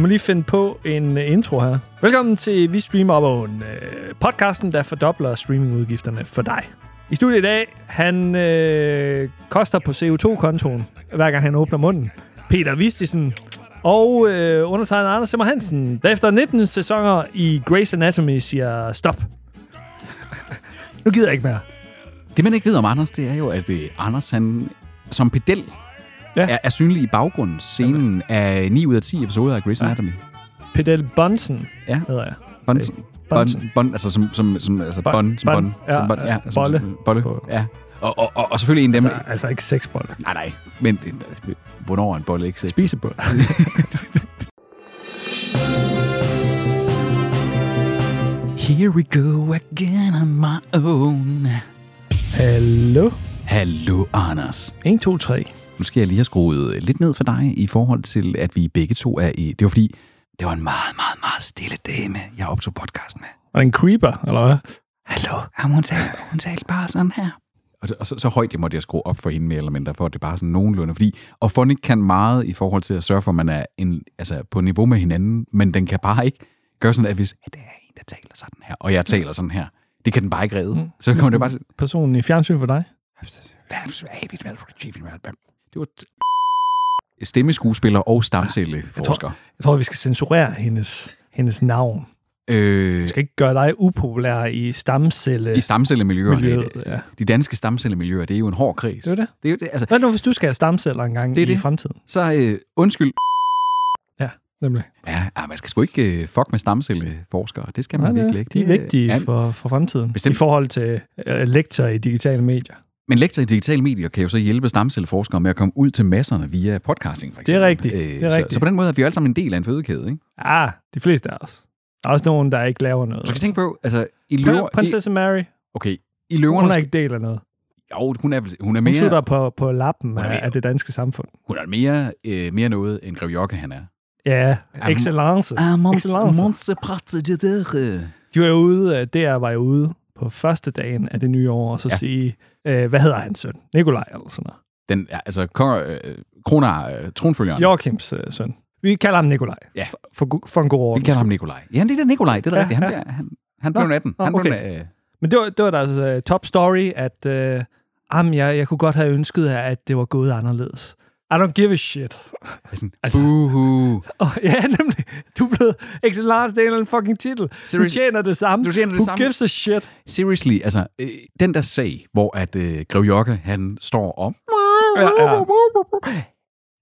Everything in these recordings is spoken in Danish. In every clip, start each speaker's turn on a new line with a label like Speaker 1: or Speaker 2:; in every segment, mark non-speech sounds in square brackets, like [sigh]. Speaker 1: må lige finde på en øh, intro her. Velkommen til Vi Streamer op øh, podcasten, der fordobler streamingudgifterne for dig. I studiet i dag, han øh, koster på CO2-kontoen, hver gang han åbner munden. Peter Vistisen og øh, undertegnet Anders Simmer Hansen, der efter 19 sæsoner i Grey's Anatomy siger stop. nu gider jeg ikke mere.
Speaker 2: Det, man ikke ved om Anders, det er jo, at øh, Anders, han som pedel,
Speaker 1: Ja.
Speaker 2: ja. er, er synlig i baggrundsscenen af 9 ud af 10 episoder af Grey's Anatomy.
Speaker 1: Pedel Bonsen
Speaker 2: Ja.
Speaker 1: hedder jeg.
Speaker 2: Bonsen.
Speaker 1: Bonsen.
Speaker 2: Bon, bon, altså som, som, som altså
Speaker 1: Bon-
Speaker 2: bon, bon, som
Speaker 1: bon,
Speaker 2: bon,
Speaker 1: ja,
Speaker 2: som bon,
Speaker 1: ja,
Speaker 2: som-
Speaker 1: bolle.
Speaker 2: som- bolle,
Speaker 1: På-
Speaker 2: ja. Og, og, og, og selvfølgelig en af dem...
Speaker 1: Altså, altså ikke sexbolle.
Speaker 2: nej, nej, men øh, hvornår er en bolle ikke sex?
Speaker 1: Spisebolle.
Speaker 2: Here we go again on my own.
Speaker 1: Hallo?
Speaker 2: Hallo, Anders.
Speaker 1: 1, 2, 3.
Speaker 2: Nu skal jeg lige have skruet øh, lidt ned for dig i forhold til, at vi begge to er i... Det var fordi, det var en meget, meget, meget stille dame, jeg optog podcasten med.
Speaker 1: Og en creeper, eller hvad?
Speaker 2: Hallo? Jamen, hun, talte, hun talte bare sådan her. Og, så- og så, så højt det måtte jeg skrue op for hende mere eller mindre, for at det bare er sådan nogenlunde. Fordi og Phonic kan meget i forhold til at sørge for, at man er en, altså på niveau med hinanden, men den kan bare ikke gøre sådan, at hvis ja, der er en, der taler sådan her, og jeg taler sådan her, det kan den bare ikke redde.
Speaker 1: Mm.
Speaker 2: Mm. Så kommer det bare sådan...
Speaker 1: Personen i fjernsyn for dig?
Speaker 2: Det var t- stemmeskuespiller og stamcelleforsker.
Speaker 1: Jeg tror, vi skal censurere hendes, hendes navn.
Speaker 2: Øh,
Speaker 1: Vi skal ikke gøre dig upopulær i stamcelle
Speaker 2: I stamcellemiljøerne.
Speaker 1: miljøet, ja.
Speaker 2: De danske stamcellemiljøer, det er jo en hård kreds.
Speaker 1: Det er det.
Speaker 2: Det er jo det, altså,
Speaker 1: Hvad nu, hvis du skal have stamceller engang i
Speaker 2: Det er det.
Speaker 1: fremtiden?
Speaker 2: så øh, undskyld,
Speaker 1: Nemlig.
Speaker 2: Ja, ah, man skal sgu ikke øh, fuck med stamcelleforskere. Det skal man
Speaker 1: Nej,
Speaker 2: virkelig
Speaker 1: virkelig, de
Speaker 2: ikke.
Speaker 1: er
Speaker 2: Det, øh,
Speaker 1: vigtige
Speaker 2: ja,
Speaker 1: for, for fremtiden.
Speaker 2: Bestemt.
Speaker 1: I forhold til øh, lektier i digitale medier.
Speaker 2: Men lektor i digitale medier kan jo så hjælpe stamcelleforskere med at komme ud til masserne via podcasting, for
Speaker 1: Det er
Speaker 2: eksempel.
Speaker 1: rigtigt,
Speaker 2: Øh,
Speaker 1: det er
Speaker 2: så,
Speaker 1: rigtigt.
Speaker 2: Så på den måde er vi jo alle sammen en del af en fødekæde, ikke?
Speaker 1: Ah, de fleste af os. Der er også nogen, der ikke laver noget.
Speaker 2: Du skal tænke på, altså, i løver...
Speaker 1: Prin- Prinsesse Mary,
Speaker 2: I, okay, i
Speaker 1: hun
Speaker 2: løverne...
Speaker 1: er
Speaker 2: Hun er,
Speaker 1: ikke del af noget.
Speaker 2: jo, hun er, vel- hun er
Speaker 1: Hun sidder
Speaker 2: mere,
Speaker 1: på, på lappen
Speaker 2: Hun er
Speaker 1: af,
Speaker 2: mere-
Speaker 1: af det danske samfund.
Speaker 2: hun er mere, øh, mere noget, end Grev Jokke, han er.
Speaker 1: Ja, excellence. Excellence.
Speaker 2: øh.
Speaker 1: De var jo ude, øh, DR var jo ude på første dagen af det nye år, og så ja.
Speaker 2: Ja.
Speaker 1: sige, øh, hvad hedder hans søn? Nikolaj eller sådan noget.
Speaker 2: Den, ja, altså, kong- øh, kroner, øh, tronfølgeren.
Speaker 1: Joachims øh, søn. Vi kalder ham Nikolaj.
Speaker 2: Ja.
Speaker 1: For, for, gu- for en god
Speaker 2: Vi
Speaker 1: ordens.
Speaker 2: kalder ham Nikolaj. Ja, det er da Nikolaj, det er da
Speaker 1: Ja,
Speaker 2: rigtigt. Han,
Speaker 1: ja.
Speaker 2: bliver- han, han
Speaker 1: Nå,
Speaker 2: blev 18.
Speaker 1: nå,
Speaker 2: Han blev,
Speaker 1: okay.
Speaker 2: øh,
Speaker 1: Men det var, det var deres øh, top story, at øh, jamen, jeg, jeg kunne godt have ønsket, at det var gået anderledes. I don't give a shit. [laughs]
Speaker 2: sådan,
Speaker 1: Altså-
Speaker 2: altså, buhu.
Speaker 1: Og, ja, nemlig. Du er blevet excellence del af en fucking titel. Du
Speaker 2: Seriøst.
Speaker 1: tjener det samme.
Speaker 2: Du tjener det
Speaker 1: Who
Speaker 2: samme.
Speaker 1: gives a shit?
Speaker 2: Seriously, altså, øh, den der sag, hvor at øh, Grev Jokke, han står om...
Speaker 1: Ja, ja.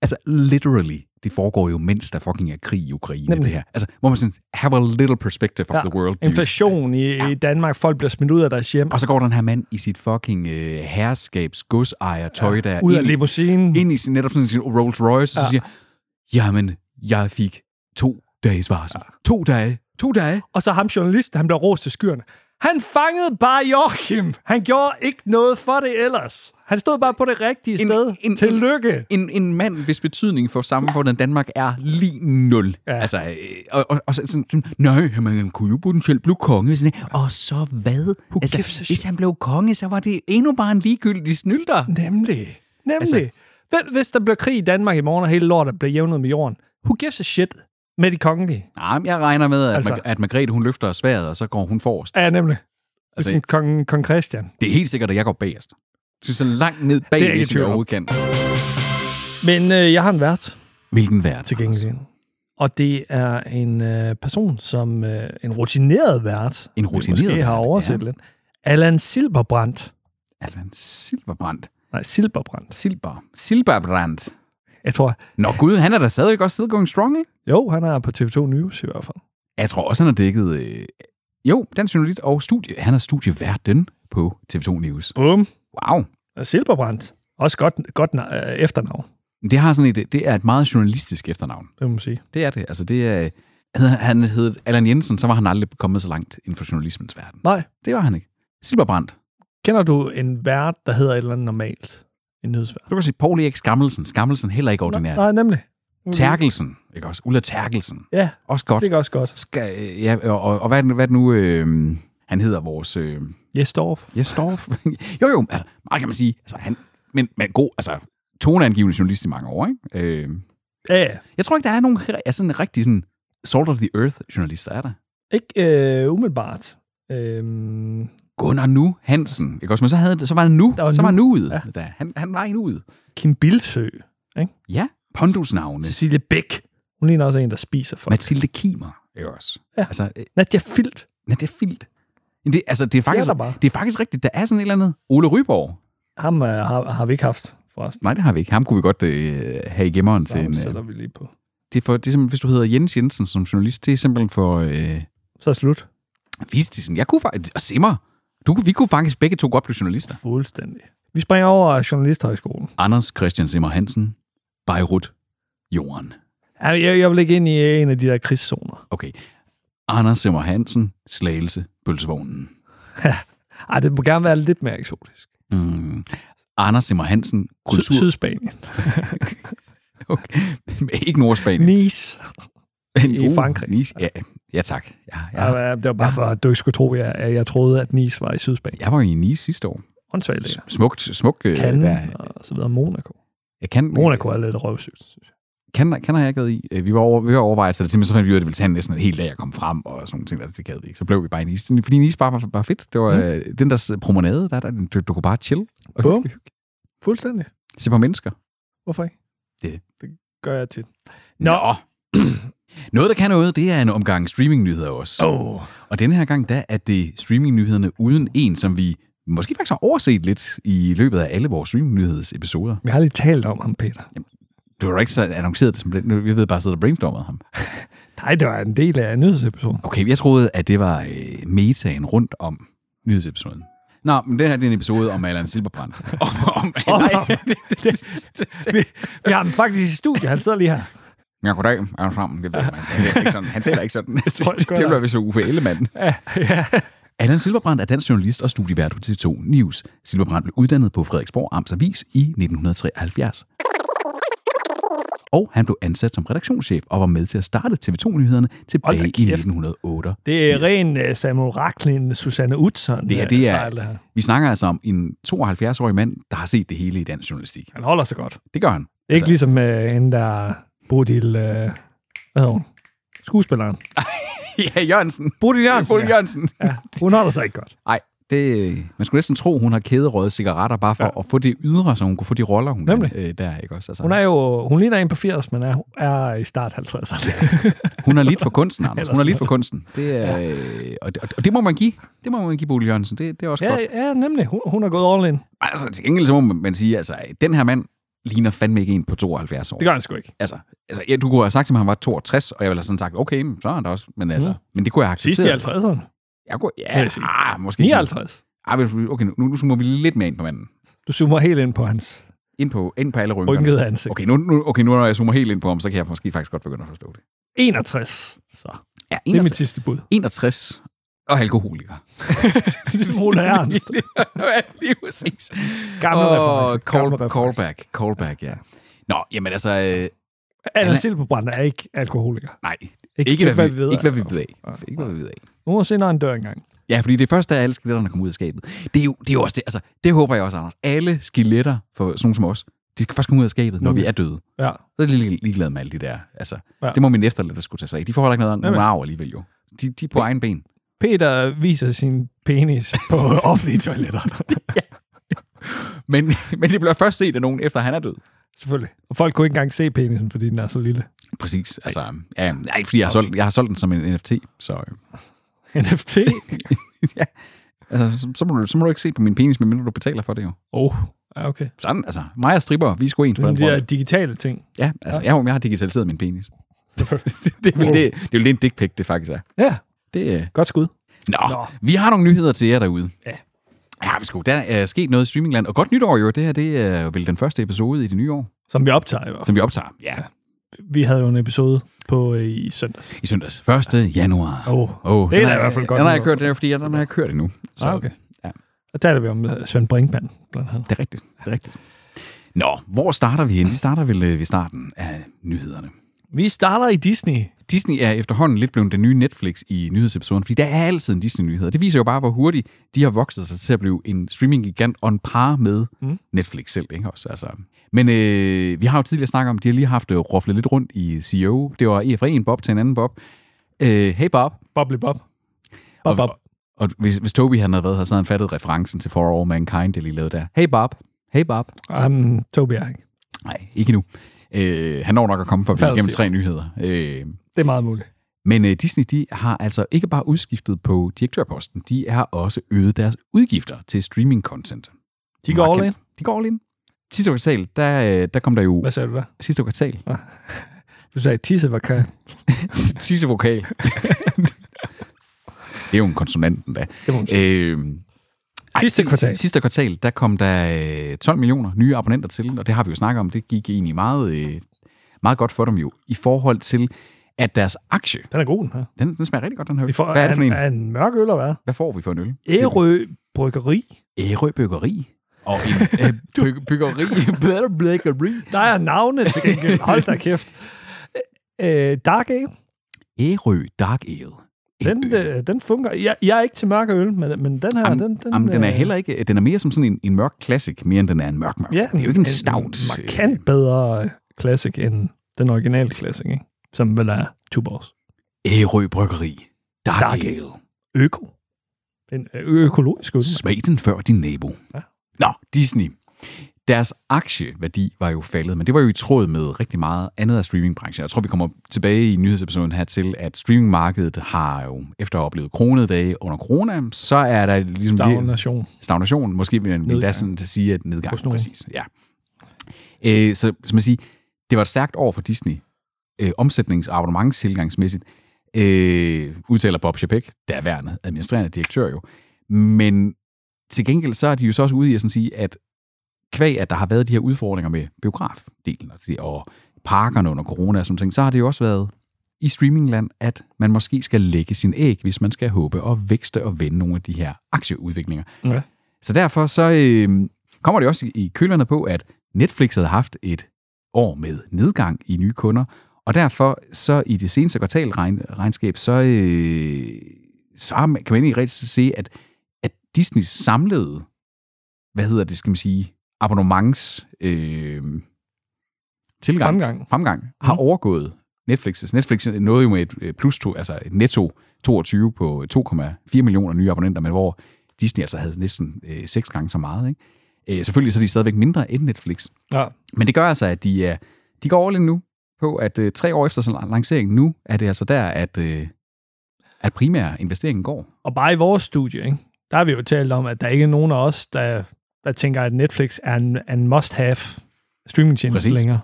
Speaker 2: Altså, literally, det foregår jo, mens der fucking er krig i Ukraine,
Speaker 1: Nemlig.
Speaker 2: Nemlig. det her. Altså, hvor man sådan, have a little perspective of
Speaker 1: Ja,
Speaker 2: the world. dude.
Speaker 1: Inflation i, i Danmark. Folk bliver smidt ud af deres hjem.
Speaker 2: Og så går den her mand i sit fucking øh, herskabs godsejer tøj, der er
Speaker 1: Ud af
Speaker 2: ind, i-
Speaker 1: limousinen.
Speaker 2: ind i sin, netop sådan sin Rolls Royce, og
Speaker 1: Ja.
Speaker 2: så siger, jamen, jeg fik to dages varsel. To dage. To dage.
Speaker 1: Og så ham journalisten, han blev rost til skyerne. Han fangede bare Joachim. Han gjorde ikke noget for det ellers. Han stod bare på det rigtige en,
Speaker 2: En-
Speaker 1: sted. En,
Speaker 2: en-
Speaker 1: Tillykke.
Speaker 2: en, en mand, hvis betydning for samfundet Danmark er lige nul.
Speaker 1: Ja.
Speaker 2: Ja. Altså, øh, og, og, og så sådan, sådan, nej, man kunne jo potentielt blive konge. Sådan, her. og så hvad?
Speaker 1: gives a
Speaker 2: Altså, hvis han blev konge, så var det endnu bare en ligegyldig snylder.
Speaker 1: Nemlig.
Speaker 2: Altså-
Speaker 1: Nemlig. Altså, Hvis der bliver krig i Danmark i morgen, og hele lortet bliver jævnet med jorden, who gives a shit med de kongelige?
Speaker 2: Nej, men jeg regner med, at,
Speaker 1: Altså.
Speaker 2: altså. at Margrethe, hun løfter sværet, og så går hun forrest.
Speaker 1: Ja, nemlig.
Speaker 2: Altså-
Speaker 1: Ligesom altså, kong, kong Christian.
Speaker 2: Det er helt sikkert, at jeg går bagerst. Så så langt ned bag,
Speaker 1: Det er jeg ikke i
Speaker 2: hvis
Speaker 1: tvivl
Speaker 2: jeg
Speaker 1: om.
Speaker 2: overhovedet kan.
Speaker 1: Men øh, jeg har en vært
Speaker 2: Hvilken værd?
Speaker 1: til gengæld.
Speaker 2: Altså-
Speaker 1: Og det er en øh, person, som øh, en rutineret vært,
Speaker 2: En
Speaker 1: vi
Speaker 2: rutineret
Speaker 1: måske har
Speaker 2: vært,
Speaker 1: overset
Speaker 2: ja.
Speaker 1: lidt. Allan Silberbrandt.
Speaker 2: Allan Silberbrandt.
Speaker 1: Nej, Silberbrandt.
Speaker 2: Silber. Silberbrandt.
Speaker 1: Jeg tror,
Speaker 2: Nå gud, han er da stadigvæk også still going strong, ikke?
Speaker 1: jo, han er på TV2 News i hvert fald.
Speaker 2: Jeg tror også, han har dækket... Øh, jo, Dansk Journalist og studie. Han har studieværten på TV2 News.
Speaker 1: Bum.
Speaker 2: Wow.
Speaker 1: Silberbrandt. Også godt, godt na- øh, efternavn,
Speaker 2: Det, har sådan et, det er et meget journalistisk efternavn.
Speaker 1: det må man sige.
Speaker 2: Det er det. Altså, det er, havde han hed Allan Jensen, så var han aldrig kommet så langt inden for journalismens verden.
Speaker 1: Nej.
Speaker 2: Det var han ikke. Silberbrandt.
Speaker 1: Kender du en vært, der hedder et eller andet normalt? En nyhedsvært?
Speaker 2: Du kan sige Paul Erik Skammelsen. Skammelsen heller ikke ordinært.
Speaker 1: Nej, nemlig.
Speaker 2: Terkelsen. Ikke også? Ulla Terkelsen.
Speaker 1: Ja,
Speaker 2: Også Mm. godt.
Speaker 1: det er også godt.
Speaker 2: Skal, øh, ja, og, og, og hvad, er det- hvad er det nu... Øh, han hedder vores... Øh,
Speaker 1: Jesdorf.
Speaker 2: Jeg står... [laughs] jo, jo, altså, meget kan man sige. Altså, han, men, men god, altså, toneangivende journalist i mange år, ikke? Øh,
Speaker 1: Ja, ja.
Speaker 2: jeg tror ikke, der er nogen altså, sådan rigtig sådan Salt of the Earth-journalister er der.
Speaker 1: Ikke øh, umiddelbart. Øhm,
Speaker 2: Gunnar Nu Hansen. Ikke også? Men så, havde, det- så var han nu.
Speaker 1: Der var
Speaker 2: så var han nu ude.
Speaker 1: Ja.
Speaker 2: Ja. Da. Han, han var en ude.
Speaker 1: Kim Bilsø.
Speaker 2: Ja, pondusnavne.
Speaker 1: Cecilie Bæk. Hun ligner også en, der spiser folk.
Speaker 2: Mathilde Kimer. Ikke også?
Speaker 1: Ja.
Speaker 2: Altså, øh,
Speaker 1: Nadia Filt.
Speaker 2: nej, det er fint. Men Det, altså, det, er faktisk,
Speaker 1: der bare.
Speaker 2: det er faktisk rigtigt. Der er sådan et eller andet. Ole Ryborg.
Speaker 1: Ham øh, har, har vi ikke haft, forresten.
Speaker 2: Nej, det har vi ikke. Ham kunne vi godt øh, have i gemmeren
Speaker 1: Så
Speaker 2: til en...
Speaker 1: ham
Speaker 2: Øh,
Speaker 1: sætter vi lige på.
Speaker 2: det er for, det er simpelthen, hvis du hedder Jens Jensen som journalist, det er simpelthen for... Øh,
Speaker 1: Så er slut.
Speaker 2: Vistisen. Jeg kunne faktisk... Og Simmer. Du, kunne- vi kunne faktisk begge to godt blive journalister.
Speaker 1: Fuldstændig. Vi springer over Journalisthøjskolen.
Speaker 2: Anders Christian Simmer Hansen. Beirut. Jorden.
Speaker 1: Altså, Jeg, jeg vil ikke ind i en af de der krigszoner.
Speaker 2: Okay. Anders Simmer Hansen. Slagelse. Pølsevognen.
Speaker 1: Ej, det må gerne være lidt mere eksotisk.
Speaker 2: Mm. Anders Simmer Hansen.
Speaker 1: Kultur.
Speaker 2: Kultur.
Speaker 1: Sydspanien.
Speaker 2: [laughs] Okay. Ikke Nordspanien.
Speaker 1: Nice. i Frankrig.
Speaker 2: Nice. Ja, ja, tak. Ja,
Speaker 1: Ja.
Speaker 2: ja.
Speaker 1: det var bare for, at du ikke skulle tro, at jeg, at jeg troede, at Nice var i Sydspanien.
Speaker 2: Jeg var i Nice sidste år.
Speaker 1: Åndssvagt. lækkert.
Speaker 2: Smukt, smukt. øh,
Speaker 1: Cannes
Speaker 2: der-
Speaker 1: og så videre. Monaco.
Speaker 2: Jeg kan,
Speaker 1: Monaco er lidt røvsygt. synes jeg.
Speaker 2: kan, kan jeg ikke været i. Øh, Vi var over, vi var overvejet, så det simpelthen så fandt vi ud af, at det ville tage næsten en hel dag at komme frem og sådan nogle ting, der det gad vi ikke. Så blev vi bare i en is. Fordi en is bare var, var fedt. Det var
Speaker 1: Mm.
Speaker 2: mm. den der s- promenade, der, der du, du kunne bare chill og
Speaker 1: Bum.
Speaker 2: hygge- hygge.
Speaker 1: Fuldstændig.
Speaker 2: se på mennesker.
Speaker 1: Hvorfor ikke?
Speaker 2: Det-
Speaker 1: det gør jeg tit. Nå.
Speaker 2: Nå. [clears throat] Noget, der kan noget, det er en omgang streamingnyheder også.
Speaker 1: Oh.
Speaker 2: Og denne her gang, der er det streamingnyhederne uden en, som vi måske faktisk har overset lidt i løbet af alle vores streamingnyhedsepisoder.
Speaker 1: Vi har lige talt om ham, Peter.
Speaker 2: Du har jo ikke så annonceret det som den. Nu- Jeg ved bare, at jeg sidder og brainstormede ham.
Speaker 1: Nej, det var en del af nyhedsepisoden.
Speaker 2: Okay, jeg troede, at det var øh, metaen rundt om nyhedsepisoden. Nå, men det her det er en episode om Allan
Speaker 1: [laughs]
Speaker 2: Silberbrand. om, om, [laughs] nej.
Speaker 1: vi, vi har ham faktisk i studiet. Han sidder lige her.
Speaker 2: Ja, goddag, Allan Fram. Det ved man. Han taler ikke sådan. Han taler ikke
Speaker 1: [laughs]
Speaker 2: sådan. det,
Speaker 1: tror jeg sgu,
Speaker 2: det
Speaker 1: han er.
Speaker 2: bliver vi så Uffe Ellemann.
Speaker 1: [laughs] Ja, ja.
Speaker 2: Allan Silberbrand er dansk journalist og studievært på TV2 News. Silberbrand blev uddannet på Frederiksborg Amts Avis i 1973. Og han blev ansat som redaktionschef og var med til at starte TV2-nyhederne tilbage i
Speaker 1: da kæft.
Speaker 2: 1908.
Speaker 1: Det er ren øh, Samuel Racklin, Susanne Utzon
Speaker 2: Det
Speaker 1: det
Speaker 2: her,
Speaker 1: er,
Speaker 2: det
Speaker 1: det
Speaker 2: er-
Speaker 1: er... Style, det her.
Speaker 2: Vi snakker altså om en 72-årig mand, der har set det hele i dansk journalistik.
Speaker 1: Han holder sig godt.
Speaker 2: Det gør han. [laughs]
Speaker 1: Ikke altså... ligesom øh, hende der Bodil... Øh, hvad hedder hun? Skuespilleren.
Speaker 2: Ja, Jørgensen.
Speaker 1: Bodil Jørgensen.
Speaker 2: Jørgensen.
Speaker 1: Ja.
Speaker 2: Jørgensen.
Speaker 1: Ja, hun holder sig ikke godt.
Speaker 2: Nej, det, man skulle næsten tro, hun har kæderøget cigaretter bare for ja. at få det ydre, så hun kunne få de roller, hun
Speaker 1: Nemlig.
Speaker 2: Øh, der, ikke også? Altså,
Speaker 1: Hun er jo... Hun ligner en på 80, men er, er i start 50'erne.
Speaker 2: hun er lidt for
Speaker 1: [laughs]
Speaker 2: kunsten, Anders.
Speaker 1: Ellers
Speaker 2: Hun er lidt for kunsten. Det er, øh, og, det, og det må man give. Det må man give, Bolig Jørgensen. Det, det er
Speaker 1: [laughs]
Speaker 2: også
Speaker 1: ja,
Speaker 2: godt.
Speaker 1: ja, nemlig. Hun, hun er gået all in.
Speaker 2: Altså, til gengæld så må man, man sige, altså, den her mand ligner fandme ikke en på 72 år.
Speaker 1: Det gør han sgu ikke.
Speaker 2: Altså, altså ja, du kunne have sagt til mig, at han var 62, og jeg ville have sådan sagt, okay, men så er han der også. Men, altså,
Speaker 1: Mm.
Speaker 2: men det kunne jeg have accepteret.
Speaker 1: Sidst i 50'erne.
Speaker 2: Jeg kunne,
Speaker 1: Vil
Speaker 2: ja,
Speaker 1: jeg sige.
Speaker 2: ah, måske ikke.
Speaker 1: 59.
Speaker 2: Ah, men okay, nu, nu zoomer vi lidt mere ind på manden.
Speaker 1: Du zoomer helt ind på hans
Speaker 2: Ind på, ind på alle rynkerne.
Speaker 1: rynkede ansigt.
Speaker 2: Okay nu, nu, okay, nu når jeg zoomer helt ind på ham, så kan jeg måske faktisk godt begynde at forstå det.
Speaker 1: 61. Så. Det
Speaker 2: Ja,
Speaker 1: er mit
Speaker 2: 61,
Speaker 1: sidste bud.
Speaker 2: 61 og alkoholiker.
Speaker 1: [laughs] Det er ligesom Ole Ernst.
Speaker 2: [laughs] ja, lige præcis.
Speaker 1: Gammel reference.
Speaker 2: Og
Speaker 1: Gammel
Speaker 2: call,
Speaker 1: reference.
Speaker 2: callback, callback, ja. Nå, jamen altså, øh,
Speaker 1: Allan
Speaker 2: Han er-
Speaker 1: Silberbrand er ikke alkoholiker.
Speaker 2: nej. Ikke, ikke, hvad, vi, ved, ikke hvad vi ved af.
Speaker 1: Nej.
Speaker 2: Ikke hvad vi ved af.
Speaker 1: Nu må se, når han dør engang.
Speaker 2: Ja, fordi det første af alle skeletterne kommer ud af skabet. Det er jo, det er jo også det. Altså, det håber jeg også, Anders. Alle skeletter for sådan nogle som os, de skal først komme ud af skabet, når
Speaker 1: Nemlig.
Speaker 2: vi er døde.
Speaker 1: Ja.
Speaker 2: Så er de lige- ligeglade med alle de der. Altså,
Speaker 1: Ja.
Speaker 2: ja. Det må min efterladte skulle tage sig af. De får heller ikke noget, nogen
Speaker 1: Jamen.
Speaker 2: arv alligevel jo. De, de er på egen ben.
Speaker 1: Peter viser sin
Speaker 2: [laughs]
Speaker 1: penis på offentlige toiletter.
Speaker 2: Men, [laughs] men det bliver først set af nogen, efter han er død.
Speaker 1: Selvfølgelig. Og folk kunne ikke engang se penisen, fordi den er så lille.
Speaker 2: Præcis. Altså, ja, nej, fordi jeg har, solgt, jeg har solgt den som en NFT, så, øh, [laughs]
Speaker 1: NFT?
Speaker 2: ja. altså, så, så, må du, så må du ikke se på min penis, medmindre du betaler for det jo.
Speaker 1: Åh, oh, ja, okay.
Speaker 2: Sådan, altså, mig og stripper, vi er sgu ens
Speaker 1: Det
Speaker 2: på
Speaker 1: er
Speaker 2: den
Speaker 1: de der
Speaker 2: front.
Speaker 1: digitale
Speaker 2: [laughs]
Speaker 1: ting.
Speaker 2: Ja, altså, jeg, jeg har digitaliseret min penis. [laughs]
Speaker 1: Selvfølgelig.
Speaker 2: det, er vel, det, det er vel det, en dick pic, det faktisk er.
Speaker 1: Ja,
Speaker 2: Det, øh,
Speaker 1: godt skud.
Speaker 2: nå,
Speaker 1: Nå.
Speaker 2: nå, vi har nogle nyheder til jer derude.
Speaker 1: Ja.
Speaker 2: Ja, vi skulle. Der er sket noget i streamingland. Og godt nytår jo. Det her det er vel den første episode i det nye år,
Speaker 1: Som vi optager i hvert fald.
Speaker 2: som vi optager. Ja,
Speaker 1: Vi havde jo en episode på øh, i søndags.
Speaker 2: i søndags. 1. januar.
Speaker 1: Åh, oh.
Speaker 2: Oh,
Speaker 1: Det er da i hvert fald godt
Speaker 2: Den har jeg
Speaker 1: nytår,
Speaker 2: kørt, det er, fordi jeg, den har jeg kørt endnu. Så
Speaker 1: ah, okay.
Speaker 2: ja.
Speaker 1: Og taler vi om øh, Svend Brinkmann, blandt andet.
Speaker 2: det er rigtigt. Det er rigtigt. Nå, hvor starter vi hen? Vi starter vel øh, ved starten af nyhederne.
Speaker 1: Vi starter i Disney.
Speaker 2: Disney er efterhånden lidt blevet den nye Netflix i nyhedsepisoden, fordi der er altid en Disney-nyhed. og Det viser jo bare, hvor hurtigt de har vokset sig til at blive en streaming-gigant on par med mm. Netflix selv. Ikke? Også, altså. Men øh, vi har jo tidligere snakket om, at de har lige haft øh, rufflet lidt rundt i CEO. Det var en fra en Bob til en anden Bob. Øh, hey Bob.
Speaker 1: Boble Bob. Bob, Bob.
Speaker 2: Og, og hvis, hvis Toby han havde været her, så havde han fattet referencen til For All Mankind, det lige lavede der. Hey Bob. Hey Bob.
Speaker 1: Um, Toby er ikke.
Speaker 2: Nej, ikke nu. Øh, han når nok at komme for vi er
Speaker 1: Færdig.
Speaker 2: igennem tre nyheder. Øh,
Speaker 1: Det er meget muligt.
Speaker 2: men øh, Disney de har altså ikke bare udskiftet på direktørposten, de har også øget deres udgifter til streaming-content.
Speaker 1: De går all in.
Speaker 2: De går all in. Sidste kvartal, der, øh, der kom der jo...
Speaker 1: Hvad sagde du der?
Speaker 2: Sidste kvartal.
Speaker 1: Du sagde, tisse var kan.
Speaker 2: [laughs] Sidste
Speaker 1: [laughs]
Speaker 2: vokal. det er jo en konsonant endda.
Speaker 1: Det må man sige.
Speaker 2: Øh,
Speaker 1: Sidste kvartal.
Speaker 2: Sidste kvartal, der kom der øh, 12 millioner nye abonnenter til, og det har vi jo snakket om, det gik egentlig meget, øh, meget godt for dem jo, i forhold til, at deres aktie,
Speaker 1: Den er god, den her.
Speaker 2: den, den smager rigtig godt, den her øl.
Speaker 1: Vi får,
Speaker 2: Hvad er det for en?
Speaker 1: Er en mørk øl, eller hvad?
Speaker 2: Hvad får vi for en øl?
Speaker 1: Ærø Bryggeri.
Speaker 2: Ærø Byggeri. Og [laughs] en øh, byg- byggeri. Byggeri.
Speaker 1: Der er navne til gengæld. [laughs] Hold da kæft. Øh, Dark Ale,
Speaker 2: Ærø Dark Ale. En
Speaker 1: den,
Speaker 2: øl.
Speaker 1: øh, den fungerer. Jeg, jeg er ikke til mørk øl, men, men den her,
Speaker 2: Am-
Speaker 1: den, den...
Speaker 2: Jamen, den er
Speaker 1: øh,
Speaker 2: heller ikke, den er mere som sådan en, en mørk klassik, mere end den er en mørk mørk.
Speaker 1: Ja,
Speaker 2: det er jo ikke en øh, stout.
Speaker 1: markant bedre øh, classic end den originale classic, ikke? Som vel er Tuborgs.
Speaker 2: Ærø Bryggeri. Dark,
Speaker 1: Dark
Speaker 2: Dark
Speaker 1: ale.
Speaker 2: ale.
Speaker 1: Øko. En ø- økologisk øl.
Speaker 2: Smag den før din nabo.
Speaker 1: Ja.
Speaker 2: Ja. Nå, Disney. Deres aktieværdi var jo faldet, men det var jo i tråd med rigtig meget andet af streamingbranchen. Jeg tror, vi kommer tilbage i nyhedsepisoden her til, at streamingmarkedet har jo, efter at have oplevet kronede dage under corona, så er der ligesom...
Speaker 1: Stagnation.
Speaker 2: stagnation. Måske vil man endda
Speaker 1: Nedgang.
Speaker 2: sådan til at sige, at nedgang.
Speaker 1: Hos nogen.
Speaker 2: Præcis, ja. Øh, så som man siger, det var et stærkt år for Disney. Øh, omsætnings- og abonnementstilgangsmæssigt, øh, udtaler Bob Chapek, der værende administrerende direktør jo. Men til gengæld så er de jo så også ude i at sådan sige, at kvæg, at der har været de her udfordringer med biografdelen og, det- og parkerne under corona og sådan ting, så har det jo også været i streamingland, at man måske skal lægge sin æg, hvis man skal håbe og vækste og vende nogle af de her aktieudviklinger.
Speaker 1: Ja.
Speaker 2: Så derfor så øh, kommer det også i- i kølerne på, at Netflix havde haft et år med nedgang i nye kunder, og derfor så i det seneste kvartalregnskab, så, øh, så har man- kan man egentlig rigtig se, at, at Disneys samlede, hvad hedder det, skal man sige, abonnements øh, tilgang,
Speaker 1: Fremgang.
Speaker 2: fremgang har
Speaker 1: Mhm.
Speaker 2: overgået Netflix's. Netflix nåede jo med et øh, plus to, altså et netto 22 på 2,4 millioner nye abonnenter, men hvor Disney altså havde næsten øh, seks gange så meget. Ikke? Øh, selvfølgelig så er de stadigvæk mindre end Netflix.
Speaker 1: Ja.
Speaker 2: Men det gør altså, at de, er, de går all in nu på, at øh, tre år efter sådan lanceringen nu, er det altså der, at, øh, at primære investeringen går.
Speaker 1: Og bare i vores studie, ikke? der har vi jo talt om, at der ikke er nogen af os, der, der tænker, at Netflix er en, en must-have streamingtjeneste
Speaker 2: Præcis.
Speaker 1: længere.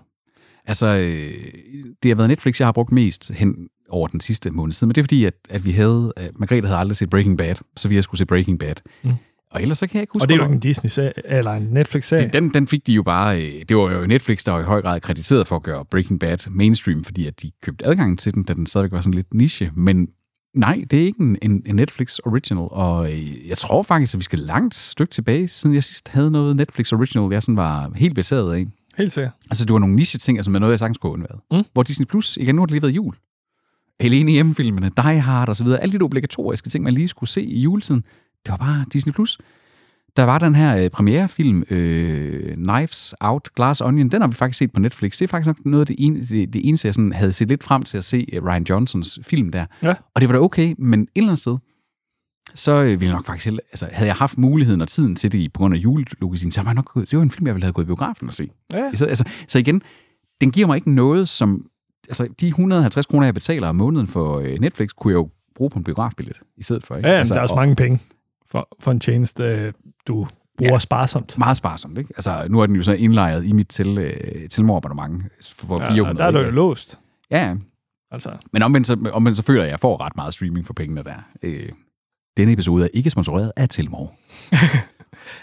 Speaker 2: Altså, øh, det har været Netflix, jeg har brugt mest hen over den sidste måned siden, men det er fordi, at, at vi havde, at Margrethe havde aldrig set Breaking Bad, så vi har skulle se Breaking Bad.
Speaker 1: Mm.
Speaker 2: Mm. Og ellers så kan jeg ikke huske,
Speaker 1: Og det er jo ikke
Speaker 2: hvornår-
Speaker 1: en Disney eller en Netflix-serie.
Speaker 2: den, den fik de jo bare, øh, det var jo Netflix, der var i høj grad krediteret for at gøre Breaking Bad mainstream, fordi at de købte adgangen til den, da den stadigvæk var sådan lidt niche, men nej, det er ikke en, en, en Netflix original, og øh, jeg tror faktisk, at vi skal langt stykke tilbage, siden jeg sidst havde noget Netflix original, jeg sådan var helt baseret af.
Speaker 1: Helt sikkert.
Speaker 2: Altså, det var nogle niche-ting, som er noget, jeg sagtens kunne undvære.
Speaker 1: Mm.
Speaker 2: Mm. Hvor Disney Plus, igen, nu har det lige været jul. Alene i hjemmefilmene, Die Hard og så videre. Alle de der obligatoriske ting, man lige skulle se i juletiden. Det var bare Disney Plus. Der var den her øh, premierefilm, øh, Knives Out, Glass Onion. Den har vi faktisk set på Netflix. Det er faktisk nok noget af det, ene, det, det eneste, jeg sådan havde set lidt frem til at se øh, Ryan Johnsons film der.
Speaker 1: Ja.
Speaker 2: Og det var da okay, men et eller andet sted, så øh, ville jeg nok faktisk... hellere- Altså, havde jeg haft muligheden og tiden til det i- på grund af julelogistikken, så var jeg nok gået... Det var en film, jeg ville have gået i biografen og se.
Speaker 1: Ja.
Speaker 2: Så, altså, så igen, den giver mig ikke noget, som... Altså, de 150 kroner, jeg betaler om måneden for øh, Netflix, kunne jeg jo bruge på en biografbillet i stedet for. Ikke?
Speaker 1: Ja, altså,
Speaker 2: altså,
Speaker 1: der er også
Speaker 2: og
Speaker 1: mange penge for, for en tjeneste, øh, du bruger ja. sparsomt.
Speaker 2: meget sparsomt, ikke? Altså, nu er den jo så indlejret i mit til, øh, tilmorabonnement for
Speaker 1: Ja,
Speaker 2: 400.
Speaker 1: og der er du jo
Speaker 2: ikke?
Speaker 1: låst.
Speaker 2: Ja, ja.
Speaker 1: Altså,
Speaker 2: men omvendt så, omvendt så føler jeg, at jeg får ret meget streaming for pengene der. Øh, denne episode er ikke sponsoreret af Tilmor.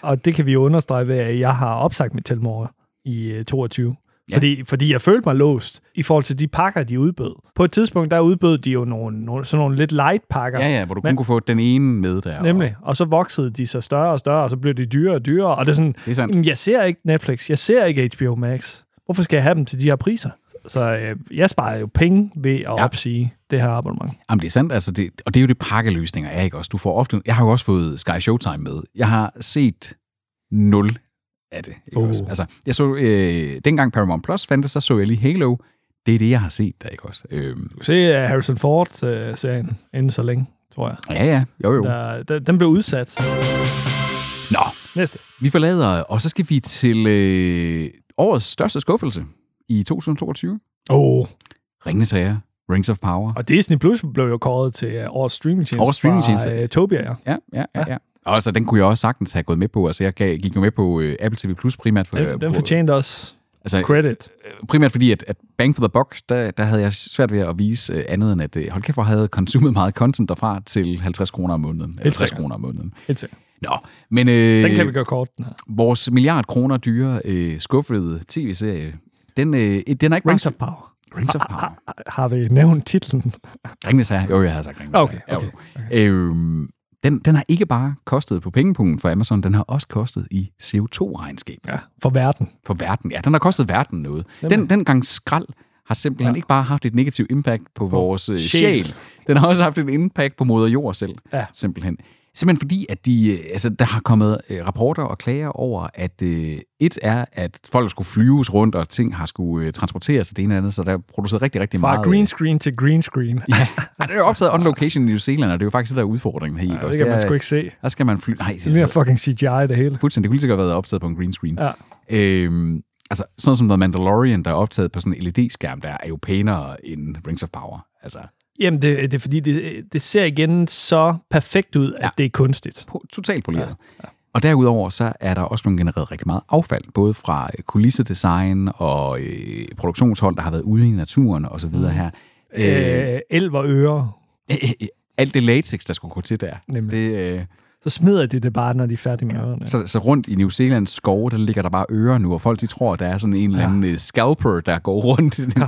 Speaker 1: og det kan vi jo understrege ved, at jeg har opsagt mit tilmorger i øh, 22.
Speaker 2: Ja.
Speaker 1: Fordi, fordi jeg følte mig låst i forhold til de pakker, de udbød. På et tidspunkt, der udbød de jo nogle, nogle, sådan nogle lidt light pakker.
Speaker 2: Ja, ja, hvor du
Speaker 1: Men-
Speaker 2: kun kunne få den ene med der. og-
Speaker 1: Nemlig. Og så voksede de så større og større, og så blev de dyrere og dyrere. Og det er sådan,
Speaker 2: Det er sandt.
Speaker 1: "Jamen, jeg ser ikke Netflix, jeg ser ikke HBO Max. Hvorfor skal jeg have dem til de her priser? Så øh, jeg sparer jo penge ved at ja. opsige det her abonnement.
Speaker 2: Jamen, det er sandt, altså det, og det er jo det pakkeløsninger er, ikke også? Du får ofte, jeg har jo også fået Sky Showtime med. Jeg har set nul af det, ikke
Speaker 1: Oh.
Speaker 2: oh. også? Altså, jeg så, øh, dengang Paramount Plus fandt det, så så jeg lige Halo. Det er det, jeg har set der, ikke også? Øhm,
Speaker 1: Du kan se øh, Harrison Ford-serien inden så længe, tror jeg.
Speaker 2: ja, ja, jo, jo.
Speaker 1: Der, der, den blev udsat.
Speaker 2: Nå,
Speaker 1: Næste.
Speaker 2: vi forlader, og så skal vi til øh, årets største skuffelse i 2022.
Speaker 1: Åh, oh,
Speaker 2: Ringende sager, Rings of Power.
Speaker 1: og Disney Plus blev jo kåret til øh, årets streamingtjeneste
Speaker 2: Årets streamingtjeneste.
Speaker 1: fra øh, Tobia, ja.
Speaker 2: Ja, ja, ja. ja. Og så den kunne jeg også sagtens have gået med på. Altså, jeg gav, gik jo med på øh, Apple TV Plus primært. For,
Speaker 1: Den, den
Speaker 2: på-
Speaker 1: fortjente også
Speaker 2: altså,
Speaker 1: credit.
Speaker 2: primært fordi, at, at Bang for the Buck, der, der havde jeg svært ved at vise øh, andet end, at øh, hold kæft, hvor havde jeg konsumet meget content derfra til 50 kroner om måneden. 50
Speaker 1: sikkert.
Speaker 2: kroner om måneden.
Speaker 1: Helt sikkert.
Speaker 2: Nå, men øh,
Speaker 1: Den kan vi gøre kort, den her.
Speaker 2: vores milliard kroner dyre øh, skuffede tv-serie, den, øh, den er ikke
Speaker 1: Rings of Power.
Speaker 2: bare... Ah, Rings of Power.
Speaker 1: Har vi nævnt titlen?
Speaker 2: Ringnes her. Jo, jeg har sagt Ringnes
Speaker 1: Okay,
Speaker 2: her.
Speaker 1: okay,
Speaker 2: okay. Øhm, den, den har ikke bare kostet på pengepunkten for Amazon, den har også kostet i CO2-regnskab.
Speaker 1: Ja, for verden.
Speaker 2: for verden. Ja, den har kostet verden noget. Den, den gang skrald har simpelthen ja. ikke bare haft et negativt impact på vores øh,
Speaker 1: sjæl.
Speaker 2: sjæl. Den har også haft et impact på moder jord selv,
Speaker 1: Ja.
Speaker 2: simpelthen. Simpelthen fordi, at de, øh, altså, der har kommet øh, rapporter og klager over, at øh, et er, at folk skulle flyves rundt, og ting har skulle øh, transporteres og det ene og det andet, så der er produceret rigtig, rigtig
Speaker 1: Fra
Speaker 2: meget.
Speaker 1: green screen til green screen. Ja,
Speaker 2: Ja, Ej, det er jo optaget on location i New Zealand, og det er jo faktisk det, der er udfordringen her. Ja,
Speaker 1: det kan man sgu ikke se.
Speaker 2: Der skal man fly... Nej, altså,
Speaker 1: Det er mere fucking CGI det hele.
Speaker 2: Fuldstændig. Det kunne lige så godt have været optaget på en green screen.
Speaker 1: Ja.
Speaker 2: Øhm, altså, sådan som The Mandalorian, der er optaget på sådan en LED-skærm, der er jo pænere end Rings of Power. Altså,
Speaker 1: Jamen, det, det er fordi, det, det ser igen så perfekt ud, at ja. det er kunstigt.
Speaker 2: på, totalt poleret. Ja, ja. Og derudover, så er der også blevet genereret rigtig meget affald, både fra øh, kulissedesign og øh, produktionshold, der har været ude i naturen og så videre her. Øh,
Speaker 1: Mm. Øh, elv og ører.
Speaker 2: øh, øh, alt det latex, der skulle gå til der.
Speaker 1: Nemlig.
Speaker 2: Det, øh,
Speaker 1: Så smider de det bare, når de er færdige med ørerne.
Speaker 2: så, så rundt i New Zealands skove, der ligger der bare ører nu, og folk de tror, at der er sådan en eller anden ja. scalper, der går rundt. Ja.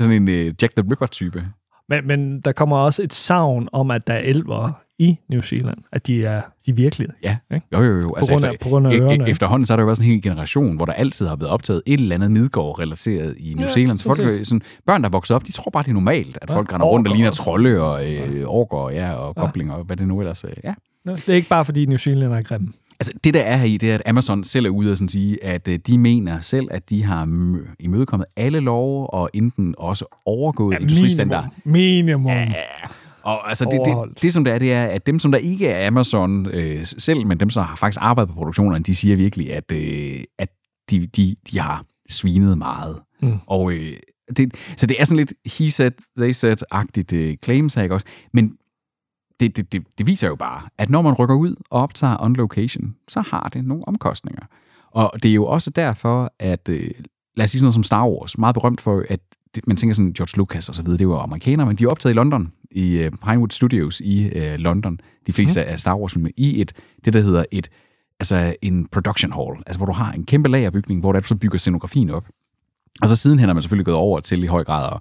Speaker 2: sådan en øh, Jack the Ripper-type.
Speaker 1: Men, men der kommer også et savn om, at der er elver i New Zealand. At de er de er virkelige.
Speaker 2: Ja,
Speaker 1: Ikke?
Speaker 2: jo, jo, jo.
Speaker 1: grund af- på grund af
Speaker 2: e- e-
Speaker 1: ørerne, ikke?
Speaker 2: Efterhånden så har der jo været sådan en hel generation, hvor der altid har været optaget et eller andet Midgård-relateret i New
Speaker 1: Ja,
Speaker 2: ja, Zealand. Så folk,
Speaker 1: sådan
Speaker 2: er sådan, børn, der vokser op, de tror bare, det er normalt, at
Speaker 1: Ja,
Speaker 2: ja, folk render rundt og
Speaker 1: orker
Speaker 2: ligner
Speaker 1: også.
Speaker 2: trolde og øh, orker ja, og goblinger og hvad det nu ellers øh, ja.
Speaker 1: Nå, Det er ikke bare, fordi New Zealand er grimme.
Speaker 2: Altså, det der er her i, det er, at Amazon selv er ude og sådan sige, at øh, de mener selv, at de har mø- imødekommet alle love og enten også overgået ja, industristandard.
Speaker 1: Minimum. Ja.
Speaker 2: Øhm, Og altså, det,
Speaker 1: Overholdt.
Speaker 2: det, det, som det er, det er, at dem, som der ikke er Amazon øh, selv, men dem, som har faktisk arbejdet på produktionerne, de siger virkelig, at, øh, at de, de, de har svinet meget.
Speaker 1: Mm.
Speaker 2: Og, øh, det, så det er sådan lidt he said, they said-agtigt øh, claims her, ikke også? Men det, det, det, det viser jo bare, at når man rykker ud og optager on location, så har det nogle omkostninger. Og det er jo også derfor, at øh, lad os sige sådan noget som Star Wars, meget berømt for, at det, man tænker sådan, George Lucas og så videre, det var amerikanere, men de er optaget i London, i øh, Pinewood Studios i øh, London, de fleste mm. af Star wars filmene i et, det der hedder et, altså en production hall, altså hvor du har en kæmpe lagerbygning, hvor du så bygger scenografien op. Og så sidenhen har man selvfølgelig gået over til i høj grad at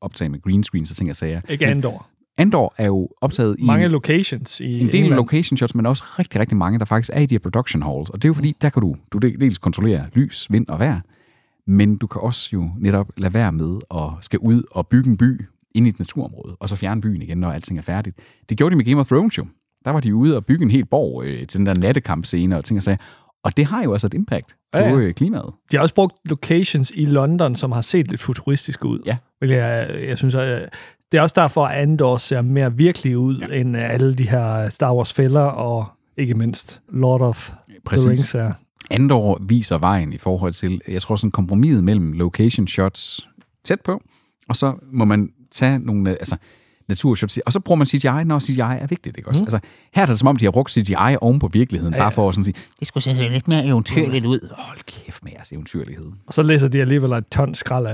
Speaker 2: optage med green screen, så ting og sager.
Speaker 1: Ikke Andor.
Speaker 2: Andor er jo optaget i...
Speaker 1: Mange locations i
Speaker 2: en del
Speaker 1: England.
Speaker 2: location shots, men også rigtig, rigtig mange, der faktisk er i de her production halls. Og det er jo fordi, der kan du, du del- dels kontrollere lys, vind og vejr, men du kan også jo netop lade være med at skal ud og bygge en by ind i et naturområde, og så fjerne byen igen, når alting er færdigt. Det gjorde de med Game of Thrones jo. Der var de ude og bygge en hel borg øh, til den der nattekampscene og ting og sager. Og det har jo altså et impact
Speaker 1: Ja,
Speaker 2: ja,
Speaker 1: ja.
Speaker 2: ja. på øh, klimaet.
Speaker 1: De har også brugt locations i London, som har set lidt futuristisk ud.
Speaker 2: Ja.
Speaker 1: Vil jeg, jeg synes, at øh, det er også derfor, at Andor ser mere virkelig ud, ja. end øh, alle de her Star Wars-fælder, og ikke mindst Lord of Præcis. the Rings her.
Speaker 2: Andor viser vejen i forhold til, jeg tror sådan kompromiset mellem location shots tæt på, og så må man tage nogle, øh, altså naturshots, og så bruger man CGI, når CGI er vigtigt, ikke også? Mm. Altså, her er det som om, de har brugt CGI oven på virkeligheden, ja, bare for at sådan sige, det skulle se lidt mere eventyrligt ud. Hold kæft med jeres eventyrlighed.
Speaker 1: Og så læser de alligevel et ton skrald af.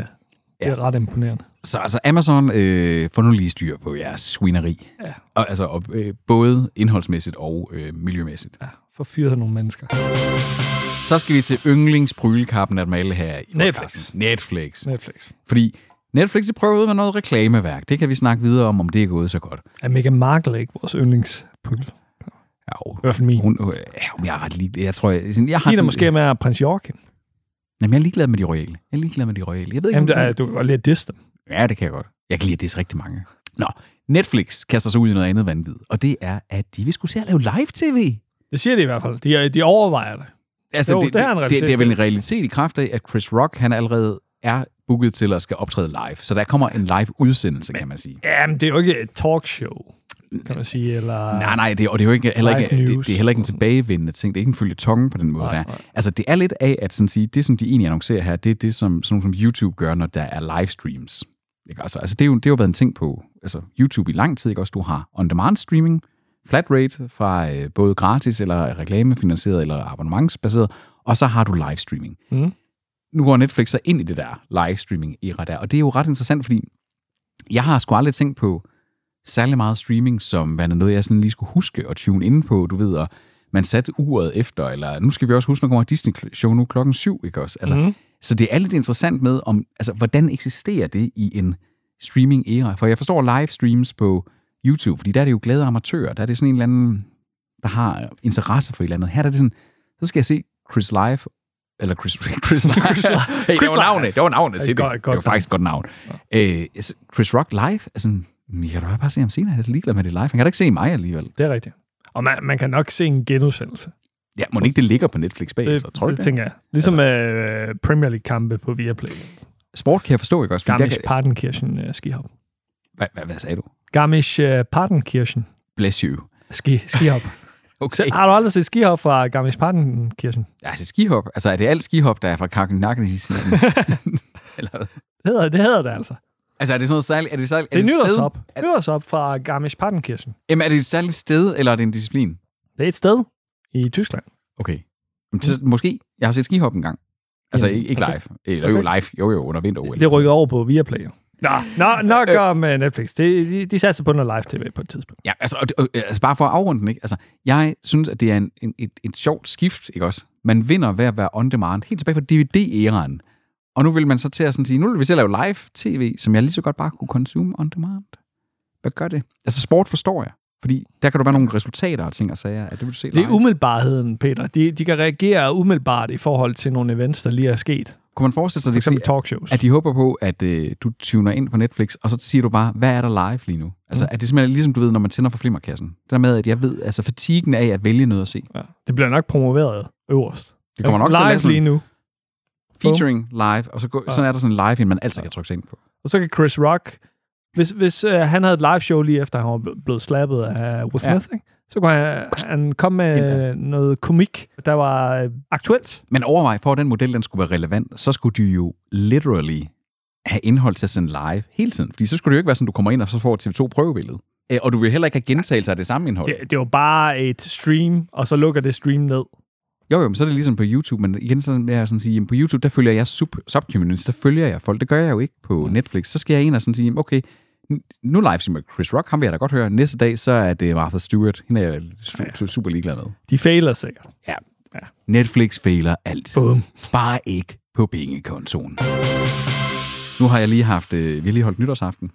Speaker 1: Det er
Speaker 2: Ja.
Speaker 1: ret imponerende.
Speaker 2: Så altså, Amazon øh, får nu lige styr på jeres svineri. Ja. Og, altså, og, øh, både indholdsmæssigt og øh, miljømæssigt. Ja.
Speaker 1: For fyret nogle mennesker.
Speaker 2: Så skal vi til yndlingsbrylekappen af dem alle her i
Speaker 1: Netflix.
Speaker 2: podcasten. Netflix.
Speaker 1: Netflix.
Speaker 2: Fordi Netflix de prøver ud med noget reklameværk. Det kan vi snakke videre om, om det er gået så godt.
Speaker 1: Er Meghan Markle ikke vores yndlingspøl? I
Speaker 2: Ja, jo.
Speaker 1: hvert fald min.
Speaker 2: Hun, øh, ja, men jeg er ret lige. Jeg tror, jeg, sådan, jeg har
Speaker 1: Din er
Speaker 2: sådan-
Speaker 1: måske mere prins Joachim.
Speaker 2: Jamen, jeg er ligeglad med de royale. Jeg er ligeglad med de royale. Jeg ved ikke,
Speaker 1: Jamen,
Speaker 2: hvorfor.
Speaker 1: der, er- du kan godt lide at disse dem.
Speaker 2: Ja, det kan jeg godt. Jeg kan lide, at det er rigtig mange. Nå, Netflix kaster sig ud i noget andet vanvid, og det er, at de vil skulle se at lave live-tv.
Speaker 1: Det siger de i hvert fald. De, de overvejer det.
Speaker 2: Altså,
Speaker 1: Jo,
Speaker 2: det,
Speaker 1: det er en
Speaker 2: det,
Speaker 1: realitet.
Speaker 2: det er vel en realitet i kraft af, at Chris Rock, han allerede er booket til at skal optræde live. Så der kommer en live-udsendelse, kan man sige.
Speaker 1: Jamen, det er jo ikke et talkshow, kan man sige. Eller...
Speaker 2: Nej, nej, det, og det er jo ikke, heller ikke,
Speaker 1: Live
Speaker 2: det,
Speaker 1: news.
Speaker 2: det er heller ikke en tilbagevendende ting. Det er ikke en følge tonge på den måde,
Speaker 1: Nej,
Speaker 2: nej, der. er.
Speaker 1: nej.
Speaker 2: Altså, det er lidt af, at sådan sige, det, som de egentlig annoncerer her, det er det, som, sådan nogle som YouTube gør, når der er livestreams. Ikke? Altså, altså, det, er jo, det har jo været en ting på altså, YouTube i lang tid. Ikke? Også, du har on-demand streaming, flat rate fra øh, både gratis eller reklamefinansieret eller abonnementsbaseret, og så har du livestreaming.
Speaker 1: Mm.
Speaker 2: Nu går Netflix så ind i det der livestreaming-era der, og det er jo ret interessant, fordi jeg har sgu aldrig tænkt på særlig meget streaming, som værende noget, jeg sådan lige skulle huske og tune ind på, du ved, og man satte uret efter, eller nu skal vi også huske, når kommer Disney-show nu klokken syv, ikke også? Altså,
Speaker 1: Mhm.
Speaker 2: mm. Så det er lidt interessant med, om, altså, hvordan eksisterer det i en streaming-æra? For jeg forstår livestreams på YouTube, fordi der er det jo glade amatører, der er det sådan en eller anden, der har interesse for et eller andet. Her er det sådan, så skal jeg se Chris Live, eller Chris, [laughs] Chris Live. Chris Live. Hey,
Speaker 1: Chris
Speaker 2: det var navnet,
Speaker 1: Live.
Speaker 2: det var navnet
Speaker 1: Ja,
Speaker 2: til det.
Speaker 1: godt-
Speaker 2: det
Speaker 1: godt
Speaker 2: var faktisk et godt navn. Øh, altså, Chris Rock live, altså, mm, jeg kan da bare se ham senere, jeg er da ligeglad med det live. Han kan da ikke se mig alligevel.
Speaker 1: Det er rigtigt. Og man, man kan nok se en genudsendelse.
Speaker 2: Ja, må ikke det ligger på Netflix
Speaker 1: Det,
Speaker 2: bagefter, tror du
Speaker 1: det,
Speaker 2: det?
Speaker 1: tænker jeg. Ligesom altså, øh, Premier League-kampe på Viaplay.
Speaker 2: Sport kan jeg forstå, ikke også? Fordi der
Speaker 1: Garmisch
Speaker 2: kan,
Speaker 1: Partenkirchen øh, skihop.
Speaker 2: hvad, hvad, hvad sagde du?
Speaker 1: Garmisch øh, Partenkirchen
Speaker 2: Bless you.
Speaker 1: ski, [laughs] skihop.
Speaker 2: [laughs] Okay.
Speaker 1: Har du aldrig set skihop fra Garmisch Partenkirchen?
Speaker 2: Altså skihop. Altså er det alt skihop, der er fra
Speaker 1: [laughs]
Speaker 2: Kakenakken? Eller hvad?
Speaker 1: Det hedder det, hedder det altså.
Speaker 2: Altså er det sådan noget særligt? Er det, særligt,
Speaker 1: Det er
Speaker 2: sted?
Speaker 1: nytårsop. Nytårsop fra Garmisch Partenkirchen.
Speaker 2: Jamen, er det et særligt sted, eller er det en disciplin?
Speaker 1: Det er et sted i Tyskland.
Speaker 2: Okay. Jamen, så,
Speaker 1: Mm.
Speaker 2: måske. Jeg har set skihop en gang. Altså
Speaker 1: Jamen,
Speaker 2: ikke, ikke live. Eller jo, live. Jo, jo, under vinter
Speaker 1: Det rykker over på Viaplay. jo. Nå, nå nok om øh, Netflix. De, de, de satser på noget live-tv på et tidspunkt.
Speaker 2: Ja, altså, og, og, altså bare for at afrunde den, ikke? Altså, jeg synes, at det er en, en, et, et sjovt skift, ikke også? Man vinder ved at være on demand, helt tilbage fra DVD-æraen. Og nu vil man så til at sådan sige, nu vil vi til at lave live-tv, som jeg lige så godt bare kunne consume on demand. Hvad gør det? Altså sport forstår jeg, fordi der kan der være nogle resultater og ting og sager, at det vil du se
Speaker 1: Det
Speaker 2: live.
Speaker 1: er umiddelbarheden, Peter. De, de kan reagere umiddelbart i forhold til nogle events, der lige er sket.
Speaker 2: Kunne man forestille sig,
Speaker 1: um- For
Speaker 2: at, det,
Speaker 1: eksempel
Speaker 2: er
Speaker 1: talkshows.
Speaker 2: fordi, at de håber på, at øh, du tuner ind på Netflix, og så siger du bare, hvad er der live lige nu? Altså,
Speaker 1: Mm.
Speaker 2: at det er simpelthen ligesom du ved, når man tænder for flimmerkassen. Det der med, at jeg ved, altså fatigen af at vælge noget at se.
Speaker 1: Ja. Det bliver nok promoveret øverst.
Speaker 2: Det kommer nok til at lave
Speaker 1: live
Speaker 2: sådan-
Speaker 1: lige nu.
Speaker 2: featuring live, og så, gå,
Speaker 1: Ja.
Speaker 2: sådan er der sådan en live, en man altid kan trykke sig ind på.
Speaker 1: Og så kan Chris Rock, hvis, hvis øh, han havde et live show lige efter, han var ble- blevet slappet af Will
Speaker 2: Ja.
Speaker 1: Smith, ja. ikke? så kunne han, han komme med øh, noget komik, der var øh, aktuelt.
Speaker 2: Men overvej, for at den model den skulle være relevant, så skulle du jo literally have indhold til at sende live hele tiden. Fordi så skulle det jo ikke være sådan, du kommer ind, og så får et TV2 prøvebillede. Øh, Og du vil heller ikke have gentagelser af det samme indhold.
Speaker 1: Det, det var bare et stream, og så lukker det stream ned.
Speaker 2: Jo, jo, men så er det ligesom på YouTube, men igen sådan med at sådan sige, jamen på YouTube, der følger jeg sub, subcommunities, der følger jeg folk. Det gør jeg jo ikke på Netflix. Så skal jeg ind og sådan sige, jamen, okay, n- nu live streamer Chris Rock, ham vil jeg da godt høre. Næste dag, så er det Martha Stewart. Hende er jeg su- super ligeglad med.
Speaker 1: De fejler sikkert.
Speaker 2: Netflix fejler altid.
Speaker 1: Bum.
Speaker 2: Bare ikke på pengekontoen. Nu har jeg lige haft, øh, vi har lige holdt nytårsaften,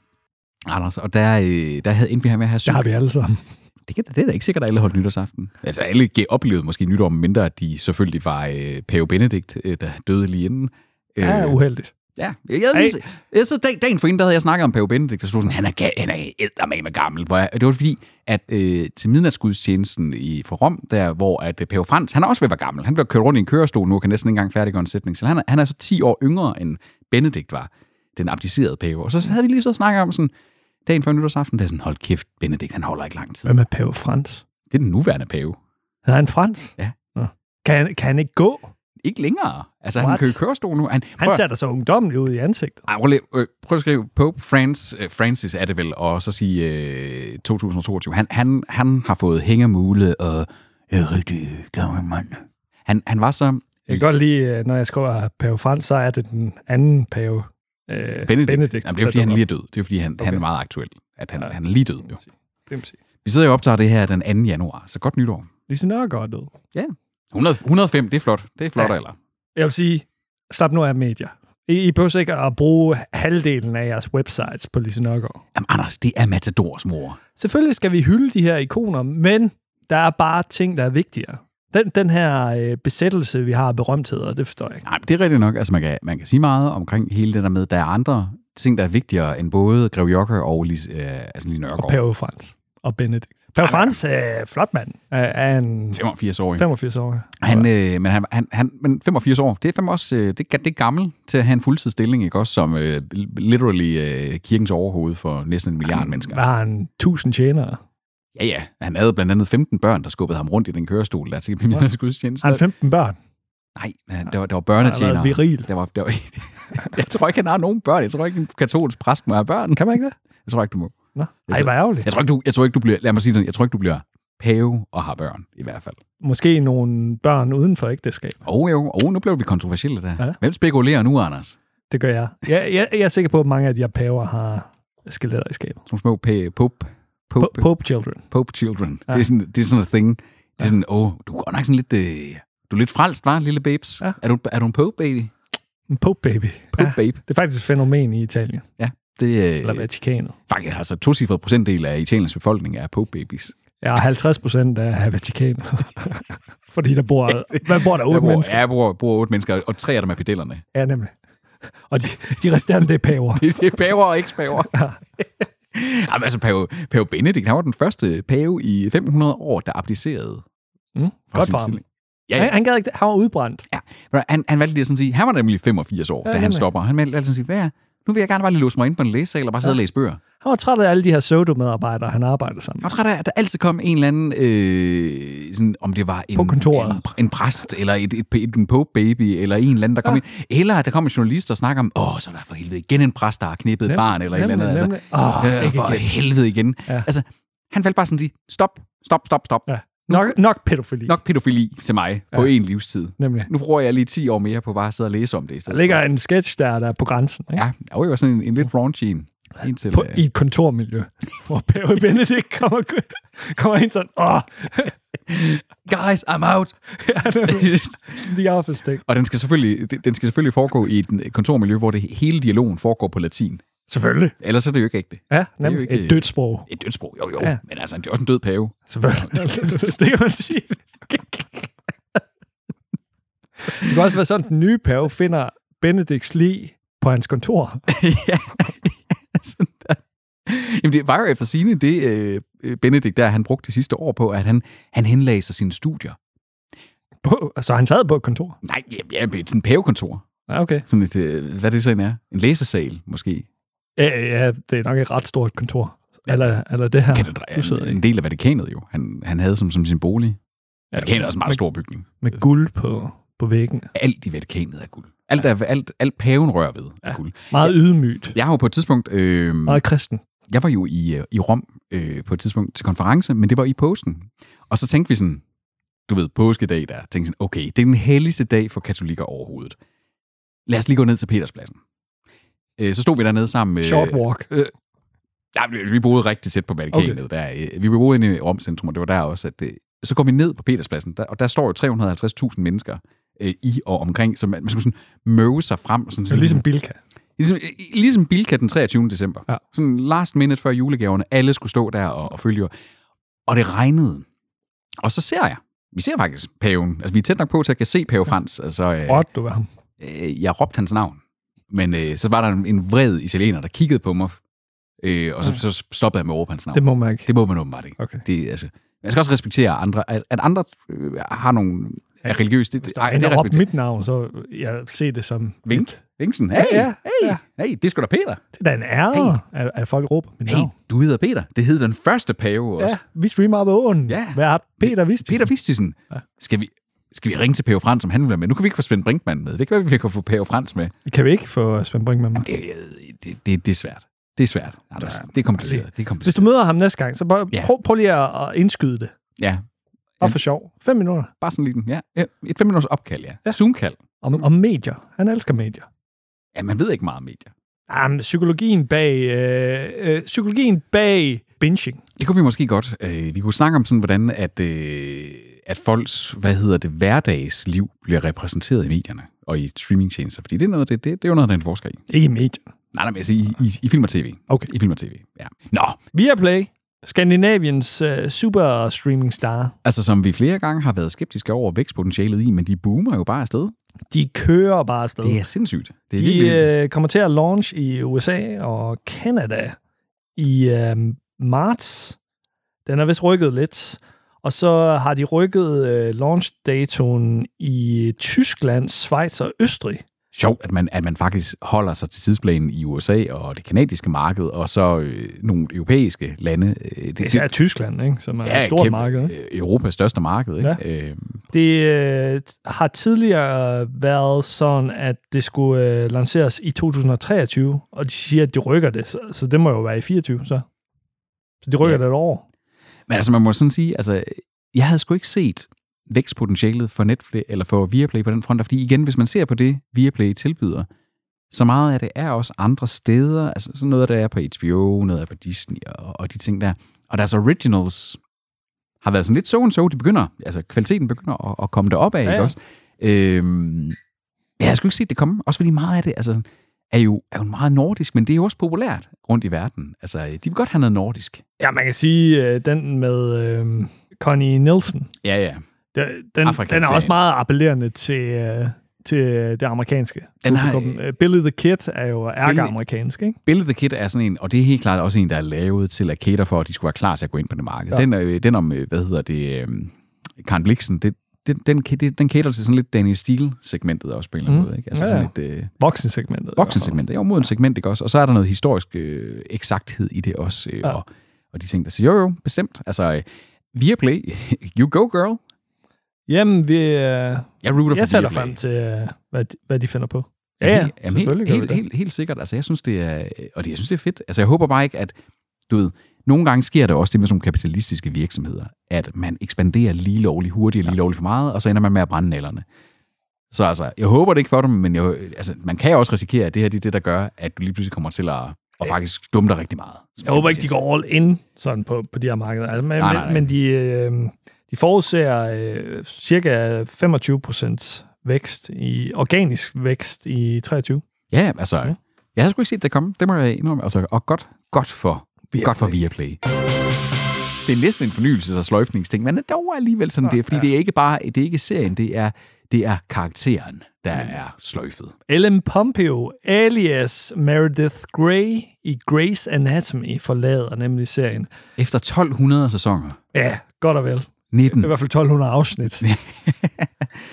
Speaker 2: Anders, og der, øh, der havde endte vi her med at have syv.
Speaker 1: Det har vi alle sammen.
Speaker 2: Det, kan, det er da ikke sikkert, at alle holdt nytårsaften. Altså alle ge- oplevede måske nytår, mindre at de selvfølgelig var øh, Pave Benedikt, øh, der døde lige inden. Øh,
Speaker 1: Ja, uheldigt.
Speaker 2: Ja, jeg havde lige, jeg, så dag, dagen for inden, der havde jeg snakket om Pave Benedikt, og så stod sådan, han er, ga- han er eddermame gammel. Hvor jeg, det var fordi, at øh, til midnatsgudstjenesten i, fra Rom, der, hvor at øh, Pave Frans, han er også ved at være gammel. Han bliver kørt rundt i en kørestol nu, og kan næsten ikke engang færdiggøre en sætning. Så han er, han er så 10 år yngre, end Benedikt var, den abdicerede pave. Og så havde vi lige så snakket om sådan, dagen før nytårsaften, der er sådan, hold kæft, Benedikt, han holder ikke lang tid.
Speaker 1: Hvem er Pave Frans?
Speaker 2: Det er den nuværende pave.
Speaker 1: Hedder han Frans?
Speaker 2: Ja.
Speaker 1: Nå. Kan, han- kan han ikke gå?
Speaker 2: Ikke længere. Altså,
Speaker 1: What?
Speaker 2: han kører i kørestol nu. Han,
Speaker 1: Han
Speaker 2: prøv-
Speaker 1: satte sig ungdommelig ud i ansigtet.
Speaker 2: Ej, prøv, lige, øh, prøv at skrive Pope Francis, øh, Francis er det vel, og så sige øh, 2022. Han, han, han har fået hængemule og øh, rigtig gammel mand. Han, han var så...
Speaker 1: Jeg kan godt lide, øh, når jeg skriver Pave Frans, så er det den anden pave, øh,
Speaker 2: Benedikt.
Speaker 1: Benedikt.
Speaker 2: Benedikt Jamen, det er jo, fordi, han lige er død. Det er jo, fordi, han, okay. han
Speaker 1: Okay.
Speaker 2: er meget aktuel. At han,
Speaker 1: Ja.
Speaker 2: ja. han er lige død, jo.
Speaker 1: Bimsi.
Speaker 2: Vi sidder jo og optager det her den 2. januar, så godt nytår.
Speaker 1: Lise Nørgaard er død.
Speaker 2: 100, 105, det er flot. Det er flot,
Speaker 1: Ja.
Speaker 2: ja. eller?
Speaker 1: Jeg vil sige, slap nu af medier. I, I behøver ikke at bruge halvdelen af jeres websites på Lise Nørgaard.
Speaker 2: Jamen, Anders, det er Matadors mor.
Speaker 1: Selvfølgelig skal vi hylde de her ikoner, men der er bare ting, der er vigtigere. Den, den her øh, besættelse, vi har af berømtheder, det forstår jeg ikke.
Speaker 2: Nej, men det er rigtigt nok. Altså, man kan, man kan sige meget omkring hele det der med, der er andre ting, der er vigtigere end både Grev Jokke og Lis, øh, altså Line
Speaker 1: Og
Speaker 2: Nørgaard.
Speaker 1: Pave Frans og Benedikt. Pave Frans er flot mand. Er, er en
Speaker 2: 85 år.
Speaker 1: 85 år.
Speaker 2: Han, øh, men, han, han, han, men 85 år, det er fandme også øh, det, er- det er gammel til at have en fuldtidsstilling, ikke? Også som øh, literally øh, kirkens overhoved for næsten en milliard mennesker.
Speaker 1: Der har han 1000 tjenere.
Speaker 2: Ja, ja. Han havde blandt andet 15 børn, der skubbede ham rundt i den kørestol, der til min gudstjeneste.
Speaker 1: Har han 15 børn?
Speaker 2: Nej, men der var, der var
Speaker 1: Han har
Speaker 2: børnetjenere.
Speaker 1: været viril.
Speaker 2: Der var, der var, [laughs] jeg tror ikke, han har nogen børn. Jeg tror ikke, en katolsk præst må have børn.
Speaker 1: Kan man ikke det?
Speaker 2: Jeg tror ikke, du må.
Speaker 1: Nå. Ej, hvor ærgerligt.
Speaker 2: Jeg tror ikke, du, jeg tror ikke, du bliver... Lad mig sige det sådan. Jeg tror ikke, du bliver pave og har børn, i hvert fald.
Speaker 1: Måske nogle børn uden for ægteskab.
Speaker 2: Åh, jo. Åh, nu blev vi kontroversielle der.
Speaker 1: Ja.
Speaker 2: Ja. Hvem spekulerer nu, Anders?
Speaker 1: Det gør jeg. Jeg, jeg, jeg er sikker på, at mange af de her paver har skeletter i skabet.
Speaker 2: Nogle små pæ- pope, pope,
Speaker 1: Po- Pope Children.
Speaker 2: pope children.
Speaker 1: Ja.
Speaker 2: Ja. Det, er sådan, det er sådan en thing. Det er sådan, åh, du er godt nok sådan lidt... Øh, du er lidt frelst, var lille babes?
Speaker 1: Ja.
Speaker 2: Ja. Er, du, er du en pope, baby?
Speaker 1: En Pope baby.
Speaker 2: Pope, Øh. babe.
Speaker 1: Det er faktisk et fænomen i Italien.
Speaker 2: Det
Speaker 1: Eller
Speaker 2: er øh,
Speaker 1: Vatikanet.
Speaker 2: faktisk altså tocifret procentdel af Italiens befolkning er pope babies.
Speaker 1: Ja, 50 procent af Vatikanet. [laughs] Fordi der bor... Hvad bor der?
Speaker 2: Jeg
Speaker 1: 8
Speaker 2: bor,
Speaker 1: mennesker?
Speaker 2: ja, jeg bor, bor otte mennesker, og tre af dem er pedellerne. [laughs]
Speaker 1: Ja, nemlig. Og de, de resterende, det er paver.
Speaker 2: Det, det er paver og ikke paver. [laughs] Jamen, altså, pave, pave Benedikt, han var den første pave i 500 år, der abdicerede.
Speaker 1: Mm,
Speaker 2: fra
Speaker 1: godt
Speaker 2: sin
Speaker 1: for ham.
Speaker 2: stilling. Ja,
Speaker 1: Han,
Speaker 2: ja.
Speaker 1: han gad ikke det. Han var udbrændt.
Speaker 2: Men Han, han valgte lige at sådan sige, han var nemlig 85 år,
Speaker 1: Ja,
Speaker 2: ja, da han
Speaker 1: nemlig.
Speaker 2: stopper. Han valgte sådan at sige, hvad er, nu vil jeg gerne bare lige låse mig ind på en læsesal og bare sidde ja. og læse bøger.
Speaker 1: Han var træt af alle de her pseudo-medarbejdere, han arbejdede sammen
Speaker 2: Jeg
Speaker 1: med.
Speaker 2: var træt af, at der altid kom en eller anden, øh, sådan, om det var en,
Speaker 1: På kontoret.
Speaker 2: en, en præst, eller et, et, et, en pope baby, eller en eller anden, der kom ja. ind. Eller at der kom en journalist og snakker om, åh, så er der for helvede igen en præst, der har knippet et
Speaker 1: Nemlig,
Speaker 2: barn, eller et
Speaker 1: nemlig,
Speaker 2: eller andet.
Speaker 1: nemlig. Åh,
Speaker 2: øh,
Speaker 1: ikke
Speaker 2: for
Speaker 1: igen.
Speaker 2: helvede igen.
Speaker 1: Ja.
Speaker 2: Ja. Altså, han valgte bare sådan at sige, stop, stop, stop, stop.
Speaker 1: Ja. Nok, nok pædofili, nok.
Speaker 2: Nok pædofili til mig ja. på en livstid.
Speaker 1: nemlig.
Speaker 2: Nu bruger jeg lige 10 år mere på bare at sidde og læse om det i
Speaker 1: Der
Speaker 2: stedet.
Speaker 1: ligger en sketch der, der er på grænsen. Ikke?
Speaker 2: Ja, og det var sådan en, en lidt raunchy en. en til,
Speaker 1: På,
Speaker 2: øh,
Speaker 1: I et kontormiljø, hvor Pave Benedikt kommer, kommer ind sådan, åh,
Speaker 2: Guys, I'm out!
Speaker 1: [laughs] ja, nemlig.
Speaker 2: [laughs]
Speaker 1: sådan de office ting.
Speaker 2: og den skal, selvfølgelig, den- den skal selvfølgelig foregå i et øh, kontormiljø, hvor det hele dialogen foregår på latin.
Speaker 1: Selvfølgelig.
Speaker 2: Ellers er det jo ikke ægte.
Speaker 1: Ja,
Speaker 2: er jo
Speaker 1: nemlig.
Speaker 2: ikke-
Speaker 1: Et dødt sprog.
Speaker 2: Et dødt sprog, jo jo,
Speaker 1: Ja.
Speaker 2: ja. men altså, det er også en død [laughs] pave.
Speaker 1: Selvfølgelig. [laughs] det kan man sige. det kan også være sådan, at den nye pave finder Benedikts lig på hans kontor.
Speaker 2: ja. Sådan Altså, der. Jamen, det var jo efter sine det, øh, øh, Benedikt der, han brugte de sidste år på, at han, han henlagde sig sine studier.
Speaker 1: På, altså, han sad på et kontor.
Speaker 2: Nej, ja, ja, det er sådan et pavekontor.
Speaker 1: Ja, okay.
Speaker 2: Sådan et, øh, hvad det så end er? En læsesal, måske.
Speaker 1: Ja, ja, det er nok et ret stort kontor. Eller, eller det her.
Speaker 2: Kan det
Speaker 1: du sidder
Speaker 2: dreje?
Speaker 1: i.
Speaker 2: En, en del af Vatikanet jo. Han, han havde som, som sin bolig.
Speaker 1: Ja,
Speaker 2: Vatikanet er også en meget
Speaker 1: med,
Speaker 2: stor bygning.
Speaker 1: Med guld på, på væggen.
Speaker 2: Alt i Vatikanet er guld. Alt, der, alt, alt paven rører ved er guld.
Speaker 1: Meget ydmygt.
Speaker 2: Jeg har jo på et tidspunkt... Øh,
Speaker 1: Meget kristen.
Speaker 2: jeg var jo i, øh, i Rom øh, på et tidspunkt til konference, men det var i påsken. Og så tænkte vi sådan, du ved, påskedag der, tænkte sådan, okay, det er den helligste dag for katolikker overhovedet. Lad os lige gå ned til Peterspladsen. Øh, så stod vi dernede sammen med...
Speaker 1: Short walk.
Speaker 2: Ja, vi- vi boede rigtig tæt på Vatikanet. Okay. Der, øh, vi boede inde i Rom Centrum, og det var der også. At, øh, så går vi ned på Peterspladsen, der, og der står jo 350.000 mennesker øh, i og omkring, så man, man skulle sådan møve sig frem. Sådan,
Speaker 1: Det er ligesom Bilka.
Speaker 2: Ligesom, ligesom Bilka den 23. december.
Speaker 1: Ja.
Speaker 2: Ja. Sådan last minute før julegaverne. Alle skulle stå der og, og følge. Og det regnede. Og så ser jeg. Vi ser faktisk paven. Altså, vi er tæt nok på til at kan se pave Frans. Altså, øh,
Speaker 1: Råt, du var ham.
Speaker 2: øh, jeg råbte hans navn. Men øh, så var der en, en vred italiener, der kiggede på mig. Øh, og så, så stoppede jeg med at råbe hans navn.
Speaker 1: Det må man ikke.
Speaker 2: Det må man åbenbart ikke.
Speaker 1: Okay.
Speaker 2: Det, er, altså, man skal også respektere andre. At, at andre øh, har nogle... Er religiøst. Det, det, ej,
Speaker 1: Han
Speaker 2: det
Speaker 1: har råbt
Speaker 2: respekterer
Speaker 1: mit navn, så jeg ser det som...
Speaker 2: Vink. Vinksen. Hey,
Speaker 1: Ja, ja,
Speaker 2: ja, hey,
Speaker 1: ja.
Speaker 2: ja. hey, det er sgu da Peter.
Speaker 1: Det er da en ære, at, at folk råber mit
Speaker 2: Hey,
Speaker 1: navn.
Speaker 2: du hedder Peter. Det hed den første pave også.
Speaker 1: Ja,
Speaker 2: Ja.
Speaker 1: vi streamer op ad åen.
Speaker 2: Ja.
Speaker 1: Vært Peter Vist.
Speaker 2: Peter Vistisen. Ja. Skal, vi, skal vi ringe til Pave Frans, om han vil være med? Nu kan vi ikke få Svend Brinkmann med. Det kan være, vi kan få Pave Frans med.
Speaker 1: Kan vi ikke få Svend Brinkmann med?
Speaker 2: Det, øh, det, det, det er svært. Det er svært, Anders. Det er kompliceret. Det er
Speaker 1: altså, Hvis
Speaker 2: kompliceret.
Speaker 1: du møder ham næste gang, så bare,
Speaker 2: Ja.
Speaker 1: prøv, prøv lige at at indskyde det.
Speaker 2: Ja,
Speaker 1: Og for sjov. Fem minutter.
Speaker 2: bare sådan lige den. Ja. Ja, Et fem minutters opkald, ja.
Speaker 1: Ja.
Speaker 2: ja. Zoom-kald.
Speaker 1: Om, om medier. Han elsker medier.
Speaker 2: Ja, man ved ikke meget om medier.
Speaker 1: Jamen, psykologien bag, øh, øh, psykologien bag binging.
Speaker 2: Det kunne vi måske godt. Øh, vi kunne snakke om sådan, hvordan at, øh, at folks, hvad hedder det, hverdagsliv bliver repræsenteret i medierne og i streamingtjenester. Fordi det er, noget, det, det, det er jo noget, der er en forsker i.
Speaker 1: Ikke medier.
Speaker 2: Nej, nej, men altså i, i, i film og tv.
Speaker 1: Okay.
Speaker 2: I film og tv, ja. Nå,
Speaker 1: Viaplay Skandinaviens øh, super streaming star.
Speaker 2: Altså, som vi flere gange har været skeptiske over vækstpotentialet i, men de boomer jo bare afsted.
Speaker 1: De kører bare afsted.
Speaker 2: Det er sindssygt. Det er
Speaker 1: de
Speaker 2: virkelig...
Speaker 1: øh, kommer til at launch i USA og Canada i øh, marts. Den er vist rykket lidt. Og så har de rykket øh, launch-datoen i Tyskland, Schweiz og Østrig.
Speaker 2: sjovt, at man, at man faktisk holder sig til tidsplanen i USA og det kanadiske marked, og så øh, nogle europæiske lande. Øh, det,
Speaker 1: Det er især Tyskland, ikke? som er ja, et stort
Speaker 2: kæmpe-
Speaker 1: marked. Ikke?
Speaker 2: øh, Europas største marked. Ikke? Ja. Øh,
Speaker 1: Det øh, har tidligere været sådan, at det skulle øh, lanceres i 2023, og de siger, at de rykker det, så, så det må jo være i 24 så. Så de rykker
Speaker 2: Ja.
Speaker 1: det et år.
Speaker 2: men altså, man må sådan sige, altså, jeg havde sgu ikke set vækstpotentialet for Netflix eller for Viaplay på den front, fordi igen, hvis man ser på det, Viaplay tilbyder, så meget af det er også andre steder, altså sådan noget, der er på HBO, noget er på Disney og, og de ting der. Og deres originals har været sådan lidt so and so, de begynder, altså kvaliteten begynder at, at komme derop
Speaker 1: Ja,
Speaker 2: af, ja.
Speaker 1: ja.
Speaker 2: ikke også? Øhm, jeg har sgu ikke set det komme, også fordi meget af det altså, er, jo, er jo meget nordisk, men det er jo også populært rundt i verden. Altså, øh, de vil godt have noget nordisk.
Speaker 1: Ja, man kan sige, øh, den med øh, Connie Nielsen,
Speaker 2: Ja, ja.
Speaker 1: der- den, den er
Speaker 2: Afrikasagen.
Speaker 1: også meget appellerende til, øh, til øh, det amerikanske.
Speaker 2: Den har-
Speaker 1: publikum. Øh, Billy the Kid er jo ærkeamerikansk, ikke?
Speaker 2: Bill of the Kid er sådan en, og det er helt klart også en, der er lavet til at cater for, at de skulle være klar til at gå ind på det marked.
Speaker 1: Ja.
Speaker 2: Ja. Den, øh, den om, øh, hvad hedder det, øh, Karen Bliksen, det, det, den, ca- det, den cater til sådan lidt Daniel Steele-segmentet også på en eller anden
Speaker 1: Mm.
Speaker 2: mm. måde. Ikke? Altså
Speaker 1: Ja,
Speaker 2: ja,
Speaker 1: ja.
Speaker 2: sådan lidt øh,
Speaker 1: Voksensegmentet.
Speaker 2: voksensegmentet, jo, moden segment, ikke også? Og så er der noget historisk øh, eksakthed i det også, øh,
Speaker 1: Ja.
Speaker 2: ja. og, og de ting, der siger, jo jo, bestemt. Altså, øh, Viaplay, [laughs] you go girl.
Speaker 1: Jamen, vi, øh,
Speaker 2: Jeg rooter
Speaker 1: jeg
Speaker 2: for
Speaker 1: sætter
Speaker 2: Viaplay.
Speaker 1: frem til, øh, hvad, de- hvad de finder på. Ja, ja,
Speaker 2: helt- jamen,
Speaker 1: selvfølgelig
Speaker 2: helt,
Speaker 1: gør vi
Speaker 2: helt,
Speaker 1: det.
Speaker 2: helt, helt sikkert. Altså, jeg synes, det er, og det, jeg synes, det er fedt. Altså, jeg håber bare ikke, at, du ved, nogle gange sker det også det med sådan nogle kapitalistiske virksomheder, at man ekspanderer lige lovligt hurtigt og lige lovligt for meget, og så ender man med at brænde nallerne. Så altså, jeg håber det ikke for dem, men jeg, altså, man kan jo også risikere, at det her det er det, der gør, at du lige pludselig kommer til at og faktisk dumme dig rigtig meget.
Speaker 1: Jeg håber ikke, de går all in sådan på, på de her markeder. Altså, men,
Speaker 2: Nej, nej, nej.
Speaker 1: men de, øh, de forudser øh, cirka 25 procent vækst i organisk vækst i 23.
Speaker 2: Ja, altså,
Speaker 1: Ja.
Speaker 2: jeg havde sgu ikke set det komme. Det må jeg indrømme. Altså, og godt, godt for
Speaker 1: Viaplay.
Speaker 2: Viaplay. Godt for Viaplay. Det er næsten en fornyelse og sløjfningsting, men det er dog alligevel sådan det, fordi ja. det er ikke bare det er ikke serien, det er, det er karakteren, der er sløjfet.
Speaker 1: Ellen Pompeo alias Meredith Grey i Grey's Anatomy forlader nemlig serien.
Speaker 2: Efter 1200 sæsoner,
Speaker 1: Ja, godt og vel. Det
Speaker 2: 19,
Speaker 1: er i hvert fald 1200
Speaker 2: [laughs]
Speaker 1: afsnit.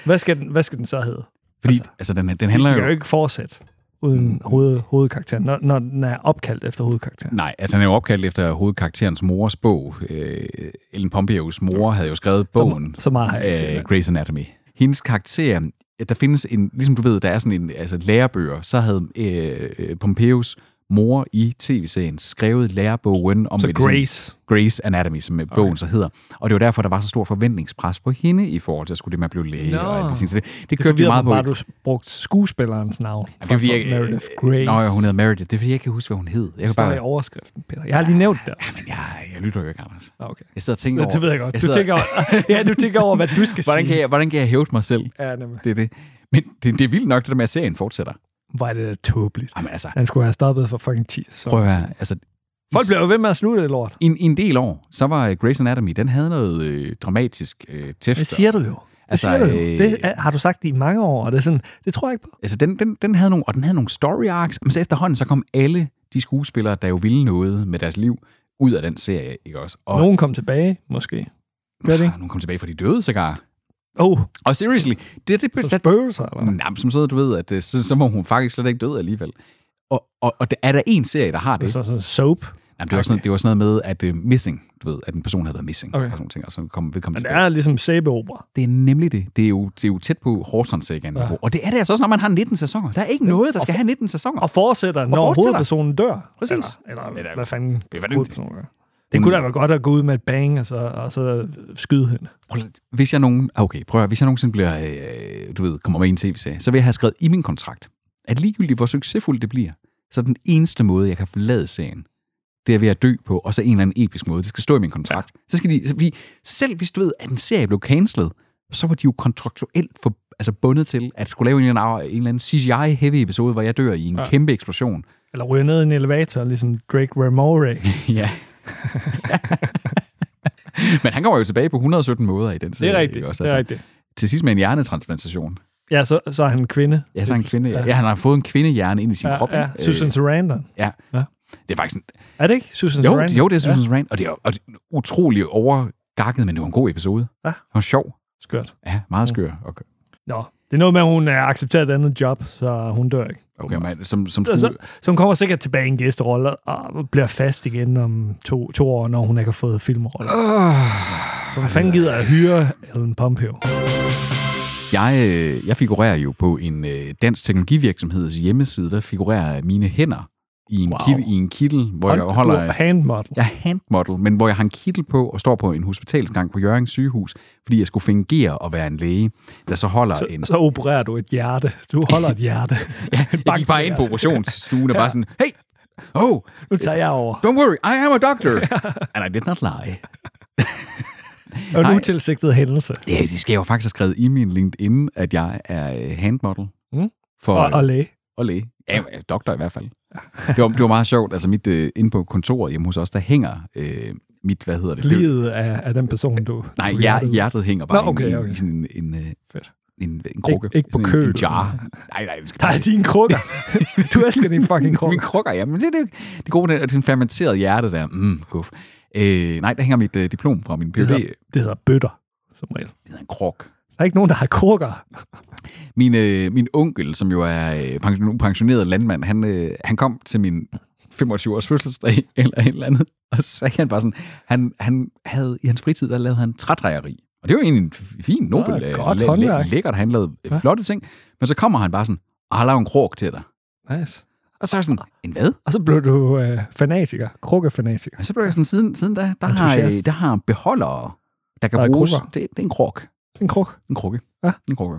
Speaker 1: hvad, skal den, hvad skal den så hedde?
Speaker 2: fordi altså, altså den, den
Speaker 1: De
Speaker 2: handler
Speaker 1: kan jo
Speaker 2: jo...
Speaker 1: ikke fortsætte uden hoved, hovedkarakteren, når, når den er opkaldt efter hovedkarakteren.
Speaker 2: Nej, altså den er jo opkaldt efter hovedkarakterens mors bog. Øh, Ellen Pompeos mor havde jo skrevet bogen.
Speaker 1: Så meget har jeg ikke set.
Speaker 2: øh, Grey's Anatomy. Hendes karakter, at der findes en, ligesom du ved, der er sådan en altså lærebøger, så havde øh, øh, Pompeos mor i tv-serien skrevet lærebogen om
Speaker 1: Så
Speaker 2: medicin.
Speaker 1: Grace.
Speaker 2: Grey's Anatomy, som okay. bogen så hedder. Og det var derfor, der var så stor forventningspres på hende i forhold til, at skulle det med at blive læge
Speaker 1: Nå.
Speaker 2: no. og alle de ting. Så det, det
Speaker 1: Det
Speaker 2: kørte
Speaker 1: kørte
Speaker 2: det
Speaker 1: jo
Speaker 2: meget på.
Speaker 1: bare, du brugt skuespillerens navn.
Speaker 2: Jamen, det er, fordi jeg,
Speaker 1: Meredith Grace.
Speaker 2: Nå, ja, hun hedder Meredith. Det er, fordi jeg ikke kan huske, hvad hun hed. Jeg, kan
Speaker 1: Står i
Speaker 2: bare,
Speaker 1: overskriften, Peter. Jeg har lige nævnt det.
Speaker 2: jeg, jeg lytter jo ikke, Anders.
Speaker 1: Ah, Okay.
Speaker 2: Jeg sidder og tænker
Speaker 1: Ja,
Speaker 2: over...
Speaker 1: det ved jeg godt. Du
Speaker 2: sidder-
Speaker 1: tænker over, [laughs] ja, du tænker over, hvad du skal
Speaker 2: Hvordan kan,
Speaker 1: sige.
Speaker 2: jeg, hvordan kan jeg hævde mig selv?
Speaker 1: Ja, nemlig.
Speaker 2: Det er det. Men det, det er vildt nok, det der med, at serien fortsætter.
Speaker 1: Hvor er det da tåbeligt.
Speaker 2: Jamen altså,
Speaker 1: Han skulle have stoppet for fucking 10. Så.
Speaker 2: prøv at høre. Altså,
Speaker 1: Folk bliver jo ved med at slutte det lort.
Speaker 2: i, en, I en del år, så var øh, Grey's Anatomy, den havde noget øh, dramatisk øh, tæft.
Speaker 1: Det siger du jo. Det altså,
Speaker 2: Altså,
Speaker 1: siger du jo.
Speaker 2: øh,
Speaker 1: Det er- har du sagt i mange år, og det, er sådan, det tror jeg ikke på.
Speaker 2: Altså, den, den, den havde nogle, og den havde nogle story arcs, men så efterhånden, så kom alle de skuespillere, der jo ville noget med deres liv, ud af den serie, ikke også? Og
Speaker 1: Nogen kom tilbage, måske. Gør det ikke?
Speaker 2: Ah, nogen kom tilbage fra de døde, sågar.
Speaker 1: Oh,
Speaker 2: Og seriously, det, det,
Speaker 1: så
Speaker 2: det,
Speaker 1: spøgelser, eller hvad?
Speaker 2: Nå, men som så du ved, at øh, så, så må hun faktisk slet ikke døde alligevel. Og, og, og det, er der en serie, der har
Speaker 1: Det
Speaker 2: det?
Speaker 1: er sådan sådan soap.
Speaker 2: Jamen, det, var sådan, det var sådan noget med, at uh, missing, du ved, at en person havde været missing,
Speaker 1: Okay.
Speaker 2: og sådan nogle ting, og så kom vedkommende
Speaker 1: Men det
Speaker 2: tilbage.
Speaker 1: er ligesom sæbeopera.
Speaker 2: Det er nemlig det. Det er jo, det er jo tæt på Hortons igen. Ja. Og det er det altså også, når man har 19 sæsoner. Der er ikke noget, der skal have 19 sæsoner.
Speaker 1: Og fortsætter, når
Speaker 2: fortsætter.
Speaker 1: hovedpersonen dør.
Speaker 2: Præcis.
Speaker 1: Eller, eller
Speaker 2: Det er da-
Speaker 1: hvad fanden
Speaker 2: det er da-
Speaker 1: hovedpersonen gør. Det kunne da være godt at gå ud med et bang, og så, og så skyde hende.
Speaker 2: Prøv lige- Hvis jeg nogen, ah, okay, prøv at, høre, hvis jeg nogensinde bliver, øh, du ved, kommer med i en tv-serie, så vil jeg have skrevet i min kontrakt, at ligegyldigt hvor succesfuldt det bliver, så er den eneste måde, jeg kan forlade serien, det er ved at dø på, og så en eller anden episk måde. Det skal stå i min kontrakt. Ja. Så skal de, så fordi selv hvis du ved, at en serie blev cancelled, så var de jo kontraktuelt for, altså bundet til, at skulle lave en eller anden, en eller anden CGI-heavy episode, hvor jeg dør i en
Speaker 1: Ja. [laughs]
Speaker 2: ja. kæmpe eksplosion. [laughs]
Speaker 1: Eller ryger ned i en elevator, ligesom Drake Ramore.
Speaker 2: ja. Men han kommer jo tilbage på 117 måder i den
Speaker 1: Det
Speaker 2: serie.
Speaker 1: er rigtigt.
Speaker 2: ikke
Speaker 1: Det
Speaker 2: Også, Altså,
Speaker 1: er rigtigt.
Speaker 2: Til sidst med en hjernetransplantation.
Speaker 1: Ja, så, så er han en kvinde.
Speaker 2: Ja, så er han kvinde. Ja. ja, han har fået en kvindehjerne ind i sin
Speaker 1: Ja,
Speaker 2: krop.
Speaker 1: ja.
Speaker 2: ikke?
Speaker 1: Susan Sarandon.
Speaker 2: Øh, ja.
Speaker 1: Ja.
Speaker 2: ja. Det er faktisk en,
Speaker 1: Er det ikke Susan
Speaker 2: jo,
Speaker 1: Sarandon?
Speaker 2: jo, det er Susan ja. Rand, og det er, og det er en utrolig overgakket, men det var en god episode.
Speaker 1: Ja.
Speaker 2: Det var sjov.
Speaker 1: Skørt.
Speaker 2: Ja, meget skør. Okay.
Speaker 1: Nå, det er noget med, at hun øh, accepterer et andet job, så hun dør ikke.
Speaker 2: Okay, man, som,
Speaker 1: [laughs]
Speaker 2: som
Speaker 1: Så,
Speaker 2: skulle,
Speaker 1: så hun kommer sikkert tilbage i en gæsterolle og bliver fast igen om to, to år, når hun ikke har fået filmrolle.
Speaker 2: Ah.
Speaker 1: For Hun fanden gider at hyre Ellen Pompeo.
Speaker 2: jeg, øh, jeg figurerer jo på en øh, dansk teknologivirksomheds hjemmeside, der figurerer mine hænder i en,
Speaker 1: Wow.
Speaker 2: wow. kittel, i en kittel, hvor jeg
Speaker 1: Hånd-
Speaker 2: holder...
Speaker 1: du- Handmodel.
Speaker 2: Jeg er handmodel, men hvor jeg har en kittel på og står på en hospitalsgang på Jørgen sygehus, fordi jeg skulle fingere og være en læge, der så holder så, en...
Speaker 1: Så opererer du et hjerte. Du holder et hjerte.
Speaker 2: Jeg gik bare ind på operationsstuen og bare sådan, hey, oh,
Speaker 1: Nu tager jeg over.
Speaker 2: don't worry, I am a
Speaker 1: [laughs]
Speaker 2: doctor. And I did not lie.
Speaker 1: Og en
Speaker 2: Nej.
Speaker 1: utilsigtet hændelse.
Speaker 2: Ja, det skal jeg jo faktisk have skrevet i min LinkedIn, at jeg er øh, handmodel
Speaker 1: Mm.
Speaker 2: for
Speaker 1: Og, og læge.
Speaker 2: og læge. Ja, ja, doktor i hvert fald. Det var, det var meget sjovt. Altså mit, øh, inde på kontoret hjemme hos os, der hænger øh, mit, hvad hedder det? det?
Speaker 1: Livet af, af den person, du...
Speaker 2: Nej,
Speaker 1: du
Speaker 2: hjer-
Speaker 1: hjertede.
Speaker 2: hjertet hænger bare
Speaker 1: Nå, okay,
Speaker 2: i, en-
Speaker 1: okay.
Speaker 2: i sådan en, en, øh,
Speaker 1: Fedt.
Speaker 2: en, en krukke.
Speaker 1: Ikke- ikke på
Speaker 2: Sådan en-
Speaker 1: køl.
Speaker 2: En jar. Nej, nej, det skal
Speaker 1: Nej,
Speaker 2: bare
Speaker 1: dine krukker. Du elsker dine fucking
Speaker 2: Min
Speaker 1: krukker.
Speaker 2: krukker, ja. Men det er det, det gode, det er den fermenterede hjerte der. Mm, guf. Øh, nej, der hænger mit øh, diplom fra min PhD.
Speaker 1: Det
Speaker 2: Det
Speaker 1: hedder, det hedder bøtter, som regel.
Speaker 2: hedder en kruk.
Speaker 1: Der er ikke nogen, der har krukker.
Speaker 2: Min, øh, min onkel, som jo er øh, pension, nu pensioneret landmand, han, øh, han kom til min 25-års fødselsdag [laughs] eller et eller andet, og så sagde han bare sådan, han, han havde i hans fritid, der lavede han trædrejeri. Og det var egentlig en f- fin, nobel,
Speaker 1: Ah,
Speaker 2: øh,
Speaker 1: godt
Speaker 2: læ- læ-
Speaker 1: håndværk.
Speaker 2: lækkert, han lavede
Speaker 1: Ja.
Speaker 2: ja. flotte ting, men så kommer han bare sådan, og har lavet en krog til dig.
Speaker 1: Nice.
Speaker 2: Og så er jeg sådan, en hvad?
Speaker 1: Og så blev du øh, fanatiker. Krukkefanatiker.
Speaker 2: Og så blev jeg sådan, siden, siden da, der har, øh,
Speaker 1: Entusiast.
Speaker 2: der har beholdere, der kan
Speaker 1: Der er
Speaker 2: bruges.
Speaker 1: krukker.
Speaker 2: Det, det, er en krog.
Speaker 1: En kruk.
Speaker 2: En krukke.
Speaker 1: Ja.
Speaker 2: En krukke.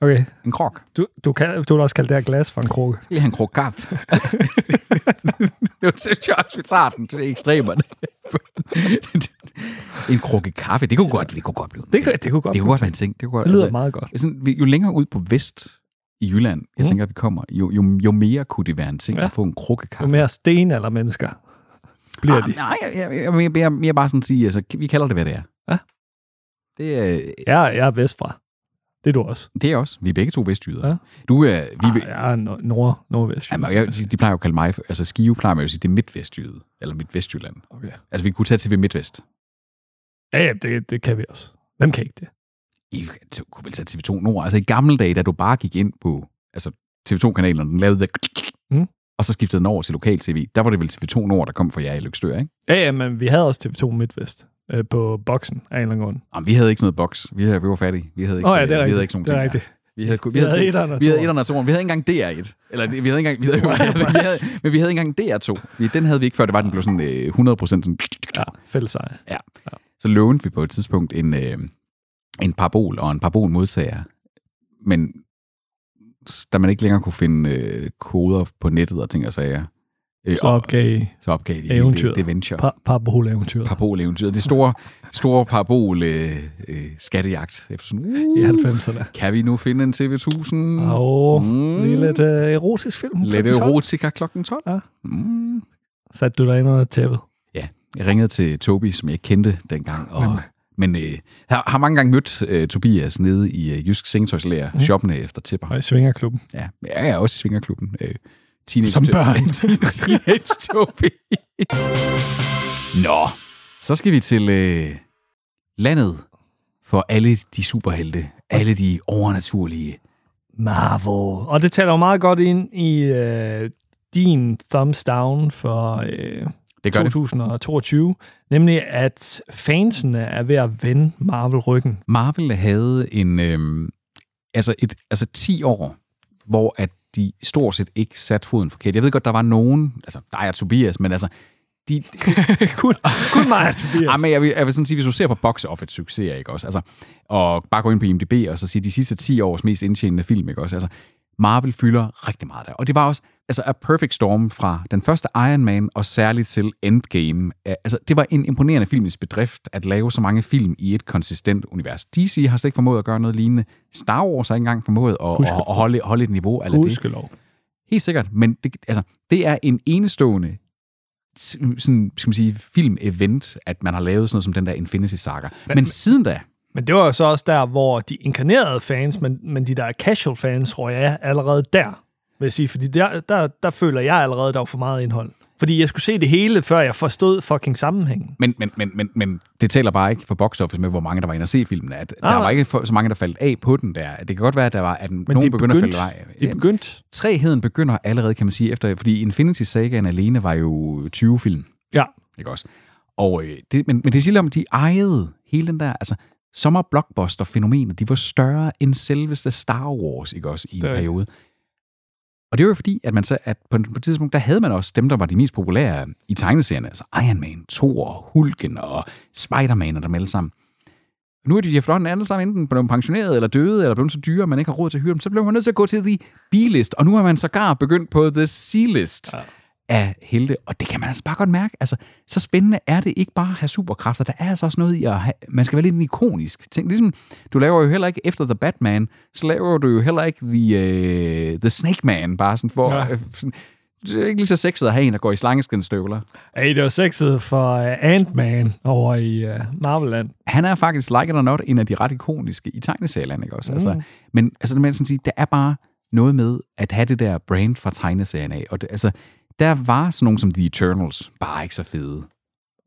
Speaker 1: Okay.
Speaker 2: En krog.
Speaker 1: Du, du, kan, du vil også kalde det her glas for en krukke.
Speaker 2: Skal lige have en krog
Speaker 1: [laughs]
Speaker 2: kaffe. nu synes jeg også, vi tager den til ekstremerne. [laughs] en krukke kaffe, det kunne godt, det kunne godt blive en
Speaker 1: Det,
Speaker 2: ting.
Speaker 1: kan- det kunne godt
Speaker 2: det kunne godt være en ting. Det, kunne godt,
Speaker 1: Det lyder meget godt.
Speaker 2: altså, sådan, vi- jo længere ud på vest i Jylland, jeg
Speaker 1: Mm.
Speaker 2: tænker, at vi kommer, jo, jo, jo mere kunne det være en ting
Speaker 1: Ja.
Speaker 2: ja. at få en krukke
Speaker 1: Jo
Speaker 2: kaffe.
Speaker 1: mere stenalder mennesker bliver de.
Speaker 2: Ah, nej, jeg, jeg, jeg, jeg, jeg, jeg bare sådan sige, altså, vi kalder det, hvad det er.
Speaker 1: Ja.
Speaker 2: Det er,
Speaker 1: Jeg, jeg er vestfra. Det er du også.
Speaker 2: det er også. Vi er begge to vestjyder.
Speaker 1: Ja.
Speaker 2: Du er... Vi,
Speaker 1: Vi, jeg er nord, nord, nordvest.
Speaker 2: Jamen, jeg, de plejer jo at kalde mig... for- Altså, Skive plejer man jo at sige, det er midtvestjyde. Eller midtvestjylland.
Speaker 1: Okay.
Speaker 2: Altså, vi kunne tage til ved MidtVest.
Speaker 1: Ja, ja det, det kan vi også. Hvem kan ikke det?
Speaker 2: I t- kunne vel tage TV2 Nord. Altså i gamle dage, da du bare gik ind på altså, TV2-kanalen, og den lavede det,
Speaker 1: Mm.
Speaker 2: og så skiftede den over til lokal-tv, der var det vel TV2 Nord, der kom fra jer i Løgstør, ikke?
Speaker 1: Ja, ja, men vi havde også TV2 MidtVest øh, på boksen af en eller anden grund.
Speaker 2: Jamen, vi havde ikke sådan noget boks. Vi, havde, vi var fattige. Vi havde ikke,
Speaker 1: Nå ja, det er
Speaker 2: vi
Speaker 1: rigtigt.
Speaker 2: havde ikke sådan
Speaker 1: det er
Speaker 2: nogle ting.
Speaker 1: rigtigt.
Speaker 2: der. Vi havde,
Speaker 1: Vi havde
Speaker 2: ting-
Speaker 1: etteren og
Speaker 2: vi havde
Speaker 1: toeren.
Speaker 2: etteren og toeren. Vi havde ikke engang DR1. Eller det- vi havde ikke engang... Vi havde, [laughs]
Speaker 1: Right.
Speaker 2: vi havde, men vi havde ikke engang DR2. Vi, den havde vi ikke før, det var, den blev sådan øh, 100% sådan...
Speaker 1: Ja, fælles eje.
Speaker 2: så lånte vi på et tidspunkt en, øh, en parabol og en parabolmodtager, men s- da man ikke længere kunne finde øh, koder på nettet og ting og sager, øh,
Speaker 1: Så opgav I
Speaker 2: så opgav de hele
Speaker 1: eventyret.
Speaker 2: det, det venture.
Speaker 1: par, paraboleventyret
Speaker 2: Paraboleventyret. Det store, store parabol øh, øh, skattejagt. Efter sådan,
Speaker 1: i
Speaker 2: uh,
Speaker 1: 90'erne.
Speaker 2: kan vi nu finde en TV1000?
Speaker 1: Åh, oh,
Speaker 2: Mm.
Speaker 1: lige lidt øh, erotisk film.
Speaker 2: Lidt
Speaker 1: klokken 12.
Speaker 2: erotika klokken 12.
Speaker 1: Ja.
Speaker 2: Mm.
Speaker 1: Satte du dig ind under tæppet?
Speaker 2: Jeg ringede til Tobi, som jeg kendte dengang. Og, men øh, har, har mange gange mødt øh, Tobias nede i øh, Jysk Sengetøjslærer, mm. shoppende efter tipper.
Speaker 1: Og i svingerklubben.
Speaker 2: Ja, jeg er også i Svingerklubben. Øh, teenage
Speaker 1: Som
Speaker 2: [laughs]
Speaker 1: børn.
Speaker 2: teenage Tobi. Nå, så skal vi til øh, landet for alle de superhelte. Alle de overnaturlige.
Speaker 1: Marvel. Og det taler jo meget godt ind i øh, din thumbs down for øh,
Speaker 2: Det gør det.
Speaker 1: 2022, nemlig at fansene er ved at vende Marvel ryggen. [laughs]
Speaker 2: Marvel havde en, øh, altså et, altså 10 år, hvor at de stort set ikke satte foden forkert. Jeg ved godt, der var nogen, altså dig og Tobias, men altså, de,
Speaker 1: kun, kun mig og Tobias.
Speaker 2: Ja, men jeg vil, jeg vil sådan sige, hvis du ser på box office succeser, ikke også? Altså, og bare gå ind på IMDb og så sige de sidste 10 års mest indtjenende film, ikke også? Altså, Marvel fylder rigtig meget der. Og det var også altså, A Perfect Storm fra den første Iron Man og særligt til Endgame. Ja, Altså, det var en imponerende filmens bedrift at lave så mange film i et konsistent univers. DC har slet ikke formået at gøre noget lignende. Star Wars har ikke engang formået at,
Speaker 1: Husk-
Speaker 2: at, at holde, holde et niveau af det.
Speaker 1: Gudskelov.
Speaker 2: Helt sikkert, men det, altså, det er en enestående sådan, skal man sige, film-event, at man har lavet sådan noget som den der Infinity Saga. Men, men siden da...
Speaker 1: Men det var jo så også der, hvor de inkarnerede fans, men, men de der casual fans, tror jeg, allerede der, vil jeg sige. Fordi der, der, der føler jeg allerede, der var for meget indhold. Fordi jeg skulle se det hele, før jeg forstod fucking sammenhængen.
Speaker 2: Men, men, men, men, men det tæller bare ikke for box office med, hvor mange der var inde og se filmen. At
Speaker 1: Nej,
Speaker 2: der var
Speaker 1: nej.
Speaker 2: ikke for- så mange, der faldt af på den der. Det kan godt være, at der var, at men nogen
Speaker 1: de
Speaker 2: begynder
Speaker 1: begyndte.
Speaker 2: at falde af.
Speaker 1: Det er begyndt.
Speaker 2: Træheden begynder allerede, kan man sige, efter, fordi Infinity Sagaen alene var jo 20 film,
Speaker 1: Ja.
Speaker 2: ikke også? Og, øh, det, men, men det siger om, de ejede hele den der, altså sommer-blockbuster-fænomenet, de var større end selveste Star Wars, ikke også, i en
Speaker 1: Det er rigtigt.
Speaker 2: periode. Og det var jo fordi, at man så, at på, på et tidspunkt, der havde man også dem, der var de mest populære i tegneserierne, altså Iron Man, Thor, Hulken og Spider-Man og dem alle sammen. Nu er de efterhånden alle sammen enten blevet pensioneret eller døde, eller blevet så dyre, at man ikke har råd til at hyre dem. Så bliver man nødt til at gå til The B-list, og nu er man sågar begyndt på The C-list
Speaker 1: Ja.
Speaker 2: ja. af helte. Og det kan man altså bare godt mærke. Altså, så spændende er det ikke bare at have superkræfter. Der er altså også noget i at have, man skal være lidt en ikonisk ting. Ligesom, du laver jo heller ikke efter The Batman, så laver du jo heller ikke The, uh, the Snake Man, bare sådan for...
Speaker 1: Nej.
Speaker 2: Ja. det er ikke lige så sexet at have en, der går i slangeskindstøvler.
Speaker 1: Hey, det var sexet for øh, Ant-Man over i øh, Marvel-land.
Speaker 2: han er faktisk, like it or not, en af de ret ikoniske i tegneserierne, ikke også? Mm. Altså, men altså, det må jeg sådan sige, der er bare noget med at have det der brand fra tegneserien af. Og det, altså, der var sådan nogen som The Eternals bare ikke så fede.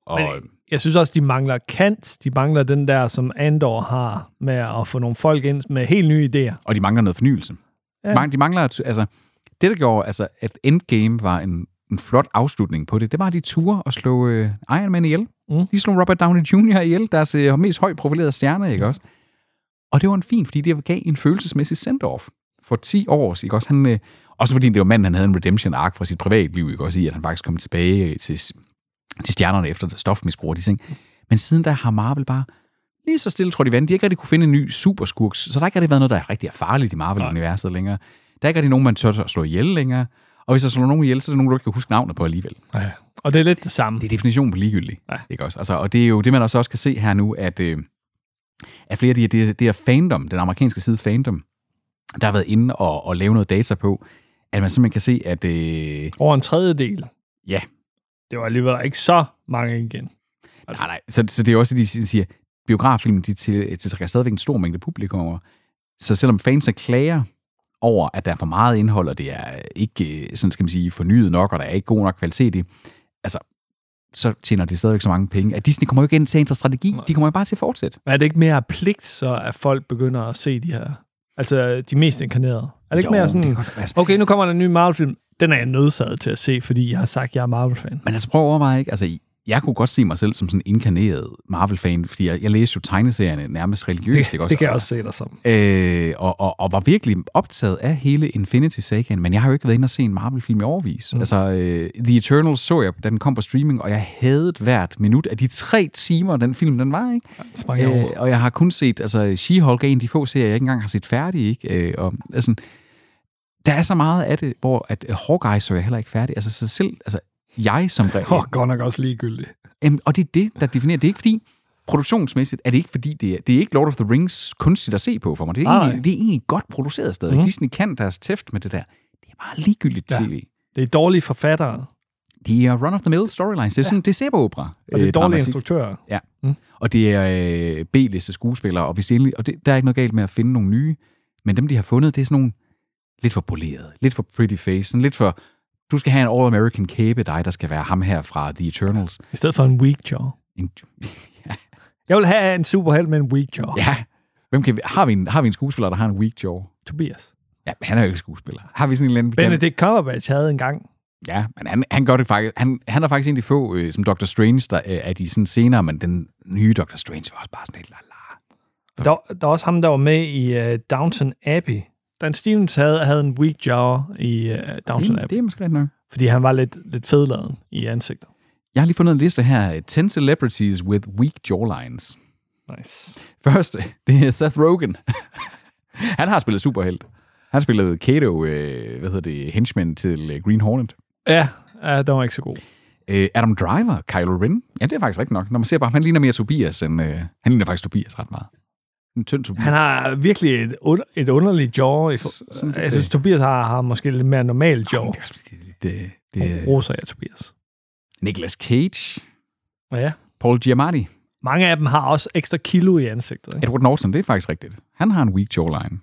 Speaker 2: Og, øhm,
Speaker 1: Men- Jeg synes også, de mangler kant. De mangler den der, som Andor har med at få nogle folk ind med helt nye idéer.
Speaker 2: og de mangler noget fornyelse.
Speaker 1: Ja.
Speaker 2: Ja. Mange, de mangler, at- altså, det der gjorde, altså, at Endgame var en, en flot afslutning på det, det var, at de turde at slå øh, Iron Man ihjel.
Speaker 1: Mm.
Speaker 2: Mm. De slog Robert Downey Jr. ihjel, deres øh, mest højt profilerede stjerne, ikke også? Og det var en fin, fordi det gav en følelsesmæssig send-off for 10 år, ikke også? Han, øh, også fordi det var manden, han havde en redemption-ark fra sit privatliv, ikke også? I at han faktisk kom tilbage øh, til, til stjernerne efter stofmisbrug og de ting. Men siden da har Marvel bare lige så stille, tror de vand. De har ikke rigtig kunne finde en ny superskurk, så der har ikke rigtig været noget, der er rigtig er farligt i Marvel-universet længere. Der er ikke rigtig nogen, man tør at slå ihjel længere. Og hvis der slår nogen ihjel, så er det nogen, du ikke kan huske navnet på alligevel.
Speaker 1: Ja. Og det er lidt det samme.
Speaker 2: Det er definitionen på ligegyldig.
Speaker 1: Ja.
Speaker 2: Ja. Ikke også? Altså, og det er jo det, man også, også kan se her nu, at, øh, at flere af de her, det, er- det er fandom, den amerikanske side fandom, der har været inde og, og lave noget data på, at man simpelthen kan se, at øh,
Speaker 1: Over en tredjedel.
Speaker 2: ja,
Speaker 1: Det var alligevel ikke så mange igen. Altså-
Speaker 2: Altså. Nej, nej. Så, så det er også, at de si- siger, biograffilm, de til- tiltrækker stadigvæk en stor mængde publikum. Så selvom fansene klager over, at der er for meget indhold, og det er ikke, øh, sådan skal man sige, fornyet nok, og der er ikke god nok kvalitet i, altså, så tjener de stadigvæk så mange penge. At Disney kommer jo ikke ind til en strategi.
Speaker 1: Nej.
Speaker 2: De kommer jo bare til at fortsætte.
Speaker 1: Men er det ikke mere pligt, så at folk begynder at se de her... Altså, de mest inkarnerede. Er det ikke mere sådan...
Speaker 2: Det kan godt, altså,
Speaker 1: Okay, nu kommer der en ny Marvel-film. Den er jeg nødsaget til at se, fordi jeg har sagt, at jeg er Marvel-fan.
Speaker 2: Men altså prøv at overveje, ikke? Altså, jeg kunne godt se mig selv som sådan en inkarneret Marvel-fan, fordi jeg, jeg læste jo tegneserierne nærmest religiøst. ikke også?
Speaker 1: Det kan jeg også se dig som.
Speaker 2: øh, og, og, og var virkelig optaget af hele Infinity Sagaen, men jeg har jo ikke været inde og se en Marvel-film i overvis. Mm. Altså, øh, The Eternals så jeg, da den kom på streaming, og jeg havde hvert minut af de tre timer, den film, den var, ikke? Øh,
Speaker 1: Sprang jeg over.
Speaker 2: og jeg har kun set, altså, She-Hulk er en af de få serier, jeg ikke engang har set færdig, ikke? Øh, og altså, der er så meget af det, hvor at øh, Hawkeye så jeg heller ikke færdig. Altså, så selv, altså, jeg [laughs] som regel...
Speaker 1: Åh, godt nok også ligegyldigt.
Speaker 2: Jamen, og det er det, der definerer. Det er ikke fordi, produktionsmæssigt, er det ikke fordi, det er, det er ikke Lord of the Rings kunstigt at se på for mig. Det er,
Speaker 1: Nej, nej.
Speaker 2: egentlig, det er egentlig godt produceret stadig.
Speaker 1: Mhm.
Speaker 2: Mm. Disney kan deres tæft med det der. Det er bare ligegyldigt
Speaker 1: Ja.
Speaker 2: ja. tv.
Speaker 1: Det er dårlige forfattere,
Speaker 2: Det er run-of-the-mill storylines. Det er sådan, ja. det ser på opera.
Speaker 1: og det er dårlige instruktører.
Speaker 2: Og det er øh, B-liste skuespillere, og, hvis det endelig, og det, der er ikke noget galt med at finde nogle nye, men dem, de har fundet, det er sådan nogle lidt for polerede, lidt for pretty face, sådan lidt for, du skal have en all-American kæbe, dig, der skal være ham her fra The Eternals.
Speaker 1: I stedet for en weak jaw.
Speaker 2: En, ja,
Speaker 1: Jeg vil have en superheld med en weak jaw. Ja.
Speaker 2: Ja. Hvem kan vi, har, vi en, har vi en skuespiller, der har en weak jaw?
Speaker 1: Tobias.
Speaker 2: Ja, men han er jo ikke skuespiller. Har vi sådan en eller anden... vi kan-
Speaker 1: Benedict Cumberbatch havde engang.
Speaker 2: Ja, men han, han gør det faktisk... Han, han er faktisk en af de få, øh, som Dr. Strange, der øh, er de sådan senere, men den nye Dr. Strange var også bare sådan helt lala.
Speaker 1: Der, der er også ham, der var med i uh, Downton Abbey. Dan Stevens havde, havde en weak jaw i uh, Downton
Speaker 2: Det,
Speaker 1: Abbey,
Speaker 2: det er måske rigtigt nok.
Speaker 1: fordi han var lidt, lidt fedladen i ansigtet.
Speaker 2: Jeg har lige fundet en liste her. 10 celebrities with weak jawlines.
Speaker 1: Nice.
Speaker 2: Første, det er Seth Rogen. [laughs] han har spillet superhelt. Han spillede Kato, øh, hvad hedder det, henchman til øh, Green Hornet.
Speaker 1: Ja, ja, den var ikke så god.
Speaker 2: Øh, Adam Driver, Kylo Ren. Ja, det er faktisk rigtigt nok. Når man ser bare, han ligner mere Tobias end... Øh, han ligner faktisk Tobias ret meget. En tynd Tobias.
Speaker 1: Han har virkelig et, under, et underligt jaw. I, for-
Speaker 2: sådan lidt,
Speaker 1: jeg synes, Tobias har, har måske lidt mere normal jaw.
Speaker 2: det, er også fordi, det, det,
Speaker 1: Roser jeg, Tobias.
Speaker 2: Nicolas Cage,
Speaker 1: Ja.
Speaker 2: Paul Giamatti,
Speaker 1: Mange af dem har også ekstra kilo i ansigtet. Ikke?
Speaker 2: Edward Norton, det er faktisk rigtigt. Han har en weak jawline.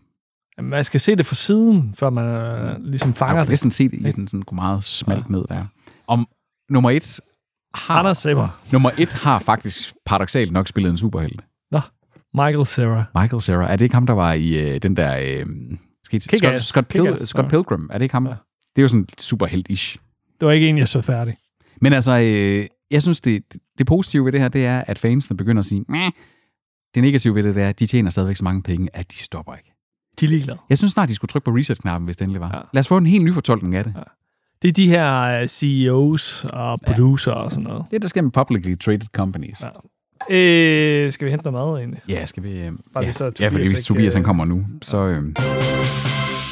Speaker 1: Jamen, Man skal se det fra siden, før man øh, ligesom
Speaker 2: Jeg
Speaker 1: fanger
Speaker 2: har
Speaker 1: det.
Speaker 2: næsten set, at den sådan går meget smalt ned der. Om nummer et har,
Speaker 1: Anders Zimmer.
Speaker 2: nummer et har faktisk paradoxalt nok spillet en superhelt.
Speaker 1: Nå, Michael Cera.
Speaker 2: Michael Cera, er det ikke ham, der var i øh, den der... Øh, skit,
Speaker 1: Kick-Ass.
Speaker 2: Scott, Scott, Pil-
Speaker 1: Kick-Ass,
Speaker 2: Scott
Speaker 1: ja.
Speaker 2: Pilgrim, er det ikke ham?
Speaker 1: Ja.
Speaker 2: Det er jo sådan superhelt-ish.
Speaker 1: Det var ikke en, jeg så færdig.
Speaker 2: Men altså, øh, jeg synes, det, det positive ved det her, det er, at fansene begynder at sige, Mæh. det negative ved det, det er, at de tjener stadigvæk så mange penge, at de stopper ikke.
Speaker 1: De er ligeglade.
Speaker 2: Jeg synes snart, de skulle trykke på reset-knappen, hvis det endelig var.
Speaker 1: Ja.
Speaker 2: Ja. Lad os få en helt ny fortolkning af det. Ja.
Speaker 1: Det er de her øh, CEOs og producer ja. og sådan noget.
Speaker 2: Det er der sker med publicly traded companies.
Speaker 1: Ja. Øh, skal vi hente noget mad egentlig?
Speaker 2: Ja, skal vi... Øh,
Speaker 1: Bare
Speaker 2: ja.
Speaker 1: lige så, at
Speaker 2: ja, fordi
Speaker 1: Tobias
Speaker 2: hvis
Speaker 1: ikke,
Speaker 2: Tobias han
Speaker 1: øh,
Speaker 2: kommer nu, så... Øh,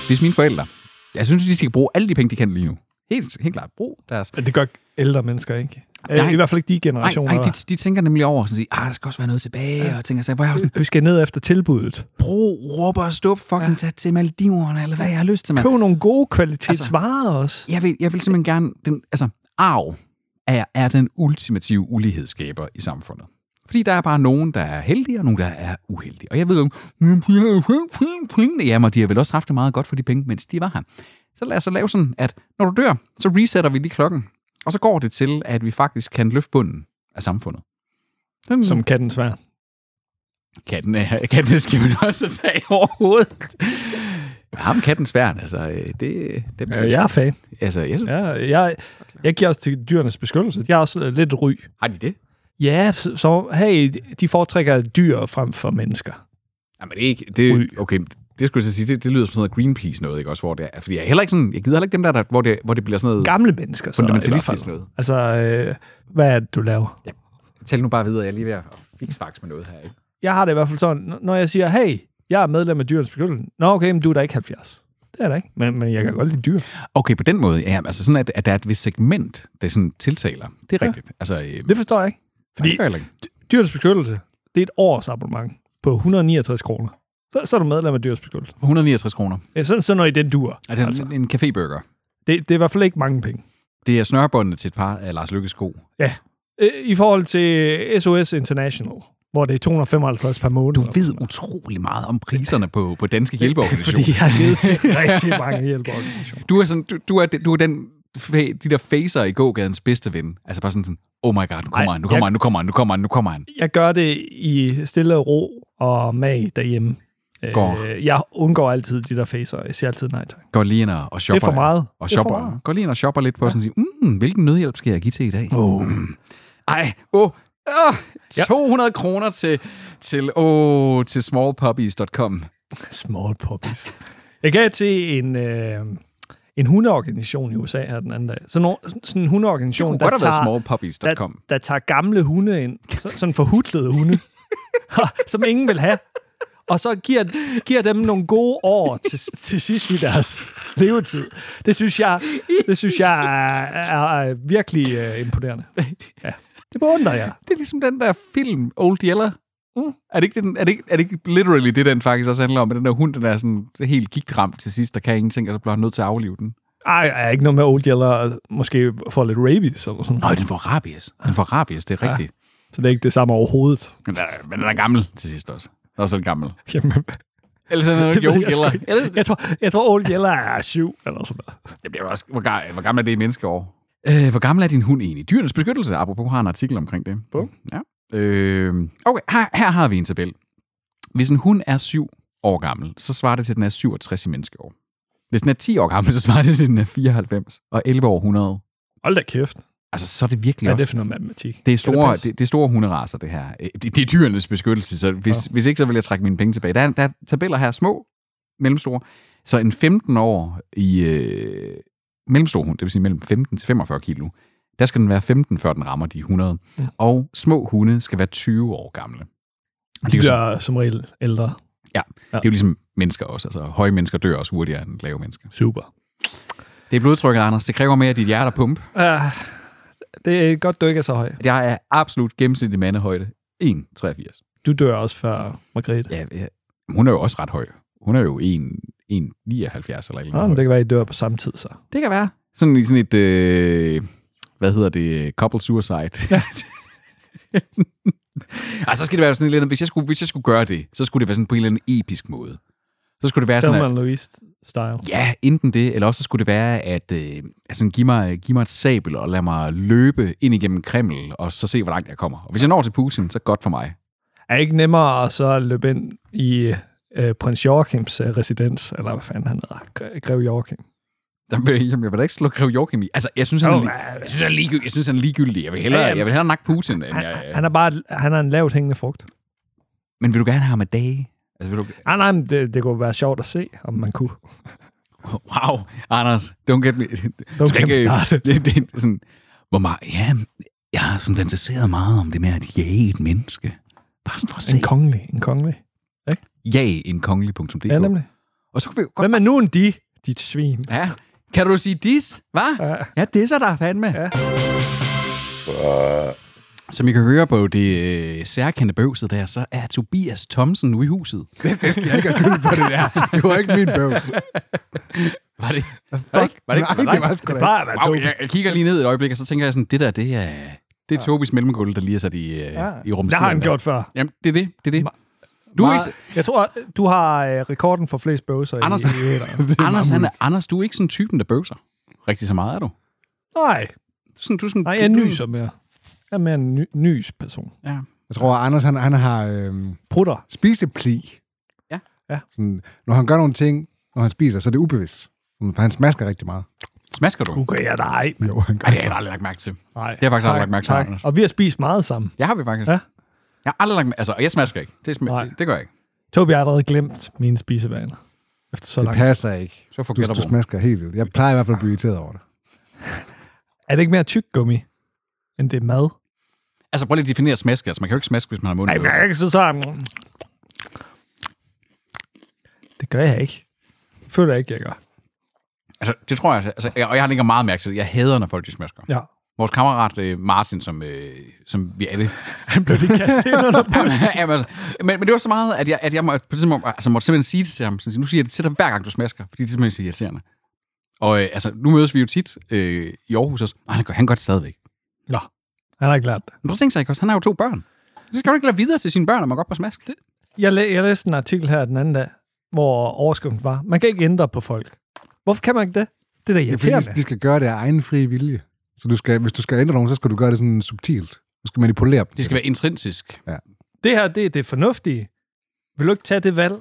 Speaker 2: hvis mine forældre... Jeg synes, de skal bruge alle de penge, de kan lige nu. Helt, helt klart. Brug deres...
Speaker 1: Men Det gør ældre mennesker ikke.
Speaker 2: Nej.
Speaker 1: Øh, I hvert fald ikke de
Speaker 2: Nej,
Speaker 1: generationer.
Speaker 2: nej de, de, tænker nemlig over og siger, ah, der skal også være noget tilbage, ja. og tænker sig, hvor jeg har sådan,
Speaker 1: der. Vi skal ned efter tilbuddet.
Speaker 2: brug, råber og stup, fucking ja. tag til Maldiverne, eller hvad jeg har lyst til, mand.
Speaker 1: Køb nogle gode kvalitetsvarer altså, også.
Speaker 2: Jeg vil, jeg vil simpelthen gerne... Den, altså, arv er, er den ultimative ulighedsskaber i samfundet. Fordi der er bare nogen, der er heldige, og nogen, der er uheldige. Og jeg ved jo, "Men de har jo selv fået pengene." jamen de har vel også haft det meget godt for de penge, mens de var her. Så lad os så lave sådan, at når du dør, så resetter vi lige klokken. Og så går det til, at vi faktisk kan løfte bunden af samfundet. Sådan,
Speaker 1: Som katten svær.
Speaker 2: Katten, er- katten skal man også tage overhovedet. Ham katten svært, altså. øh, Det, det,
Speaker 1: Øh, jeg er fan.
Speaker 2: Altså, jeg synes, ja.
Speaker 1: Ja, jeg, jeg giver også til dyrenes beskyttelse. Jeg er også øh, lidt ry.
Speaker 2: har de det?
Speaker 1: Ja, så- så hey, de foretrækker dyr frem for mennesker.
Speaker 2: Jamen, det er ikke... Det,
Speaker 1: Ry.
Speaker 2: okay, det skulle jeg så sige, det, det lyder som sådan noget Greenpeace noget, ikke også? Hvor det er, fordi jeg er heller ikke sådan... Jeg gider heller ikke dem der, der hvor, det, hvor det bliver sådan noget...
Speaker 1: Gamle mennesker. Så, i hvert fald.
Speaker 2: Mm. Fundamentalistisk noget.
Speaker 1: Altså, øh, hvad er det, du laver?
Speaker 2: Tal nu bare videre, jeg er lige ved at fikse fax med noget her, ikke?
Speaker 1: jeg har det i hvert fald sådan, n- når jeg siger, hey, jeg er medlem af dyrens beskyttelse. Nå, okay, men du er da ikke 70. Det er der ikke, men, men jeg kan godt lide dyr.
Speaker 2: Okay, på den måde, ja, altså sådan, at, at der er et vist segment, der sådan tiltaler. Det er rigtigt. Altså, øh,
Speaker 1: Det forstår jeg ikke. Fordi
Speaker 2: det gør jeg heller ikke.
Speaker 1: dyrens beskyttelse, det er et års abonnement på 169 kroner. Så, så er du medlem af dyrens beskyttelse.
Speaker 2: 169 kroner.
Speaker 1: Ja, sådan, sådan noget i den dur.
Speaker 2: Er det altså. en caféburger?
Speaker 1: Det, det er i hvert fald ikke mange penge.
Speaker 2: Det er snørbåndene til et par af Lars Lykkes sko.
Speaker 1: Øh, I forhold til SOS International, hvor det er 255 per måned.
Speaker 2: Du ved utrolig meget om priserne på, på
Speaker 1: [laughs]
Speaker 2: danske
Speaker 1: Fordi
Speaker 2: hjælpeorganisationer.
Speaker 1: jeg har givet til rigtig mange hjælpeorganisationer.
Speaker 2: Du er, sådan, du, du er, den- du er den, fa- de der facer i gågadens bedste ven. Altså bare sådan, sådan oh my god, nu kommer
Speaker 1: Ej,
Speaker 2: han, nu kommer
Speaker 1: jeg-
Speaker 2: han, nu kommer han, nu kommer han, nu kommer han.
Speaker 1: Jeg gør det i stille og ro og mag derhjemme. Øh,
Speaker 2: Går.
Speaker 1: Jeg undgår altid de der facer. Jeg siger altid nej tak.
Speaker 2: Går lige ind og og shopper.
Speaker 1: Det er for meget.
Speaker 2: Og
Speaker 1: Det er for
Speaker 2: shopper.
Speaker 1: meget.
Speaker 2: Går lige ind og shopper lidt på, ja. og sådan siger, mm, hvilken nødhjælp skal jeg give til i dag?
Speaker 1: Oh.
Speaker 2: Ej, åh, oh, oh,
Speaker 1: Ja.
Speaker 2: 200 kroner til, til, oh, til smallpuppies.com.
Speaker 1: Small puppies. Jeg gav til en, øh, en hundeorganisation i USA her den anden dag. Sådan, nogle, sådan en
Speaker 2: Det
Speaker 1: hundeorganisation,
Speaker 2: kunne
Speaker 1: der
Speaker 2: godt have været
Speaker 1: tager, der,
Speaker 2: smallpuppies.com.
Speaker 1: der tager gamle hunde ind. Så, sådan forhudlede hunde, som ingen vil have. Og så giver, giver dem nogle gode år til, til sidst i deres levetid. Det synes jeg, det synes jeg er, er, er virkelig øh, imponerende. Ja. Det beundrer jeg.
Speaker 2: Det er ligesom den der film, Old Yeller. Mm. Er, det ikke, den, er, det ikke, er det ikke literally det, den faktisk også handler om? Med den der hund, den er sådan helt gigtramt til sidst, der kan ingenting, og så bliver han nødt til at aflive den.
Speaker 1: Ej, er ikke noget med old yeller, måske får lidt rabies eller sådan noget.
Speaker 2: Nej, den får rabies. Den får rabies, det er rigtigt.
Speaker 1: Så det er ikke det samme overhovedet.
Speaker 2: Men den er- Men den er gammel til sidst også. Den er også lidt gammel.
Speaker 1: Jamen,
Speaker 2: Ellers er den jo
Speaker 1: Det
Speaker 2: ikke
Speaker 1: ved
Speaker 2: Old
Speaker 1: jeg sgu
Speaker 2: Yeller.
Speaker 1: ikke.
Speaker 2: Ellers,
Speaker 1: Jeg tror, jeg tror Old Yeller er syv, eller sådan noget.
Speaker 2: Jamen, det er jo også, hvor, ga- hvor gammel er det i menneskeår? Øh, hvor gammel er din hund egentlig? Dyrenes beskyttelse, apropos, har en artikel omkring det.
Speaker 1: Bum.
Speaker 2: Ja. Øh, okay, her, her har vi en tabel. Hvis en hund er 7 år gammel, så svarer det til, at den er 67 i menneskeår. Hvis den er 10 år gammel, så svarer det til, at den er 94. Og 11 år 100.
Speaker 1: Hold da kæft.
Speaker 2: Altså, så er det virkelig
Speaker 1: Hvad er
Speaker 2: også...
Speaker 1: det for noget matematik?
Speaker 2: Det er store,
Speaker 1: passe?
Speaker 2: det, det er store hunderaser, det her. Øh, Det, det er dyrenes beskyttelse, så hvis, ja. hvis ikke, så vil jeg trække mine penge tilbage. Der er, der er tabeller her, små, mellemstore. Så en 15 år i øh, mellemstor hund, det vil sige mellem 15 til 45 kilo, der skal den være 15, før den rammer de 100.
Speaker 1: Ja.
Speaker 2: Ja. Og små hunde skal være 20 år gamle. Og
Speaker 1: De
Speaker 2: det, er jo, så-
Speaker 1: bliver som regel ældre.
Speaker 2: det er jo ligesom mennesker også. Altså, høje mennesker dør også hurtigere end lave mennesker.
Speaker 1: Super.
Speaker 2: Det er blodtrykket, Anders. Det kræver mere af dit hjerte at pumpe.
Speaker 1: Uh, det er godt, du ikke er så høj.
Speaker 2: Jeg er absolut gennemsnitlig mandehøjde. 1,83.
Speaker 1: Du dør også før Margrethe.
Speaker 2: Ja, ja. Hun er jo også ret høj. Hun er jo 1,79 eller et eller
Speaker 1: Nå, men
Speaker 2: andet.
Speaker 1: det kan være, I dør på samme tid, så.
Speaker 2: Det kan være. Sådan i sådan et... Øh, hvad hedder det, couple suicide. [laughs] Ja. altså, så skal det være sådan lidt, hvis jeg, skulle, hvis jeg skulle gøre det, så skulle det være sådan på en eller anden episk måde. Så skulle det være sådan,
Speaker 1: Thelma
Speaker 2: at,
Speaker 1: and Louise-style.
Speaker 2: ja, enten det, eller også så skulle det være, at øh, altså, giv, mig, giv mig et sabel og lad mig løbe ind igennem Kreml, og så se, hvor langt jeg kommer. Og hvis jeg når til Putin, så godt for mig.
Speaker 1: Er ikke nemmere at så løbe ind i øh, prins Joachims øh, residens, eller hvad fanden han hedder, Gre- Grev Joachim.
Speaker 2: Der vil, jamen, jeg vil da ikke slå Grev Joachim i. Altså, jeg synes, han,
Speaker 1: Jo,
Speaker 2: er, lig-
Speaker 1: men-
Speaker 2: jeg synes, han, er, ligegyldig. jeg synes, han er ligegyldig. Jeg vil hellere,
Speaker 1: Ja, jamen.
Speaker 2: jeg vil hellere nakke Putin, end
Speaker 1: Han,
Speaker 2: jeg...
Speaker 1: han er bare han er en lavt hængende frugt.
Speaker 2: Men vil du gerne have ham af dage? Altså, vil du...
Speaker 1: Ah, nej, men det, det kunne være sjovt at se, om man kunne.
Speaker 2: Wow, Anders, don't get me... Du skal
Speaker 1: get me
Speaker 2: ikke-
Speaker 1: started.
Speaker 2: [laughs] Det, det, det, sådan, hvor meget... Ja, jeg har sådan fantaseret meget om det med at jage et menneske. Bare sådan for at se.
Speaker 1: En kongelig, en kongelig.
Speaker 2: Jage en kongelig.dk.
Speaker 1: Ja, nemlig.
Speaker 2: Og så kunne vi jo godt...
Speaker 1: Hvem er nu en de, dit svin?
Speaker 2: Ja. Kan du sige dis, hva'?
Speaker 1: Ja.
Speaker 2: Ja, disser dig fandme.
Speaker 1: Ja.
Speaker 2: Som I kan høre på det øh, særkendte bøvset der, så er Tobias Thomsen nu i huset.
Speaker 3: Det, det skal [laughs] jeg ikke have skyld på, det der. Det var ikke min bøvs.
Speaker 2: Var det, var det, ikke- var det, ikke-
Speaker 3: Nej, det var sgu da ikke.
Speaker 1: Bare at være
Speaker 2: Wow,
Speaker 1: Tobi.
Speaker 2: jeg, jeg kigger lige ned et øjeblik, og så tænker jeg sådan, det der, det er, det er Tobis mellemgulv, der lige er sat i, øh,
Speaker 1: Ja.
Speaker 2: i rummet.
Speaker 1: Det har han gjort før.
Speaker 2: Jamen, det er det, det er det. Du er
Speaker 3: [laughs]
Speaker 2: ikke,
Speaker 1: Jeg tror, du har øh, rekorden for flest bøvser i,
Speaker 2: Anders-
Speaker 1: i æteren.
Speaker 2: Anders, han er, Anders, du er ikke sådan typen, der bøvser rigtig så meget, er du?
Speaker 1: Nej,
Speaker 2: Du er sådan, du er sådan,
Speaker 1: nej, jeg
Speaker 2: du, du-
Speaker 1: nyser mere. Jeg er mere en ny, nys person.
Speaker 2: Ja.
Speaker 3: Jeg tror, at Anders han, han har øhm,
Speaker 1: Prutter.
Speaker 3: spisepli.
Speaker 2: Ja.
Speaker 1: Ja.
Speaker 3: Sådan, når han gør nogle ting, når han spiser, så er det ubevidst. Sådan, For han smasker rigtig meget.
Speaker 2: Smasker du?
Speaker 1: Nu gør jeg dig.
Speaker 3: Jo, han gør
Speaker 2: Ej, det har
Speaker 3: så.
Speaker 2: jeg aldrig lagt mærke til.
Speaker 1: Nej.
Speaker 2: Det har jeg faktisk aldrig lagt mærke til,
Speaker 1: tak.
Speaker 2: Anders.
Speaker 1: Og vi har spist meget sammen.
Speaker 2: Jeg har vi faktisk.
Speaker 1: Ja.
Speaker 2: Jeg har aldrig lagt mærke, altså, og jeg smasker ikke. Det, sm-
Speaker 1: Nej.
Speaker 2: det, det gør jeg ikke.
Speaker 1: Tobi har allerede glemt mine spisevaner. Efter så
Speaker 3: Det
Speaker 1: lang
Speaker 3: passer ikke.
Speaker 2: Så får
Speaker 3: Du, du
Speaker 2: gætterbrug.
Speaker 3: smasker helt vildt. Jeg plejer i hvert fald at blive irriteret over det.
Speaker 1: Er det ikke mere tyk gummi, end det er mad?
Speaker 2: Altså, prøv lige at definere smaske. Altså, man kan jo ikke smaske, hvis man har munden.
Speaker 1: Nej, men jeg kan ikke sidde sådan. Det gør jeg ikke. Det Føler jeg ikke, jeg gør.
Speaker 2: Altså, det tror jeg, altså, jeg, og jeg har lægger meget mærke til det. Jeg hader, når folk de smasker.
Speaker 1: Ja.
Speaker 2: Vores kammerat øh, Martin, som, øh, som
Speaker 1: [laughs]
Speaker 2: vi alle...
Speaker 1: Han blev lige kastet ind under
Speaker 2: [laughs]
Speaker 1: bussen.
Speaker 2: Jamen, altså, men, men det var så meget, at jeg, at jeg må, på det tidspunkt, altså, måtte simpelthen sige det til ham. Sådan, nu siger jeg det til dig, hver gang du smasker, fordi det er simpelthen så irriterende. Og øh, altså, nu mødes vi jo tit øh, i Aarhus også. Nej, han gør, han gør det stadigvæk.
Speaker 1: Nå, han har ikke lært det.
Speaker 2: Men prøv at tænke sig ikke også, han har jo to børn. Så skal du ikke lade videre til sine børn, at man godt må smaske. Det,
Speaker 1: Jeg, læ- jeg læste en artikel her den anden dag, hvor overskriften var, man kan ikke ændre på folk. Hvorfor kan man ikke det? Det er da
Speaker 3: Det er fordi,
Speaker 1: irriterende.
Speaker 3: de- de skal gøre det af egen frie vilje. Så du skal, hvis du skal ændre nogen, så skal du gøre det sådan subtilt. Du skal manipulere dem.
Speaker 2: det skal være intrinsisk.
Speaker 1: Det her, det er det fornuftige. Vil du ikke tage det valg?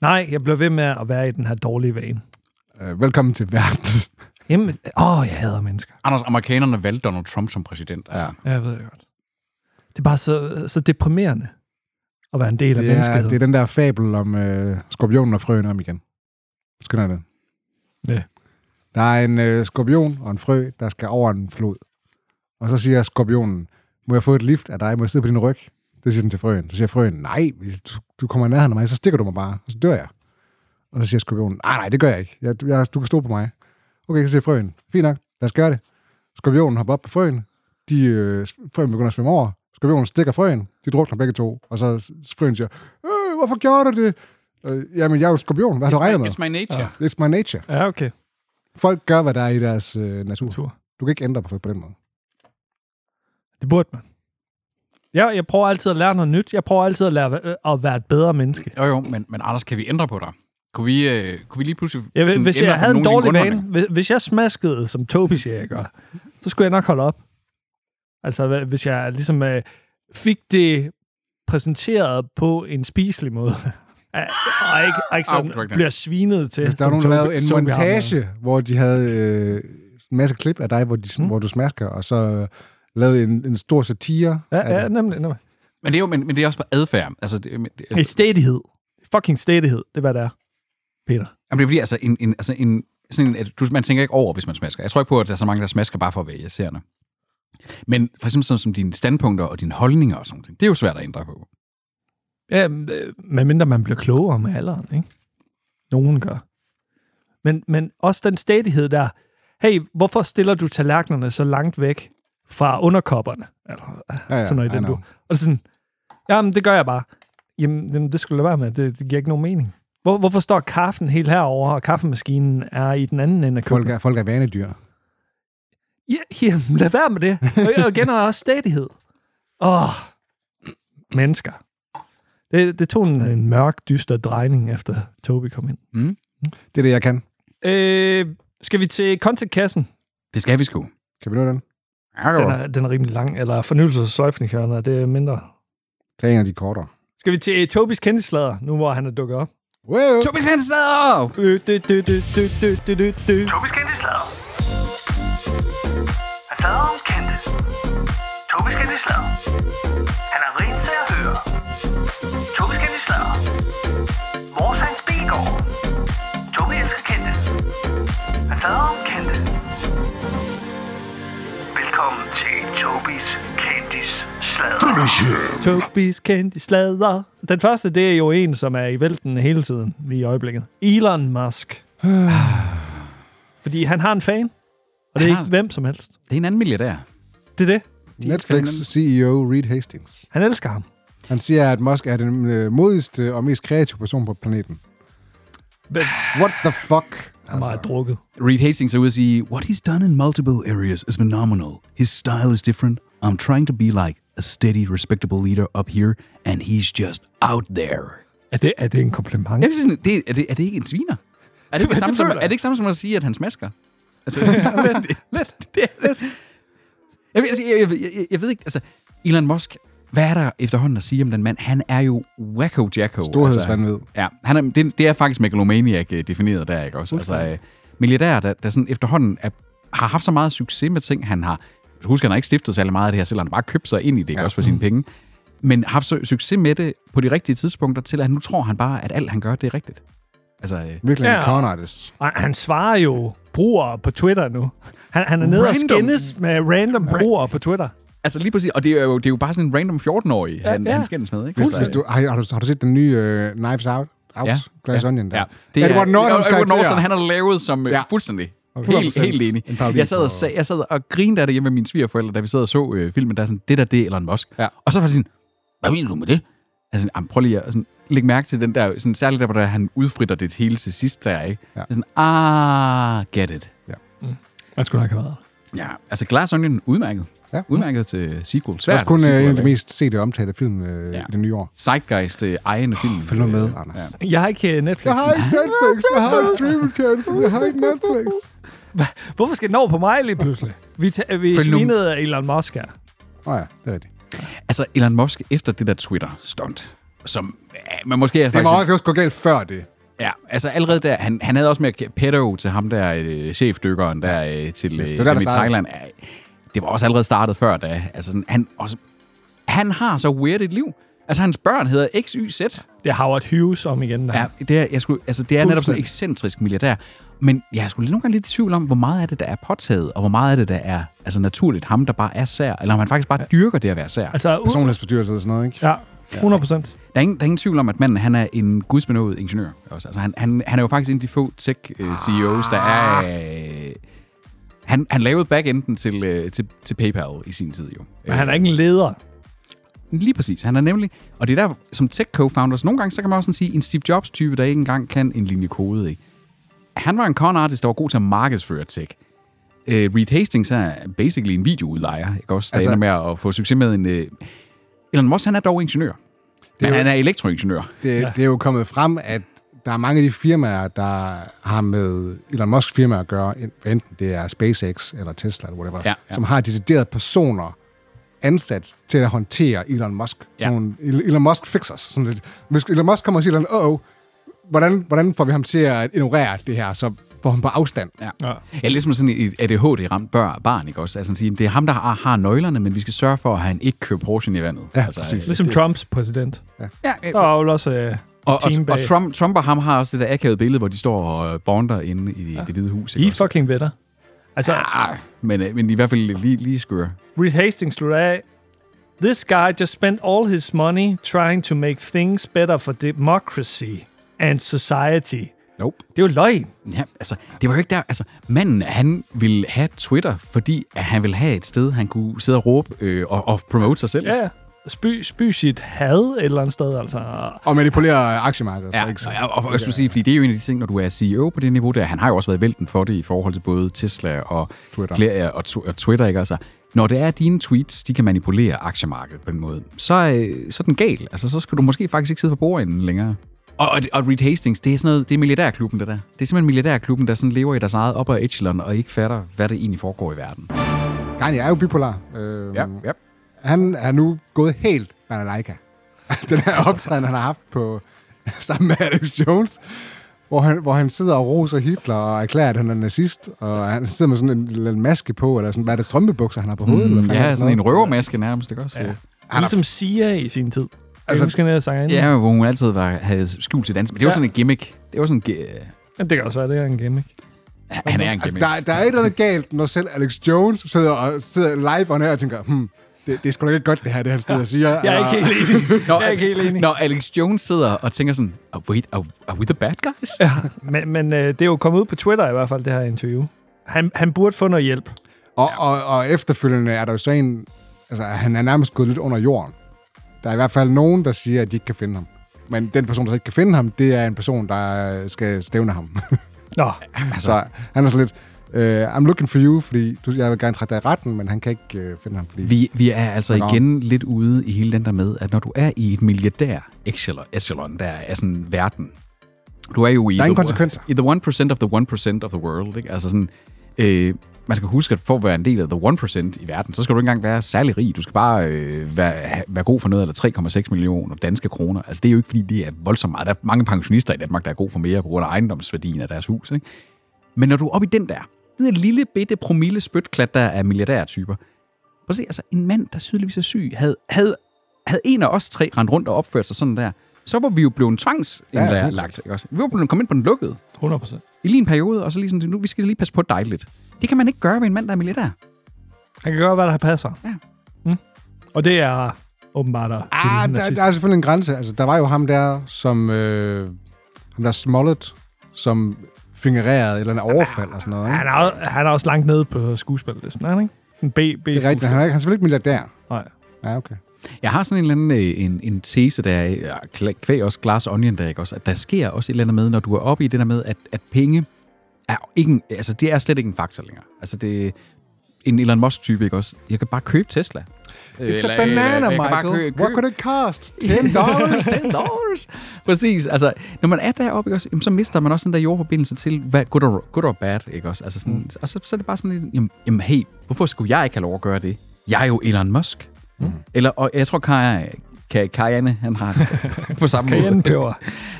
Speaker 1: Nej, jeg bliver ved med at være i den her dårlige vane.
Speaker 3: Øh, velkommen til verden.
Speaker 1: Jamen, åh, jeg hader mennesker.
Speaker 2: Anders, amerikanerne valgte Donald Trump som præsident. Altså.
Speaker 3: Ja.
Speaker 1: Ja, jeg ved det godt. Det er bare så, så deprimerende at være en del af
Speaker 3: Det er,
Speaker 1: menneskeheden.
Speaker 3: det er den der fabel om øh, skorpionen og frøen om igen. Skynder jeg den?
Speaker 1: Ja.
Speaker 3: Der er en øh, skorpion og en frø, der skal over en flod. Og så siger skorpionen, må jeg få et lift af dig? Må jeg sidde på din ryg? Det siger den til frøen. Så siger frøen, nej, hvis du, du kommer i nærheden af mig, så stikker du mig bare, og så dør jeg. Og så siger skorpionen, nej, nej, det gør jeg ikke. Jeg, jeg, du kan stå på mig. Okay, så siger frøen, fint nok, lad os gøre det. Skorpionen hopper op på frøen. De, øh, frøen begynder at svømme over. Skorpionen stikker frøen. De drukner begge to. Og så s- frøen siger, øh, hvorfor gjorde du det? Øh, jamen, jeg er jo en skorpion. Hvad har du regnet med?
Speaker 2: It's my nature. Ja.
Speaker 3: It's my nature.
Speaker 1: Ja, okay.
Speaker 3: Folk gør, hvad der er i deres øh, natur.
Speaker 1: Tur.
Speaker 3: Du kan ikke ændre på folk på den måde.
Speaker 1: Det burde man. Ja, jeg prøver altid at lære noget nyt. Jeg prøver altid at lære øh, at være et bedre menneske.
Speaker 2: Jo, jo, men, men Anders, kan vi ændre på dig? Kunne vi, øh, kunne vi lige pludselig...
Speaker 1: Jeg, ved,
Speaker 2: sådan
Speaker 1: hvis
Speaker 2: ændre
Speaker 1: jeg
Speaker 2: på
Speaker 1: havde en
Speaker 2: nogle af dine
Speaker 1: dårlig vane,
Speaker 2: grundholdninger?
Speaker 1: hvis, hvis jeg smaskede, som Tobi siger, jeg gør, så skulle jeg nok holde op. Altså, hva- hvis jeg ligesom øh, fik det præsenteret på en spiselig måde. [laughs] Ja, og ikke, og ikke
Speaker 2: Au,
Speaker 1: sådan
Speaker 2: det var ikke den.
Speaker 1: bliver svinet til.
Speaker 3: Hvis Altså, der
Speaker 1: som
Speaker 3: var nogen, der
Speaker 1: Tobi-
Speaker 3: lavede en
Speaker 1: Tobi har med.
Speaker 3: montage, hvor de havde øh, en masse klip af dig, hvor, de, mm. hvor du smasker, og så øh, lavede en, en stor satire. af
Speaker 1: Ja, ja
Speaker 3: det.
Speaker 1: nemlig, nemlig.
Speaker 2: Men det er jo men, men det er også på adfærd. Altså, det, men, det,
Speaker 1: Et stedighed. Fucking stedighed, det er, hvad det er, Peter.
Speaker 2: Jamen, det er fordi, altså, en, en, altså en, sådan en, at du, man tænker ikke over, hvis man smasker. Jeg tror ikke på, at der er så mange, der smasker bare for at være irriterende. Men for eksempel sådan som dine standpunkter og dine holdninger og sådan noget, det er jo svært at ændre på.
Speaker 1: Ja, men mindre man bliver klogere med alderen, ikke? Nogen gør. Men, men også den stadighed der, hey, hvorfor stiller du tallerkenerne så langt væk fra underkopperne? Eller
Speaker 3: ja,
Speaker 1: sådan noget i
Speaker 3: I
Speaker 1: den
Speaker 3: know.
Speaker 1: du. Og det er sådan, jamen det gør jeg bare. Jamen, jamen det skulle du lade være med, det, det giver ikke nogen mening. Hvor, hvorfor står kaffen helt herover og kaffemaskinen er i den anden ende af
Speaker 3: Folk
Speaker 1: køkkenet?
Speaker 3: er, folk er vanedyr.
Speaker 1: Ja, jamen, lad være med det. Og jeg igen har jeg også stadighed. Åh, oh, mennesker. Det, det tog en, en mørk, dyster drejning, efter Tobi kom ind.
Speaker 2: Mm.
Speaker 3: Det er det, jeg kan.
Speaker 1: Øh, skal vi til contentkassen?
Speaker 2: Det skal vi sgu.
Speaker 3: Kan vi nå den?
Speaker 1: Den er, den er rimelig lang. Eller fornyelses- og sløjfningshjørner, det er mindre.
Speaker 3: Tag en af de kortere.
Speaker 1: Skal vi til uh, Tobis kendtislader, nu hvor han er dukket op?
Speaker 3: Wow.
Speaker 2: Tobias Hansen er
Speaker 1: Øh, dø, dø, dø, dø, dø, dø, dø, dø.
Speaker 4: Tobis kendte slader. Han fader om kendte. Tobis kendte slader. Han er rent til at høre. Tobis kendte slader. Vores hans bilgård. Tobi elsker kendte. Han fader om kendte. Velkommen til Tobis kendtis slader.
Speaker 1: Tobis kendte slader. Den første, det er jo en, som er i vælten hele tiden, lige i øjeblikket. Elon Musk. [sighs] Fordi han har en fan, og det er
Speaker 2: Han har-
Speaker 1: ikke hvem som helst.
Speaker 2: Det er en anden milliardær.
Speaker 1: Det er det.
Speaker 3: Netflix CEO Reed Hastings.
Speaker 1: Han elsker ham.
Speaker 3: Han siger, at Musk er den øh, modigste og mest kreative person på planeten.
Speaker 1: Men
Speaker 3: What the fuck? Altså,
Speaker 1: han har drukket.
Speaker 2: Reed Hastings er ude at sige, What he's done in multiple areas is phenomenal. His style is different. I'm trying to be like a steady, respectable leader up here, and he's just out there.
Speaker 1: Er det, er det en kompliment?
Speaker 2: Jeg vil sige, det, er, det, er det ikke en sviner? Er det ikke det,
Speaker 1: Det
Speaker 2: samme, som,
Speaker 1: føler
Speaker 2: er
Speaker 1: jeg.
Speaker 2: det ikke samme som at sige, at han smasker? Altså, lidt, lidt, [laughs] det, lidt. Jeg, vil, sige, jeg, jeg, jeg, jeg ved ikke, altså, Elon Musk, hvad er der efterhånden at sige om den mand? Han er jo wacko jacko.
Speaker 3: Storhedsvandvid.
Speaker 2: Altså, ja, han er, det, det er faktisk megalomaniac øh, defineret der, ikke også? Altså, øh, milliardærer, der, der sådan efterhånden er, har haft så meget succes med ting, han har... Husk, han har ikke stiftet særlig meget af det her, selvom han bare købte sig ind i det, ikke også for sine penge. Men har haft så succes med det på de rigtige tidspunkter, til at nu tror han bare, at alt han gør, det er rigtigt. Altså, øh,
Speaker 3: Virkelig en
Speaker 1: Ja.
Speaker 3: con artist.
Speaker 1: Og han svarer jo brugere på Twitter nu. Han, han er nede og
Speaker 2: Random.
Speaker 1: skændes med random brugere på Twitter.
Speaker 2: altså lige præcis, og det er jo, det er jo bare sådan en random 14-årig, ja, han,
Speaker 1: ja.
Speaker 2: ja. han skændes med. Ikke?
Speaker 3: Hvis,
Speaker 2: Altså,
Speaker 3: hvis du, har, har, du, har du set den nye uh, Knives Out? Out?
Speaker 2: Ja.
Speaker 3: Glass
Speaker 2: Ja.
Speaker 3: Onion der.
Speaker 2: Ja.
Speaker 3: Det er Edward Nortons
Speaker 2: Edward
Speaker 3: karakter.
Speaker 2: Norton, han har lavet som ja.
Speaker 3: Ja.
Speaker 2: fuldstændig.
Speaker 3: Okay.
Speaker 2: Helt,
Speaker 3: 100%
Speaker 2: helt enig.
Speaker 3: en parodi
Speaker 2: Jeg sad, og,
Speaker 3: på-
Speaker 2: sag, jeg sad og grinede af det hjemme med mine svigerforældre, da vi sad og så øh, filmen, der er sådan, det der, det er Elon Musk.
Speaker 3: Ja.
Speaker 2: Og så var det sådan, hvad mener du med det? Altså, jamen, prøv lige at sådan, lægge mærke til den der, sådan, særligt der, hvor der, han udfritter det hele til sidst der, ikke?
Speaker 3: Ja.
Speaker 2: Ja. Sådan, ah, get it.
Speaker 1: Man skulle nok have været.
Speaker 2: Ja, altså Glass Onion, udmærket.
Speaker 3: Ja.
Speaker 2: Udmærket til sequel.
Speaker 3: Det er
Speaker 2: Svært
Speaker 3: også kun uh,
Speaker 2: sequel,
Speaker 3: en af de
Speaker 2: ikke?
Speaker 3: mest sete og omtalte film uh,
Speaker 2: Ja.
Speaker 3: ja. i det nye år.
Speaker 2: Zeitgeist øh, ejende film.
Speaker 3: Følg nu med,
Speaker 2: Øh,
Speaker 3: Anders.
Speaker 2: ja.
Speaker 1: Jeg har ikke øh, Netflix.
Speaker 3: Jeg har ikke Netflix. Jeg har ikke streaming tjeneste. Jeg har ikke Netflix.
Speaker 1: Hvorfor skal den over på mig lige pludselig? Vi, ta- vi
Speaker 2: Følg nu-
Speaker 1: svinede af Elon Musk her.
Speaker 3: Åh oh, ja, det er rigtigt.
Speaker 2: Altså, Elon Musk efter det der Twitter-stunt, som ja, man måske er
Speaker 3: Det var
Speaker 2: faktisk...
Speaker 3: også også gå galt før det.
Speaker 2: Ja, altså allerede der, han, han havde også med pedo til ham der, øh, chefdykkeren der øh, til øh,
Speaker 3: det
Speaker 2: det
Speaker 3: var der,
Speaker 2: i
Speaker 3: der startede.
Speaker 2: Thailand. Ja, det var også allerede startet før da. Altså, sådan, han, også, han har så weird et liv. Altså, hans børn hedder XYZ.
Speaker 1: Det er Howard Hughes om igen. Der.
Speaker 2: Ja, det er, jeg skulle, altså, det er netop sådan
Speaker 1: Fuldstændig.
Speaker 2: en ekscentrisk milliardær. Men jeg skulle lige nogle gange lidt i tvivl om, hvor meget af det, der er påtaget, og hvor meget af det, der er altså, naturligt ham, der bare er sær, eller om han faktisk bare dyrker det at være sær.
Speaker 1: Altså, u-
Speaker 3: Personlighedsforstyrrelse og sådan noget, ikke?
Speaker 1: ja, 100 procent.
Speaker 2: Der er, ingen, der er ingen tvivl om, at manden han er en gudsbenået ingeniør. Også. Altså, han, han, han er jo faktisk en af de få øh, Ah. tech-CEOs, E der er... Øh, han, han lavede backenden til, øh, til, til PayPal i sin tid, jo. Øh,
Speaker 1: Men han er ikke en leder.
Speaker 2: Lige præcis. Han er nemlig... Og det er der, som tech-co-founders, nogle gange, så kan man også sådan sige, en Steve Jobs-type, der ikke engang kan en linje kode, ikke? Han var en con-artist, der var god til at markedsføre tech. Øh, Reed Hastings er basically en videoudlejer, ikke også? Der altså,
Speaker 3: Altså-
Speaker 2: ender med at få succes med en... Øh, Elon Musk, han er dog ingeniør.
Speaker 3: er
Speaker 2: Men
Speaker 3: jo-
Speaker 2: han er elektroingeniør.
Speaker 3: Det, ja. det er jo kommet frem, at der er mange af de firmaer, der har med Elon Musk firma at gøre, en- enten det er SpaceX eller Tesla eller whatever,
Speaker 2: Ja, ja.
Speaker 3: som har deciderede personer ansat til at håndtere Elon Musk.
Speaker 2: Ja.
Speaker 3: Ja. Nogle El- Elon Musk fixers. Sådan lidt. Hvis Elon Musk kommer og siger, åh, oh, hvordan, hvordan får vi ham til at ignorere det her, så får han på afstand.
Speaker 2: Ja.
Speaker 1: Ja.
Speaker 2: ja. ja ligesom sådan et ADHD-ramt bør, barn, ikke også? Altså, sådan sige, det er ham, der har, har nøglerne, men vi skal sørge for, at han ikke kører Porsche'en i vandet.
Speaker 3: Ja,
Speaker 2: altså,
Speaker 3: præcis.
Speaker 2: øh,
Speaker 1: Ligesom Trumps præsident.
Speaker 2: Ja,
Speaker 1: Der
Speaker 2: øh,
Speaker 1: var jo også øh,
Speaker 2: og, og,
Speaker 1: team bag.
Speaker 2: og Trump, Trump og ham har også det der akavede billede, hvor de står og øh, bonder inde i ja. det hvide hus.
Speaker 1: I
Speaker 2: Ikke
Speaker 1: er
Speaker 2: også?
Speaker 1: fucking venner. Altså, ja.
Speaker 2: Ah, men, øh, men i hvert fald lige, lige skøre.
Speaker 1: Reed Hastings slutter af. This guy just spent all his money trying to make things better for democracy and society.
Speaker 3: Nope.
Speaker 1: Det er jo løgn.
Speaker 2: Ja, altså, det var jo ikke der... Altså, manden, han ville have Twitter, fordi at han ville have et sted, han kunne sidde og råbe øh, og, og promote sig selv.
Speaker 1: Ja, ja. spy, spy sit had et eller andet sted, altså.
Speaker 3: Og manipulerer aktiemarkedet.
Speaker 2: Ja,
Speaker 3: ikke? Så-
Speaker 2: og, og, og jeg skulle sige, fordi det er jo en af de ting, når du er CEO på det niveau der, han har jo også været vælten for det i forhold til både Tesla og
Speaker 3: Twitter.
Speaker 2: Flere, ja, og, tw- og Twitter, ikke? Altså, når det er at dine tweets, de kan manipulere aktiemarkedet på den måde, så, øh, så er den gal. Altså, så skal du måske faktisk ikke sidde på bordenden længere. Og, og, og Reed Hastings, det er sådan noget, det er milliardærklubben, det der. Det er simpelthen milliardærklubben, der sådan lever i deres eget op ad echelon og ikke fatter, hvad der egentlig foregår i verden. Mm.
Speaker 3: Kanye er jo bipolar. Øhm,
Speaker 2: Ja, ja.
Speaker 3: Han er nu gået helt balalaika. [laughs] Den her optræden, han har haft på, [laughs] sammen med Alex Jones, hvor han, hvor han sidder og roser Hitler og erklærer, at han er nazist, og han sidder med sådan en lille maske på, eller sådan, hvad er det, strømpebukser, han har på hovedet? eller
Speaker 2: Mm,
Speaker 3: hvad fanden er
Speaker 2: ja,
Speaker 3: det
Speaker 2: sådan en
Speaker 3: noget?
Speaker 2: røvermaske nærmest, ikke også?
Speaker 1: Ja.
Speaker 2: Ja.
Speaker 3: Han er
Speaker 1: Ligesom Sia i sin tid. Altså,
Speaker 3: Altså-
Speaker 1: jeg husker, at jeg sang ja.
Speaker 2: ja, hvor hun altid var, havde skjult sit ansigt. Men det var
Speaker 1: Ja.
Speaker 2: sådan en gimmick. Det var sådan en... ge-
Speaker 1: Jamen, det kan også være, det er en gimmick.
Speaker 2: Han er en
Speaker 3: Altså,
Speaker 2: gimmick.
Speaker 3: der, der er et eller andet galt, når selv Alex Jones sidder, og, sidder live on her og tænker, hmm, det, det er sgu da ikke godt, det her, det han sidder og siger.
Speaker 1: Jeg er
Speaker 3: Eller-
Speaker 1: ikke helt
Speaker 2: Ah.
Speaker 1: enig. jeg er ikke helt enig.
Speaker 2: Når Alex Jones sidder og tænker sådan, oh, wait, are, are we the bad guys?
Speaker 1: Ja, [laughs] men, men øh, det er jo kommet ud på Twitter i hvert fald, det her interview. Han, han burde få noget hjælp.
Speaker 3: Og, og, og efterfølgende er der jo så en... Altså, han er nærmest gået lidt under jorden. Der er i hvert fald nogen, der siger, at de ikke kan finde ham. Men den person, der ikke kan finde ham, det er en person, der øh, skal stævne ham. [laughs]
Speaker 1: Nå,
Speaker 3: Altså. Så han er sådan lidt... Uh, I'm looking for you, fordi du, jeg vil gerne trække dig i retten, men han kan ikke uh, finde ham, fordi...
Speaker 2: Vi, vi er altså
Speaker 3: Nå.
Speaker 2: igen lidt ude i hele den der med, at når du er i et milliardær echelon, echelon der er sådan verden, du er jo i...
Speaker 3: Der er ingen
Speaker 2: the-
Speaker 3: konsekvenser.
Speaker 2: I the 1% of the 1% of the world, ikke? Altså sådan... Øh, man skal huske, at for at være en del af the 1% i verden, så skal du ikke engang være særlig rig. Du skal bare øh, være, ha- være god for noget, eller 3,6 millioner danske kroner. Altså, det er jo ikke, fordi det er voldsomt meget. Der er mange pensionister i Danmark, der er god for mere på grund af ejendomsværdien af deres hus. Ikke? Men når du er oppe i den der, den der lille bitte promille spytklat, der er milliardærtyper, Prøv at se, altså en mand, der tydeligvis er syg, havde, havde, havde en af os tre rendt rundt og opført sig sådan der, så var vi jo blevet
Speaker 3: Ja, ja.
Speaker 2: tvangsindlagt. Ja, vi var blevet kommet ind på den lukkede
Speaker 1: 100 procent.
Speaker 2: i lige en periode, og så lige sådan, nu vi skal lige passe på dig lidt. Det kan man ikke gøre ved en mand, der er milliardær.
Speaker 1: Han kan gøre, hvad der passer.
Speaker 2: Ja.
Speaker 1: Mm. Og det er åbenbart at
Speaker 3: Ah, der, der er selvfølgelig en grænse. Altså, der var jo ham der, som... Øh, ham der Smollett, som fingererede et eller andet overfald og sådan noget. Ikke?
Speaker 1: han, er, jo- han er også langt nede på skuespillelisten, er han ikke? En B, B
Speaker 3: Det er rigtigt. Han er, ikke- han er selvfølgelig ikke milliardær.
Speaker 1: Nej.
Speaker 3: Ja, okay.
Speaker 2: Jeg har sådan en eller anden øh, en, en tese, der er ja, kla- kvæg også Glass Onion, der, ikke også, at der sker også et eller andet med, når du er oppe i det der med, at, at penge er, ikke en, altså, det er slet ikke en faktor længere. Altså det en Elon Musk-type, ikke også? Jeg kan bare købe Tesla.
Speaker 3: It's a banana, Michael. What could it
Speaker 1: [laughs]
Speaker 3: cost?
Speaker 2: [laughs]
Speaker 3: 10 dollars?
Speaker 2: 10 dollars. Præcis. Altså, når man er deroppe, ikke også, jamen, så mister man også den der jordforbindelse til, hvad good or, good or bad, ikke også? Altså sådan, mm. Og så, så er det bare sådan lidt, jamen, jamen, hey, hvorfor skulle jeg ikke have lov at gøre det? Jeg er jo Elon Musk. Mm. Eller, og jeg tror, Kaja, Ka- Kajane, han har det på samme måde.
Speaker 1: Cayennepeber.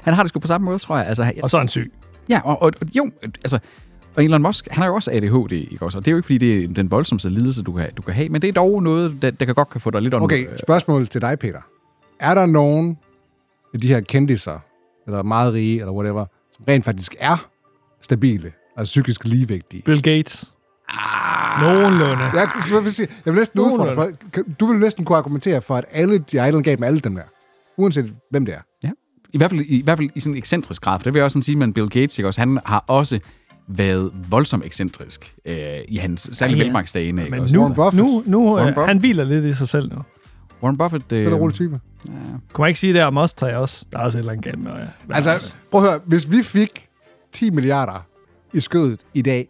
Speaker 2: Han har det sgu på samme måde, tror jeg. Altså,
Speaker 1: Og så er han syg.
Speaker 2: Ja, og, og, og jo, altså, og Elon Musk, han har jo også ADHD, ikke også? Og det er jo ikke, fordi det er den voldsomste lidelse, du kan, du kan have, men det er dog noget, der, der kan godt kan få dig lidt om...
Speaker 3: Okay, spørgsmål til dig, Peter. Er der nogen af de her kendiser, eller meget rige, eller whatever, som rent faktisk er stabile og psykisk ligevægtige?
Speaker 1: Bill Gates. Ah. Nogenlunde.
Speaker 3: Jeg, jeg, vil, sige, jeg vil næsten udfordre
Speaker 1: Nogenlunde.
Speaker 3: for- kan- Du vil næsten kunne argumentere for, at alle de er galt med alle dem der. Uanset hvem det er.
Speaker 2: Ja. I hvert fald i, hvert fald i sådan en ekscentrisk grad. For det vil jeg også sådan sige, men Bill Gates, ikke også, han har også været voldsomt ekscentrisk øh, i hans særlige
Speaker 1: Ja,
Speaker 2: ja,
Speaker 1: ja.
Speaker 2: velmagsdagene. ikke
Speaker 1: Men
Speaker 2: også?
Speaker 1: nu,
Speaker 3: Warren Buffett.
Speaker 1: nu, nu
Speaker 2: Warren
Speaker 1: øh,
Speaker 2: Buffett.
Speaker 1: han hviler lidt i sig selv nu.
Speaker 2: Warren Buffett... Øh,
Speaker 3: Så er
Speaker 1: Øhm,
Speaker 3: der rolig type.
Speaker 1: Kunne man ikke sige det om os tre også? Der er også et eller andet galt med. øh, Ja.
Speaker 3: Altså, prøv at høre. Hvis vi fik 10 milliarder i skødet i dag,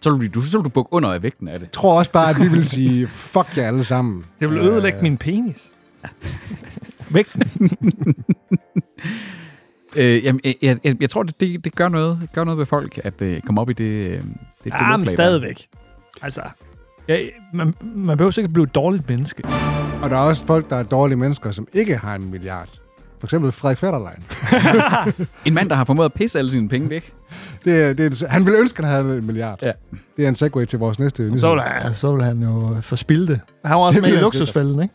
Speaker 2: så vil du, så vil du bukke under af vægten af det.
Speaker 3: tror jeg også bare, at vi vil sige, [laughs] fuck jer alle sammen. Øh,
Speaker 1: det vil ødelægge min penis.
Speaker 3: [laughs]
Speaker 1: Vægten.
Speaker 2: Øh, jamen, jeg, jeg, jeg, jeg tror, det, det, det gør, noget, gør noget ved folk, at øh, komme op i det... Øh, det, det
Speaker 1: Ja, Ah, men
Speaker 2: luftlag der.
Speaker 1: stadigvæk. Altså, ja, man, man behøver sikkert blive et dårligt menneske.
Speaker 3: Og der er også folk, der er dårlige mennesker, som ikke har en milliard. For eksempel Frederik Fetterlein.
Speaker 2: En mand, der har formået at pisse alle sine penge væk.
Speaker 3: [laughs] Det, er- det er en, han ville ønske, at han havde en milliard.
Speaker 2: Ja.
Speaker 3: Det er en segway til vores næste nyhed.
Speaker 1: Så ville han, så ville han jo forspilde det. Han var også
Speaker 3: Det
Speaker 1: med i
Speaker 3: ville han
Speaker 1: luksusfælden, ikke?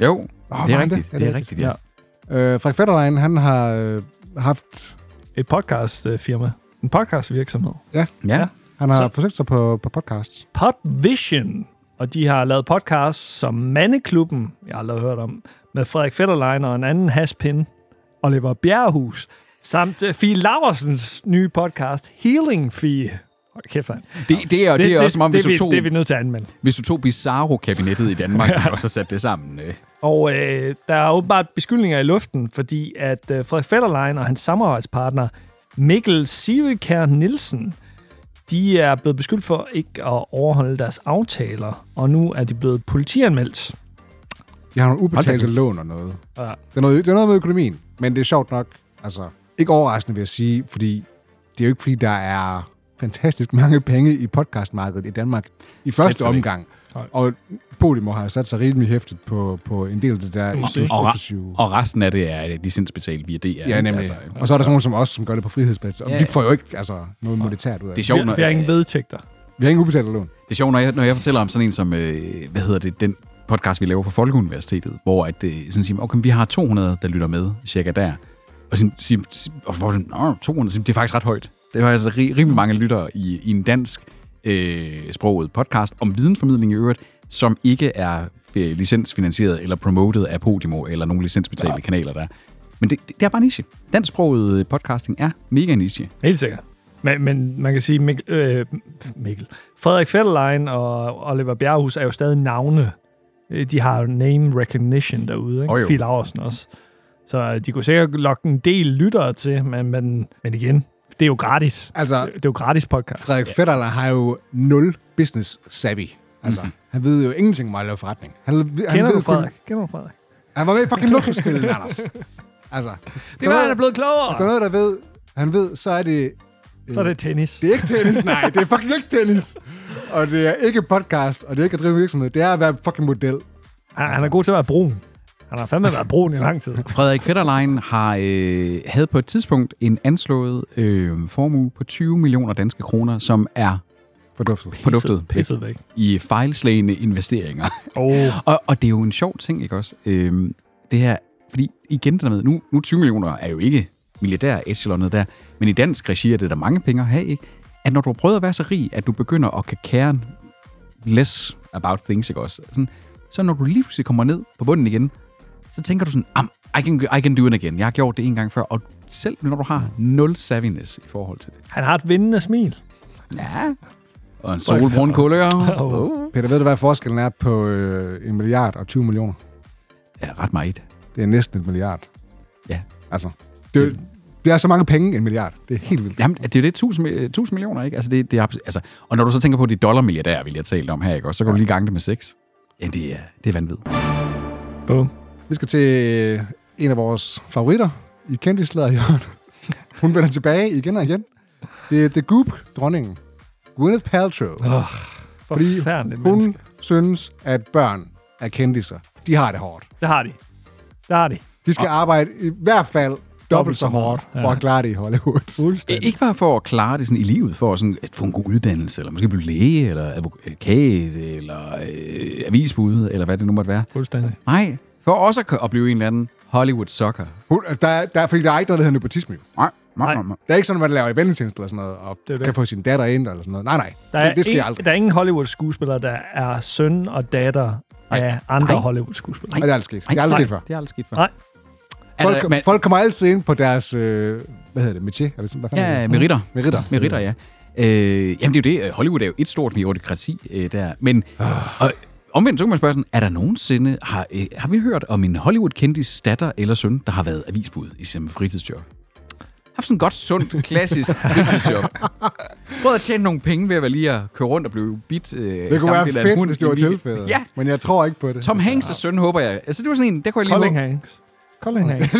Speaker 2: Jo, oh,
Speaker 3: var
Speaker 2: det er
Speaker 3: han det?
Speaker 2: rigtigt.
Speaker 3: Ja,
Speaker 2: Det,
Speaker 3: det
Speaker 2: det
Speaker 3: er
Speaker 2: er rigtigt, ja.
Speaker 1: Ja.
Speaker 2: ja.
Speaker 3: Øh, Frederik Fetterlein, han har øh, haft...
Speaker 1: Et podcastfirma. En podcastvirksomhed. Ja.
Speaker 2: ja.
Speaker 3: Han har
Speaker 1: Så-
Speaker 3: så. forsøgt sig på, på podcasts.
Speaker 1: Podvision. Og de har lavet podcasts som Mandeklubben, jeg har aldrig hørt om, med Frederik Fetterlein og en anden haspin, Oliver Bjerrehus, samt øh, Fie Laversens nye podcast, Healing Fie. Hold kæft, mand.
Speaker 2: Det, det, er, det, det er også som om,
Speaker 1: det,
Speaker 2: hvis,
Speaker 1: det,
Speaker 2: du
Speaker 1: vi,
Speaker 2: tog,
Speaker 1: det er vi nødt til at anmelde.
Speaker 2: hvis du tog Bizarro-kabinettet i Danmark, og så satte det sammen. Øh.
Speaker 1: Og øh, der er åbenbart beskyldninger i luften, fordi at øh, Frederik Fetterlein og hans samarbejdspartner Mikkel Sivekær Nielsen, de er blevet beskyldt for ikke at overholde deres aftaler, og nu er de blevet politianmeldt.
Speaker 3: Jeg har nogle ubetalte
Speaker 2: Hold
Speaker 3: lån og noget.
Speaker 1: Ja.
Speaker 3: Det er noget, det er noget med økonomien, men det er sjovt nok. Altså, ikke overraskende vil jeg sige, fordi det er jo ikke, fordi der er fantastisk mange penge i podcastmarkedet i Danmark i
Speaker 2: Slet
Speaker 3: første
Speaker 2: sig ikke.
Speaker 3: omgang.
Speaker 1: Nej.
Speaker 3: Og Podimo har sat sig rimelig hæftigt på, på en del af det der
Speaker 1: Præcis.
Speaker 2: Og,
Speaker 3: eksklusive.
Speaker 2: re- og resten af det er licensbetalt via DR.
Speaker 3: Mm. Ja,
Speaker 2: ikke?
Speaker 3: nemlig.
Speaker 2: Altså,
Speaker 3: og så er der sådan nogen som os, som gør det på frihedsbasis. Og
Speaker 2: Ja,
Speaker 3: ja,
Speaker 2: ja.
Speaker 3: vi får jo ikke altså, noget monetært ud af
Speaker 2: det er
Speaker 3: det.
Speaker 1: Vi,
Speaker 2: sjovt, når,
Speaker 1: vi har ingen vedtægter.
Speaker 3: Vi har ingen ubetalte lån.
Speaker 2: Det er sjovt, når jeg, når jeg fortæller om sådan en som, øh, hvad hedder det, den podcast, vi laver på Folkeuniversitetet, hvor at, øh, sådan siger, man, okay, vi har 200, der lytter med, cirka der. Og, sådan, siger, siger- og hvor er det, "Nå, 200, siger, det er faktisk ret højt. Det var altså ri- rimelig mange lyttere i, i en dansk øh, sproget podcast om vidensformidling i øvrigt, som ikke er øh, licensfinansieret eller promotet af Podimo eller nogle licensbetalte ja. kanaler der. er. Men det, det, det er bare niche. Dansksproget øh, podcasting er mega niche.
Speaker 1: Helt sikkert. Men, men man kan sige, Mikkel, øh, Mikkel. Frederik Fetterlein og Oliver Bjerghus er jo stadig navne. Øh, De har jo name recognition derude, ikke?
Speaker 2: Åh, jo.
Speaker 1: Phil Aarhusen også. Så øh, de kunne sikkert lokke en del lyttere til, men, men, men igen, det er jo gratis.
Speaker 3: Altså,
Speaker 1: Det er jo gratis podcast.
Speaker 3: Frederik Fetterle har jo nul business savvy. Altså, mm-hmm. han ved jo ingenting om at lave forretning. Han, han
Speaker 1: Kender
Speaker 3: ved
Speaker 1: du
Speaker 3: kun-
Speaker 1: Frederik? Kender du Frederik?
Speaker 3: Han var med i fucking luksusfælden, Anders. Altså,
Speaker 1: [laughs] Det er noget, han er blevet
Speaker 3: Hvis der er
Speaker 1: klogere.
Speaker 3: noget, der ved, han ved, så er det... øh,
Speaker 1: Så er det tennis.
Speaker 3: Det er ikke tennis, nej. Det er fucking ikke tennis. Og det er ikke podcast, og det er ikke at drive virksomhed. Det er at være fucking model.
Speaker 1: Han, han er god til at være brun. Han har fandme været brun i lang tid.
Speaker 2: Frederik Fetterlein har, øh, havde på et tidspunkt en anslået øh, formue på 20 millioner danske kroner, som er
Speaker 3: Forduftet.
Speaker 2: forduftet væk
Speaker 1: Pisset væk.
Speaker 2: i fejlslagende investeringer.
Speaker 1: Oh.
Speaker 2: og, og det er jo en sjov ting, ikke også? Øh, det her, fordi igen det der med, nu, nu 20 millioner er jo ikke milliardær echelonet der, men i dansk regi er det der mange penge at have, ikke? At når du har prøvet at være så rig, at du begynder at kan kære less about things, ikke også? Sådan, så når du lige pludselig kommer ned på bunden igen, så tænker du sådan, "Am, I can, I can do it again. Jeg har gjort det en gang før. Og selv når du har nul savviness i forhold til det.
Speaker 1: Han har et vindende smil.
Speaker 2: Ja. Og en solbrun kulør.
Speaker 1: Åh.
Speaker 2: Oh.
Speaker 3: Peter, ved du, hvad forskellen er på øh, en milliard og 20 millioner?
Speaker 2: Ja, ret meget.
Speaker 3: Det er næsten et milliard.
Speaker 2: Ja.
Speaker 3: Altså, det, er, det er så mange penge, en milliard. Det er helt vildt.
Speaker 2: Jamen, det er jo det 1000, mi- 1000 millioner, ikke? Altså, det, det er, abs- altså, og når du så tænker på de dollarmilliardærer, vi lige har talt om her, ikke? også, så kan du lige gange det med 6. Ja, det er, det er vanvittigt.
Speaker 1: Boom.
Speaker 3: Vi skal til øh, en af vores favoritter i kendtisladerhjørnet. [laughs] Hun vender tilbage igen og igen. Det er The Goop, dronningen. Gwyneth Paltrow.
Speaker 1: Oh,
Speaker 3: Fordi
Speaker 1: forfærdeligt
Speaker 3: Hun
Speaker 1: menneske.
Speaker 3: synes, at børn er kendtiser. De har det hårdt.
Speaker 1: Det har de. Det har de.
Speaker 3: De skal arbejde i hvert fald dobbelt så hårdt for at klare det i Hollywood.
Speaker 2: Det er ikke bare for at klare det sådan i livet, for sådan at få en god uddannelse, eller måske blive læge, eller advokat, eller øh, avisbud, eller hvad det nu måtte være.
Speaker 1: Fuldstændig.
Speaker 2: Nej, for også at, kø- at blive en eller anden Hollywood-sokker.
Speaker 3: Hun, altså, der, er, der, er- fordi der er ikke noget, der hedder nepotisme. jo.
Speaker 2: Nej, nej,
Speaker 1: Nej.
Speaker 2: nej.
Speaker 3: Det er ikke sådan, at man laver i vennetjeneste eller sådan noget, og
Speaker 1: Det er det.
Speaker 3: kan få sin datter ind eller sådan noget. Nej, nej.
Speaker 1: Der er,
Speaker 3: det, det sker
Speaker 1: en,
Speaker 3: aldrig.
Speaker 1: der er ingen Hollywood-skuespiller, der er søn og datter
Speaker 2: Nej.
Speaker 1: af andre
Speaker 2: Nej.
Speaker 1: Hollywood-skuespillere.
Speaker 3: Nej, det er aldrig sket. Det er aldrig
Speaker 2: nej,
Speaker 3: sket før.
Speaker 2: Det er aldrig sket før.
Speaker 1: Nej.
Speaker 2: Er der-
Speaker 3: Folk,
Speaker 2: men-
Speaker 3: folk kommer altid ind på deres, øh, hvad hedder det, metier? Eller sådan, hvad fanden
Speaker 2: Ja,
Speaker 3: hedder
Speaker 2: ja,
Speaker 3: det? Mm.
Speaker 2: meritter.
Speaker 3: Meritter.
Speaker 2: Meritter, ja. Øh, jamen, det er jo det. Hollywood er jo et stort bureaukrati øh, der. Men
Speaker 3: Ah.
Speaker 2: og, omvendt, så kan man spørge sådan, er der nogensinde, har, øh, har vi hørt om en Hollywood-kendis datter eller søn, der har været avisbud i sin fritidsjob? Har sådan en godt, sundt,
Speaker 3: [laughs]
Speaker 2: klassisk fritidsjob. Prøv at tjene nogle penge ved at være lige at køre rundt og blive bit. Øh,
Speaker 3: Det kunne være
Speaker 2: skambidt af en
Speaker 3: fedt,
Speaker 2: hund
Speaker 3: hvis
Speaker 2: i
Speaker 3: det var
Speaker 2: en bil.
Speaker 3: tilfældet.
Speaker 2: Ja,
Speaker 3: Men jeg tror ikke på det.
Speaker 2: Tom Hanks' søn, håber jeg. Altså, det var sådan en, der kunne jeg lige...
Speaker 1: Colin
Speaker 2: håbe-
Speaker 1: Hanks. Colin Hanks.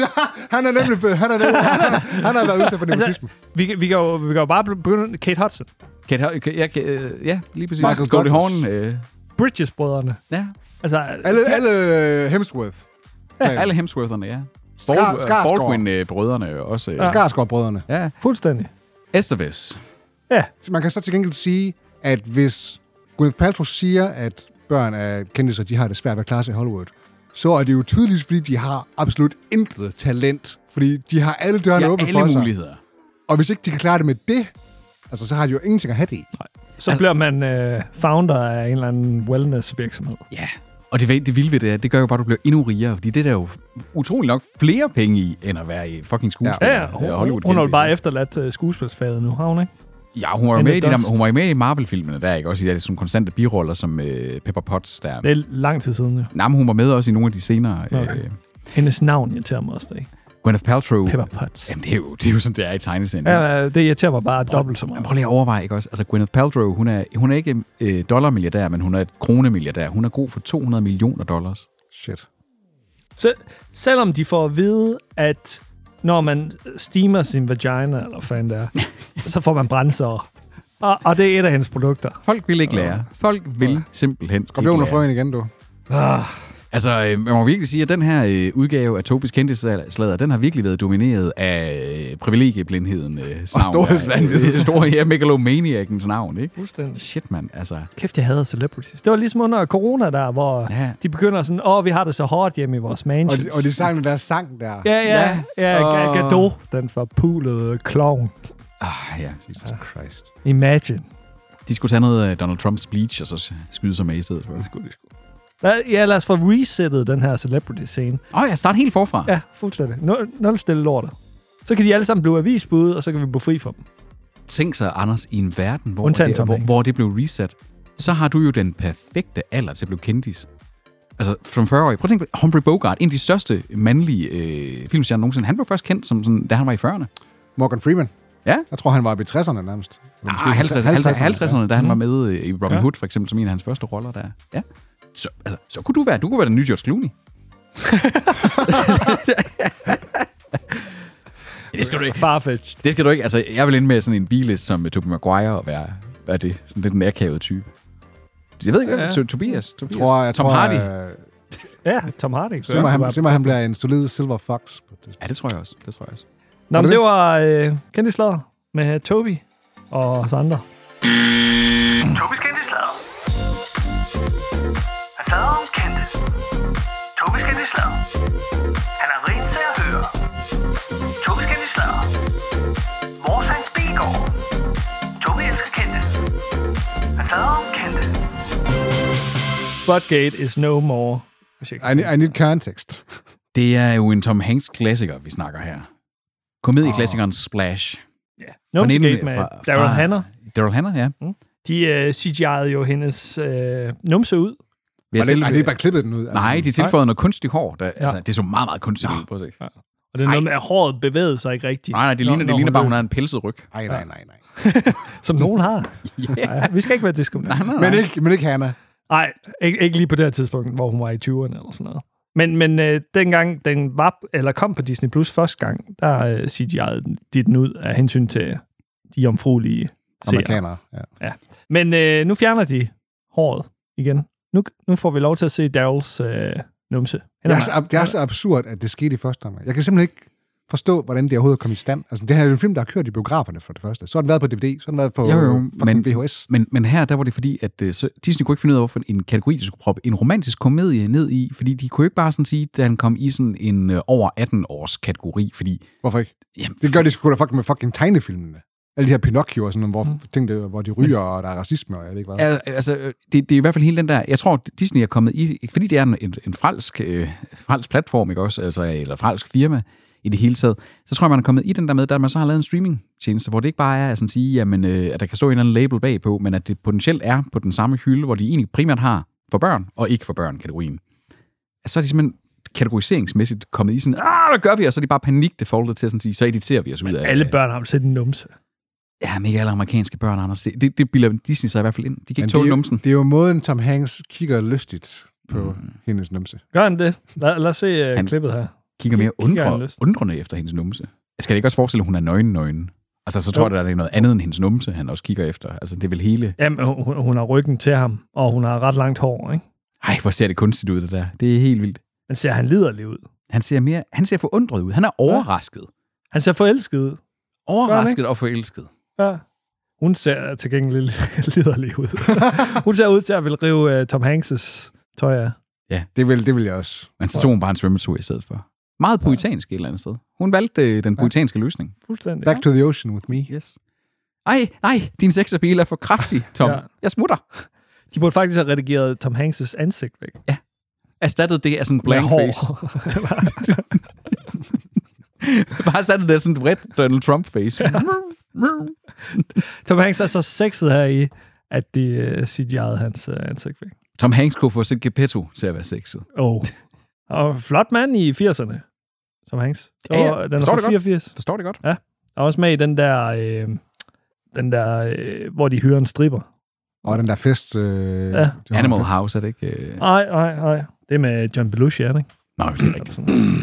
Speaker 3: han er nemlig fed. Han, er nemlig, han, har- han har været udsat
Speaker 2: [laughs]
Speaker 3: for
Speaker 2: Altså-
Speaker 3: nepotisme.
Speaker 1: vi, kan- vi, kan jo, vi kan jo bare begynde... Kate Hudson.
Speaker 2: Kan jeg- kan jeg- kan- øh, Ja, lige præcis.
Speaker 3: Michael
Speaker 2: Goldie
Speaker 3: Douglas.
Speaker 2: Hawn. Øh,
Speaker 1: Bridges-brødrene.
Speaker 2: ja,
Speaker 1: Altså,
Speaker 3: Alle, alle øh, Hemsworth.
Speaker 2: Ja. Alle Hemswortherne, ja.
Speaker 3: Skar-
Speaker 2: Bal-
Speaker 3: Skarsgård.
Speaker 2: Baldwin-brødrene også. Ja.
Speaker 3: Skarsgård-brødrene.
Speaker 2: ja.
Speaker 1: fuldstændig.
Speaker 2: Esteves.
Speaker 3: Man kan så til gengæld sige, at hvis Gwyneth Paltrow siger, at børn er kendte sig, de har det svært ved at klare sig i Hollywood, så er det jo tydeligvis, fordi de har absolut intet talent. Fordi de har alle
Speaker 2: De
Speaker 3: dørene
Speaker 2: har
Speaker 3: åbne
Speaker 2: alle
Speaker 3: for sig.
Speaker 2: muligheder.
Speaker 3: Og hvis ikke de kan klare det med det, altså, så har de jo ingenting at have det i.
Speaker 1: Så bliver man øh, founder af en eller anden wellness-virksomhed.
Speaker 2: Ja. Og det, ved- det vilde ved det er, det gør jo bare, at du bliver endnu rigere, fordi det er der jo utrolig nok flere penge i, end at være i fucking skuespiller.
Speaker 1: Ja, ja.
Speaker 2: og ligesom.
Speaker 1: Hun, hun har jo bare efterladt øh, skuespilsfaget nu, har hun ikke?
Speaker 2: Ja, hun var,
Speaker 1: In
Speaker 2: med
Speaker 1: the
Speaker 2: i de der,
Speaker 1: dust.
Speaker 2: hun var med i Marvel-filmene der, ikke? Også i de der sådan konstante biroller som øh, Pepper Potts der.
Speaker 1: Det er lang tid siden, ja.
Speaker 2: Nej, men hun var med også i nogle af de senere.
Speaker 1: Okay.
Speaker 2: Øh,
Speaker 1: Hendes navn irriterer mig også, ikke?
Speaker 2: Gwyneth Paltrow.
Speaker 1: Pepper Potts.
Speaker 2: Jamen, det er, jo, det er jo sådan, det er i tegneserien. ikke?
Speaker 1: Ja, det irriterer mig bare dobbelt så
Speaker 2: Men
Speaker 1: meget.
Speaker 2: prøv lige at overveje, ikke også? Altså, Gwyneth Paltrow, hun er, hun er ikke øh, dollarmilliardær, men hun er et kronemilliardær. Hun er god for 200 millioner dollars.
Speaker 3: Shit.
Speaker 1: Sel- selvom de får at vide, at når man steamer sin vagina, eller hvad fanden det er,
Speaker 2: [laughs]
Speaker 1: så får man brændsår. Og, og det er et af hendes produkter.
Speaker 2: Folk vil ikke lære. Folk vil simpelthen
Speaker 3: Skorpion og
Speaker 2: ikke lære.
Speaker 3: frøen igen, du.
Speaker 1: Ah,
Speaker 2: Altså, øh, man må virkelig sige, at den her øh, udgave af Tobis kendtidsslader, den har virkelig været domineret af øh, privilegieblindheden. Øh, og [laughs]
Speaker 3: storhedsvanvid.
Speaker 2: Store, ja, megalomaniakens navn, ikke?
Speaker 1: fuldstændig.
Speaker 2: Shit, mand. Altså,
Speaker 1: Kæft, jeg hader celebrities. Det var ligesom under corona der, hvor
Speaker 2: Ja.
Speaker 1: ja. de begynder sådan, åh, oh, vi har det så hårdt hjemme i vores
Speaker 3: Og
Speaker 1: mansions.
Speaker 3: de, og de sang den der sang der.
Speaker 1: Ja, ja,
Speaker 2: Ja,
Speaker 1: ja. ja
Speaker 2: og-
Speaker 1: og... Gadot, den forpulede klovn.
Speaker 2: ah, ja.
Speaker 3: Jesus Christ.
Speaker 1: Imagine.
Speaker 2: De skulle tage noget af Donald Trumps bleach, og så skyde sig med i stedet for.
Speaker 1: skulle de sgu. Lad- Ja, lad os få resettet den her celebrity-scene.
Speaker 2: Åh oh, ja, start helt forfra.
Speaker 1: Ja, fuldstændig. Nul, nul stille lortet. Så kan de alle sammen blive avisbud, og så kan vi blive fri for dem.
Speaker 2: Tænk sig, Anders, i en verden, hvor,
Speaker 1: Undtagen
Speaker 2: det,
Speaker 1: Tom
Speaker 2: hvor,
Speaker 1: Hanks.
Speaker 2: hvor det blev reset, så har du jo den perfekte alder til at blive kendis. Altså, som 40 år. Prøv at tænke på Humphrey Bogart, en af de største mandlige øh, filmstjerner nogensinde. Han blev først kendt, som sådan, da han var i 40'erne.
Speaker 3: Morgan Freeman.
Speaker 2: Ja.
Speaker 3: Jeg tror, han var i 60'erne nærmest.
Speaker 2: Ah, 50'erne, 50'erne, 50'erne, da han var med øh, i Robin
Speaker 1: Mhm. Ja.
Speaker 2: Hood, for eksempel, som en af hans første roller der. Ja. Så, altså, så kunne du være, du kunne være den nye George
Speaker 1: [laughs]
Speaker 2: Clooney. det skal du ikke.
Speaker 1: Farfetched.
Speaker 2: Det skal du ikke. Altså, jeg vil ind med sådan en billist som uh, Tobey Maguire og være, hvad er det, sådan lidt en akavede type. Jeg ved ikke, hvad
Speaker 1: Ja.
Speaker 2: ja. Tobias, Tobias.
Speaker 3: Jeg tror, jeg
Speaker 2: Tom
Speaker 3: tror,
Speaker 2: Hardy.
Speaker 3: øh,
Speaker 1: Ja, Tom Hardy.
Speaker 3: Simmer, han, Simmer, han bliver en solid silver fox. på det.
Speaker 2: Ja, det tror jeg også. Det tror jeg også.
Speaker 1: Nå,
Speaker 3: Var
Speaker 1: men
Speaker 3: det
Speaker 1: det var øh, kendte slaget med øh, Toby og os andre.
Speaker 4: Tobis kendte slader. Han slader om kendte. Tobis kendte slader. Han er rent til at høre. Tobis kendte slader. Vores hans bilgård. Tobi elsker kendte. Han slader om kendte.
Speaker 1: Spotgate is no more. Hvis jeg kan
Speaker 3: I,
Speaker 1: sige
Speaker 3: need- I need context.
Speaker 2: Det er jo en Tom Hanks klassiker, vi snakker her. Komedieklassikeren Splash.
Speaker 1: det. Nose
Speaker 2: Fra
Speaker 1: Gate
Speaker 2: nitten-
Speaker 1: med
Speaker 2: fra-
Speaker 1: Daryl
Speaker 2: fra-
Speaker 1: Hannah.
Speaker 2: Daryl Hannah, ja.
Speaker 1: De øh, CGI'ede jo hendes øh, numse ud.
Speaker 2: Vi
Speaker 3: Var
Speaker 2: har
Speaker 3: det,
Speaker 2: til-
Speaker 3: er det ikke bare klippet den ud? altså.
Speaker 2: Nej, de tilføjede noget kunstigt hår. Der, ja.
Speaker 1: Ja.
Speaker 2: altså, det så meget, meget kunstigt ud. Prøv at se.
Speaker 1: Og det er
Speaker 2: Ej.
Speaker 1: noget med, at håret bevægede sig ikke rigtigt.
Speaker 2: Nej, nej, det
Speaker 1: når-
Speaker 2: ligner, det
Speaker 1: når
Speaker 2: ligner bare, hun
Speaker 1: løb.
Speaker 2: har en pelset ryg.
Speaker 3: Nej, nej, nej, nej.
Speaker 1: Som nogen
Speaker 2: [laughs]
Speaker 1: har.
Speaker 2: Yeah.
Speaker 1: Ja, vi skal ikke være diskriminerende.
Speaker 3: Men ikke, men ikke Hanna.
Speaker 1: Nej, ikke, ikke lige på det her tidspunkt, hvor hun var i 20'erne eller sådan noget. Men, men øh, dengang den var, eller kom på Disney Plus første gang, der øh, CGI'ede de den ud af hensyn til de omfruelige seere.
Speaker 3: Amerikanere. Ja.
Speaker 1: Men øh, nu fjerner de håret igen. Nu, nu får vi lov til at se Daryls øh, numse. Han
Speaker 3: Det,
Speaker 1: er
Speaker 3: er så, ab- det er så absurd, at det skete i første omgang. Jeg kan simpelthen ikke forstå, hvordan det overhovedet kom i stand. Altså, det her er jo en film, der har kørt i biograferne for det første. Så har den været på DVD, så har den været på øh,
Speaker 2: Jo, jo,
Speaker 3: men,
Speaker 2: men-
Speaker 3: VHS.
Speaker 2: Men, men her, der var det fordi, at øh, så, Disney kunne ikke finde ud af, hvorfor en kategori, de skulle proppe en romantisk komedie ned i, fordi de kunne ikke bare sådan sige, at han kom i sådan en øh, over 18-års kategori, fordi...
Speaker 3: Hvorfor ikke?
Speaker 2: Jamen,
Speaker 3: Det gør de sgu da fucking med fucking tegnefilmene. Alle de her Pinocchio og sådan noget, hvor, mm. ting, der, hvor de ryger, og der er racisme, og jeg ved ikke hvad.
Speaker 2: al- altså, øh, det, det er i hvert fald hele den der... Jeg tror, Disney er kommet i... ikke Fordi det er en, en, en fransk, øh, fransk platform, ikke også? Altså, eller fransk firma i det hele taget, så tror jeg, man er kommet i den der med, at man så har lavet en streamingtjeneste, hvor det ikke bare er at sådan sige, jamen, øh, at der kan stå en eller anden label bagpå, men at det potentielt er på den samme hylde, hvor de egentlig primært har for børn og ikke for børn-kategorien. så er de simpelthen kategoriseringsmæssigt kommet i sådan, ah, hvad gør vi? Og så er de bare panik defaultet til at sådan sige, så editerer vi os ud af øh,
Speaker 1: Alle børn har jo set en numse.
Speaker 2: Ja, men ikke alle amerikanske børn, Anders. Det, det, det bilder Disney sig i hvert fald ind. De kan ikke tåle
Speaker 3: det, er jo,
Speaker 2: numsen.
Speaker 3: det er jo måden, Tom Hanks kigger lystigt på mm. hendes numse.
Speaker 1: Gør han det? Lad, lad os se øh,
Speaker 2: Han-
Speaker 1: klippet her.
Speaker 2: kigger mere
Speaker 1: Kigger han
Speaker 2: undre,
Speaker 1: lyst.
Speaker 2: undrende efter hendes numse. Skal det ikke også forestille, at hun er nøgen nøgen? Altså, så tror jeg, at det er noget andet end hendes numse, han også kigger efter. Altså, det er vel hele...
Speaker 1: Jamen, hun, hun har ryggen til ham, og hun har ret langt hår, ikke?
Speaker 2: Ej, hvor ser det kunstigt ud, det der. Det er helt vildt.
Speaker 1: Men ser han liderlig ud.
Speaker 2: Han ser, mere, han ser forundret ud. Han er overrasket.
Speaker 1: Han ser forelsket ud.
Speaker 2: Overrasket og forelsket.
Speaker 1: Ja. Hun ser til gengæld lidt [laughs] liderlig ud. hun ser ud til at ville rive uh, Tom Hanks' tøj af.
Speaker 3: Det vil, det vil jeg også.
Speaker 2: Men så tog hun bare en svømmetur i stedet for. Meget poetansk et eller andet sted. Hun valgte øh, den poetanske løsning.
Speaker 1: Fuldstændig.
Speaker 3: Back to the ocean with me.
Speaker 2: Yes. Ej, nej, din sexappeal er for
Speaker 1: [laughs]
Speaker 2: kraftig, Tom.
Speaker 1: Ja.
Speaker 2: Jeg smutter.
Speaker 1: De burde faktisk have redigeret Tom Hanks' ansigt væk.
Speaker 2: Erstattet det af sådan en blank
Speaker 1: hår.
Speaker 2: face. [laughs] Bare erstattet det af sådan et vredt Donald Trump-face.
Speaker 1: [laughs]
Speaker 2: [laughs]
Speaker 1: Tom Hanks er så sexet her i, at det uh, CGI'ede hans uh, ansigt væk.
Speaker 2: Tom Hanks kunne få sit Gepetto til at være sexet.
Speaker 1: Oh. Og flot mand i 80'erne, Tom Hanks.
Speaker 2: Ja, ja.
Speaker 1: Og Den er
Speaker 2: Forstår det
Speaker 1: fra
Speaker 2: godt.
Speaker 1: 84.
Speaker 2: Forstår det godt?
Speaker 1: Og også med i den der, øh, den der øh, hvor de hyrer en stripper.
Speaker 3: Og den der fest... Øh,
Speaker 1: Ja.
Speaker 3: de
Speaker 2: Animal
Speaker 3: holder-
Speaker 2: House, er det ikke? øh?
Speaker 1: Nej, nej, nej. Det er med John Belushi, er det ikke?
Speaker 2: Nå, det er
Speaker 1: Eller
Speaker 2: rigtigt.
Speaker 1: sådan noget.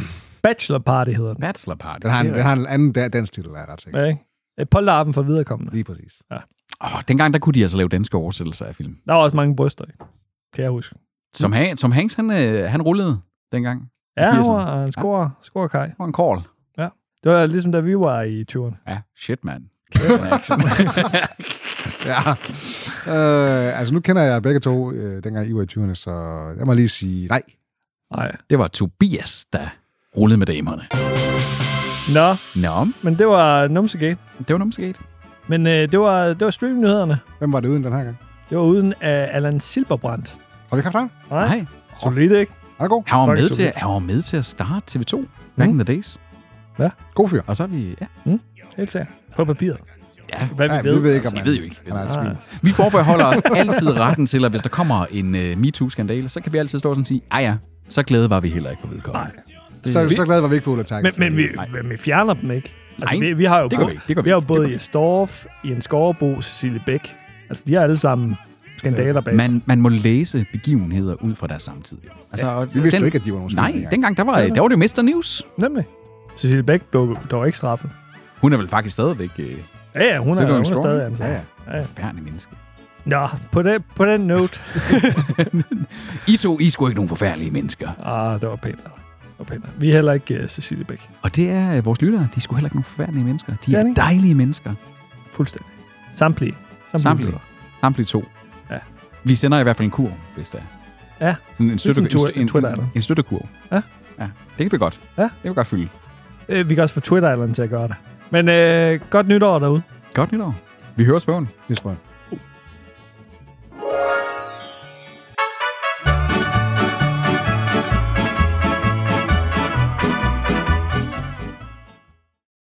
Speaker 1: Bachelor Party hedder den.
Speaker 2: Bachelor Party.
Speaker 3: Den har, en,
Speaker 2: Det er
Speaker 3: den har en anden da- dansk titel, er jeg ret sikker.
Speaker 1: Ja, ikke? Et polterappen for viderekommende.
Speaker 3: Lige præcis.
Speaker 2: rigtigt. Åh, dengang der kunne de altså lave danske oversættelser af film.
Speaker 1: Der var også mange bryster, ikke? kan jeg huske.
Speaker 2: Som, ha- som Hanks, han, øh, han rullede dengang.
Speaker 1: Ja, han
Speaker 2: 80'erne.
Speaker 1: var en score, scorekaj.
Speaker 2: Det var en call.
Speaker 1: Det var ligesom, da vi var i 20'erne.
Speaker 2: Ja, shit, mand. [laughs]
Speaker 3: Ja. Øh, altså, nu kender jeg begge to, øh, dengang I var i 20'erne, så jeg må lige sige nej.
Speaker 1: Nej.
Speaker 2: det var Tobias, der rullede med damerne.
Speaker 1: Nå,
Speaker 2: Nå,
Speaker 1: men det var Numsegate.
Speaker 2: det var nummer sket.
Speaker 1: Men øh, det var, det var streamnyhederne.
Speaker 3: Hvem var det uden den her gang?
Speaker 1: Det var uden af Allan Silberbrandt.
Speaker 3: Har vi haft ham?
Speaker 1: Nej.
Speaker 2: Nej,
Speaker 1: Solid, ikke?
Speaker 3: Er det god?
Speaker 2: han var,
Speaker 1: Fuck,
Speaker 2: med
Speaker 1: så
Speaker 2: til,
Speaker 1: vildt.
Speaker 2: han var med til at starte TV2 back in the days.
Speaker 3: God fyr.
Speaker 2: Og så er vi... Ja,
Speaker 1: Helt sikkert. På papiret.
Speaker 2: ja.
Speaker 1: Hvad vi
Speaker 3: Ja,
Speaker 1: ved.
Speaker 3: vi ved ikke,
Speaker 2: altså,
Speaker 3: om
Speaker 2: vi
Speaker 3: han-
Speaker 2: ved jo ikke.
Speaker 3: Han er et
Speaker 1: Nej.
Speaker 3: svin.
Speaker 2: Vi forbeholder os altid retten til, at hvis der kommer en uh, MeToo-skandale, så kan vi altid stå sådan og sige, ej ja, så glade var vi heller ikke for vedkommende. Nej,
Speaker 3: Så, så glad var vi ikke for Ulla Tank.
Speaker 1: Men, men, vi, men vi fjerner dem ikke. Altså,
Speaker 2: Nej,
Speaker 1: vi, vi har jo
Speaker 2: det gør
Speaker 1: både,
Speaker 2: vi ikke, det gør vi
Speaker 1: vi har jo
Speaker 2: ikke, det
Speaker 1: både
Speaker 2: gør vi
Speaker 1: Jes Dorf, Jens Skovbo, Cecilie Bæk. Altså, de har alle sammen skandaler bag.
Speaker 2: Man, man må læse begivenheder ud fra deres samtid. Altså, ja,
Speaker 3: Vi vidste jo ikke, at de var nogen
Speaker 2: Nej,
Speaker 3: dengang.
Speaker 2: dengang der var, der var det Mr. News.
Speaker 1: Nemlig. Cecilie Bæk blev dog ikke straffet.
Speaker 2: Hun er vel faktisk stadigvæk øh,
Speaker 1: Ja, ja, hun
Speaker 2: Så
Speaker 1: er,
Speaker 2: går hun
Speaker 1: hun er
Speaker 2: score,
Speaker 1: stadig
Speaker 2: ikke?
Speaker 1: ansat.
Speaker 3: Ja, ja.
Speaker 2: forfærdelig menneske.
Speaker 1: Nå, på den, på den note.
Speaker 2: I to, I er sgu ikke nogen forfærdelige mennesker.
Speaker 1: Ah, det var pænt. af dig. Det var pænt. af dig. Vi er heller ikke uh, Cecilie Bæk.
Speaker 2: Og det er øh, vores lyttere. De er sgu heller ikke nogen forfærdelige mennesker. De
Speaker 1: Det er
Speaker 2: er
Speaker 1: det ikke.
Speaker 2: dejlige mennesker.
Speaker 1: Fuldstændig. Samtlige.
Speaker 2: Samtlige.
Speaker 1: lyttere.
Speaker 2: Samtlige to.
Speaker 1: Ja.
Speaker 2: Vi sender i hvert fald en kur, hvis der er.
Speaker 1: Ja,
Speaker 2: Sådan en, støtte,
Speaker 1: Ligesom
Speaker 2: en,
Speaker 1: Twitter-
Speaker 2: en,
Speaker 1: Twitter er
Speaker 2: en,
Speaker 1: der.
Speaker 2: en støttekurv.
Speaker 1: Ja.
Speaker 2: ja. Det kan vi godt.
Speaker 1: Ja.
Speaker 2: Det kan vi godt fylde.
Speaker 1: Øh, vi kan også få Twitter-alderen til at gøre det. Men øh, godt nytår derude.
Speaker 2: Godt nytår. Vi hører spørgen.
Speaker 3: Det tror jeg.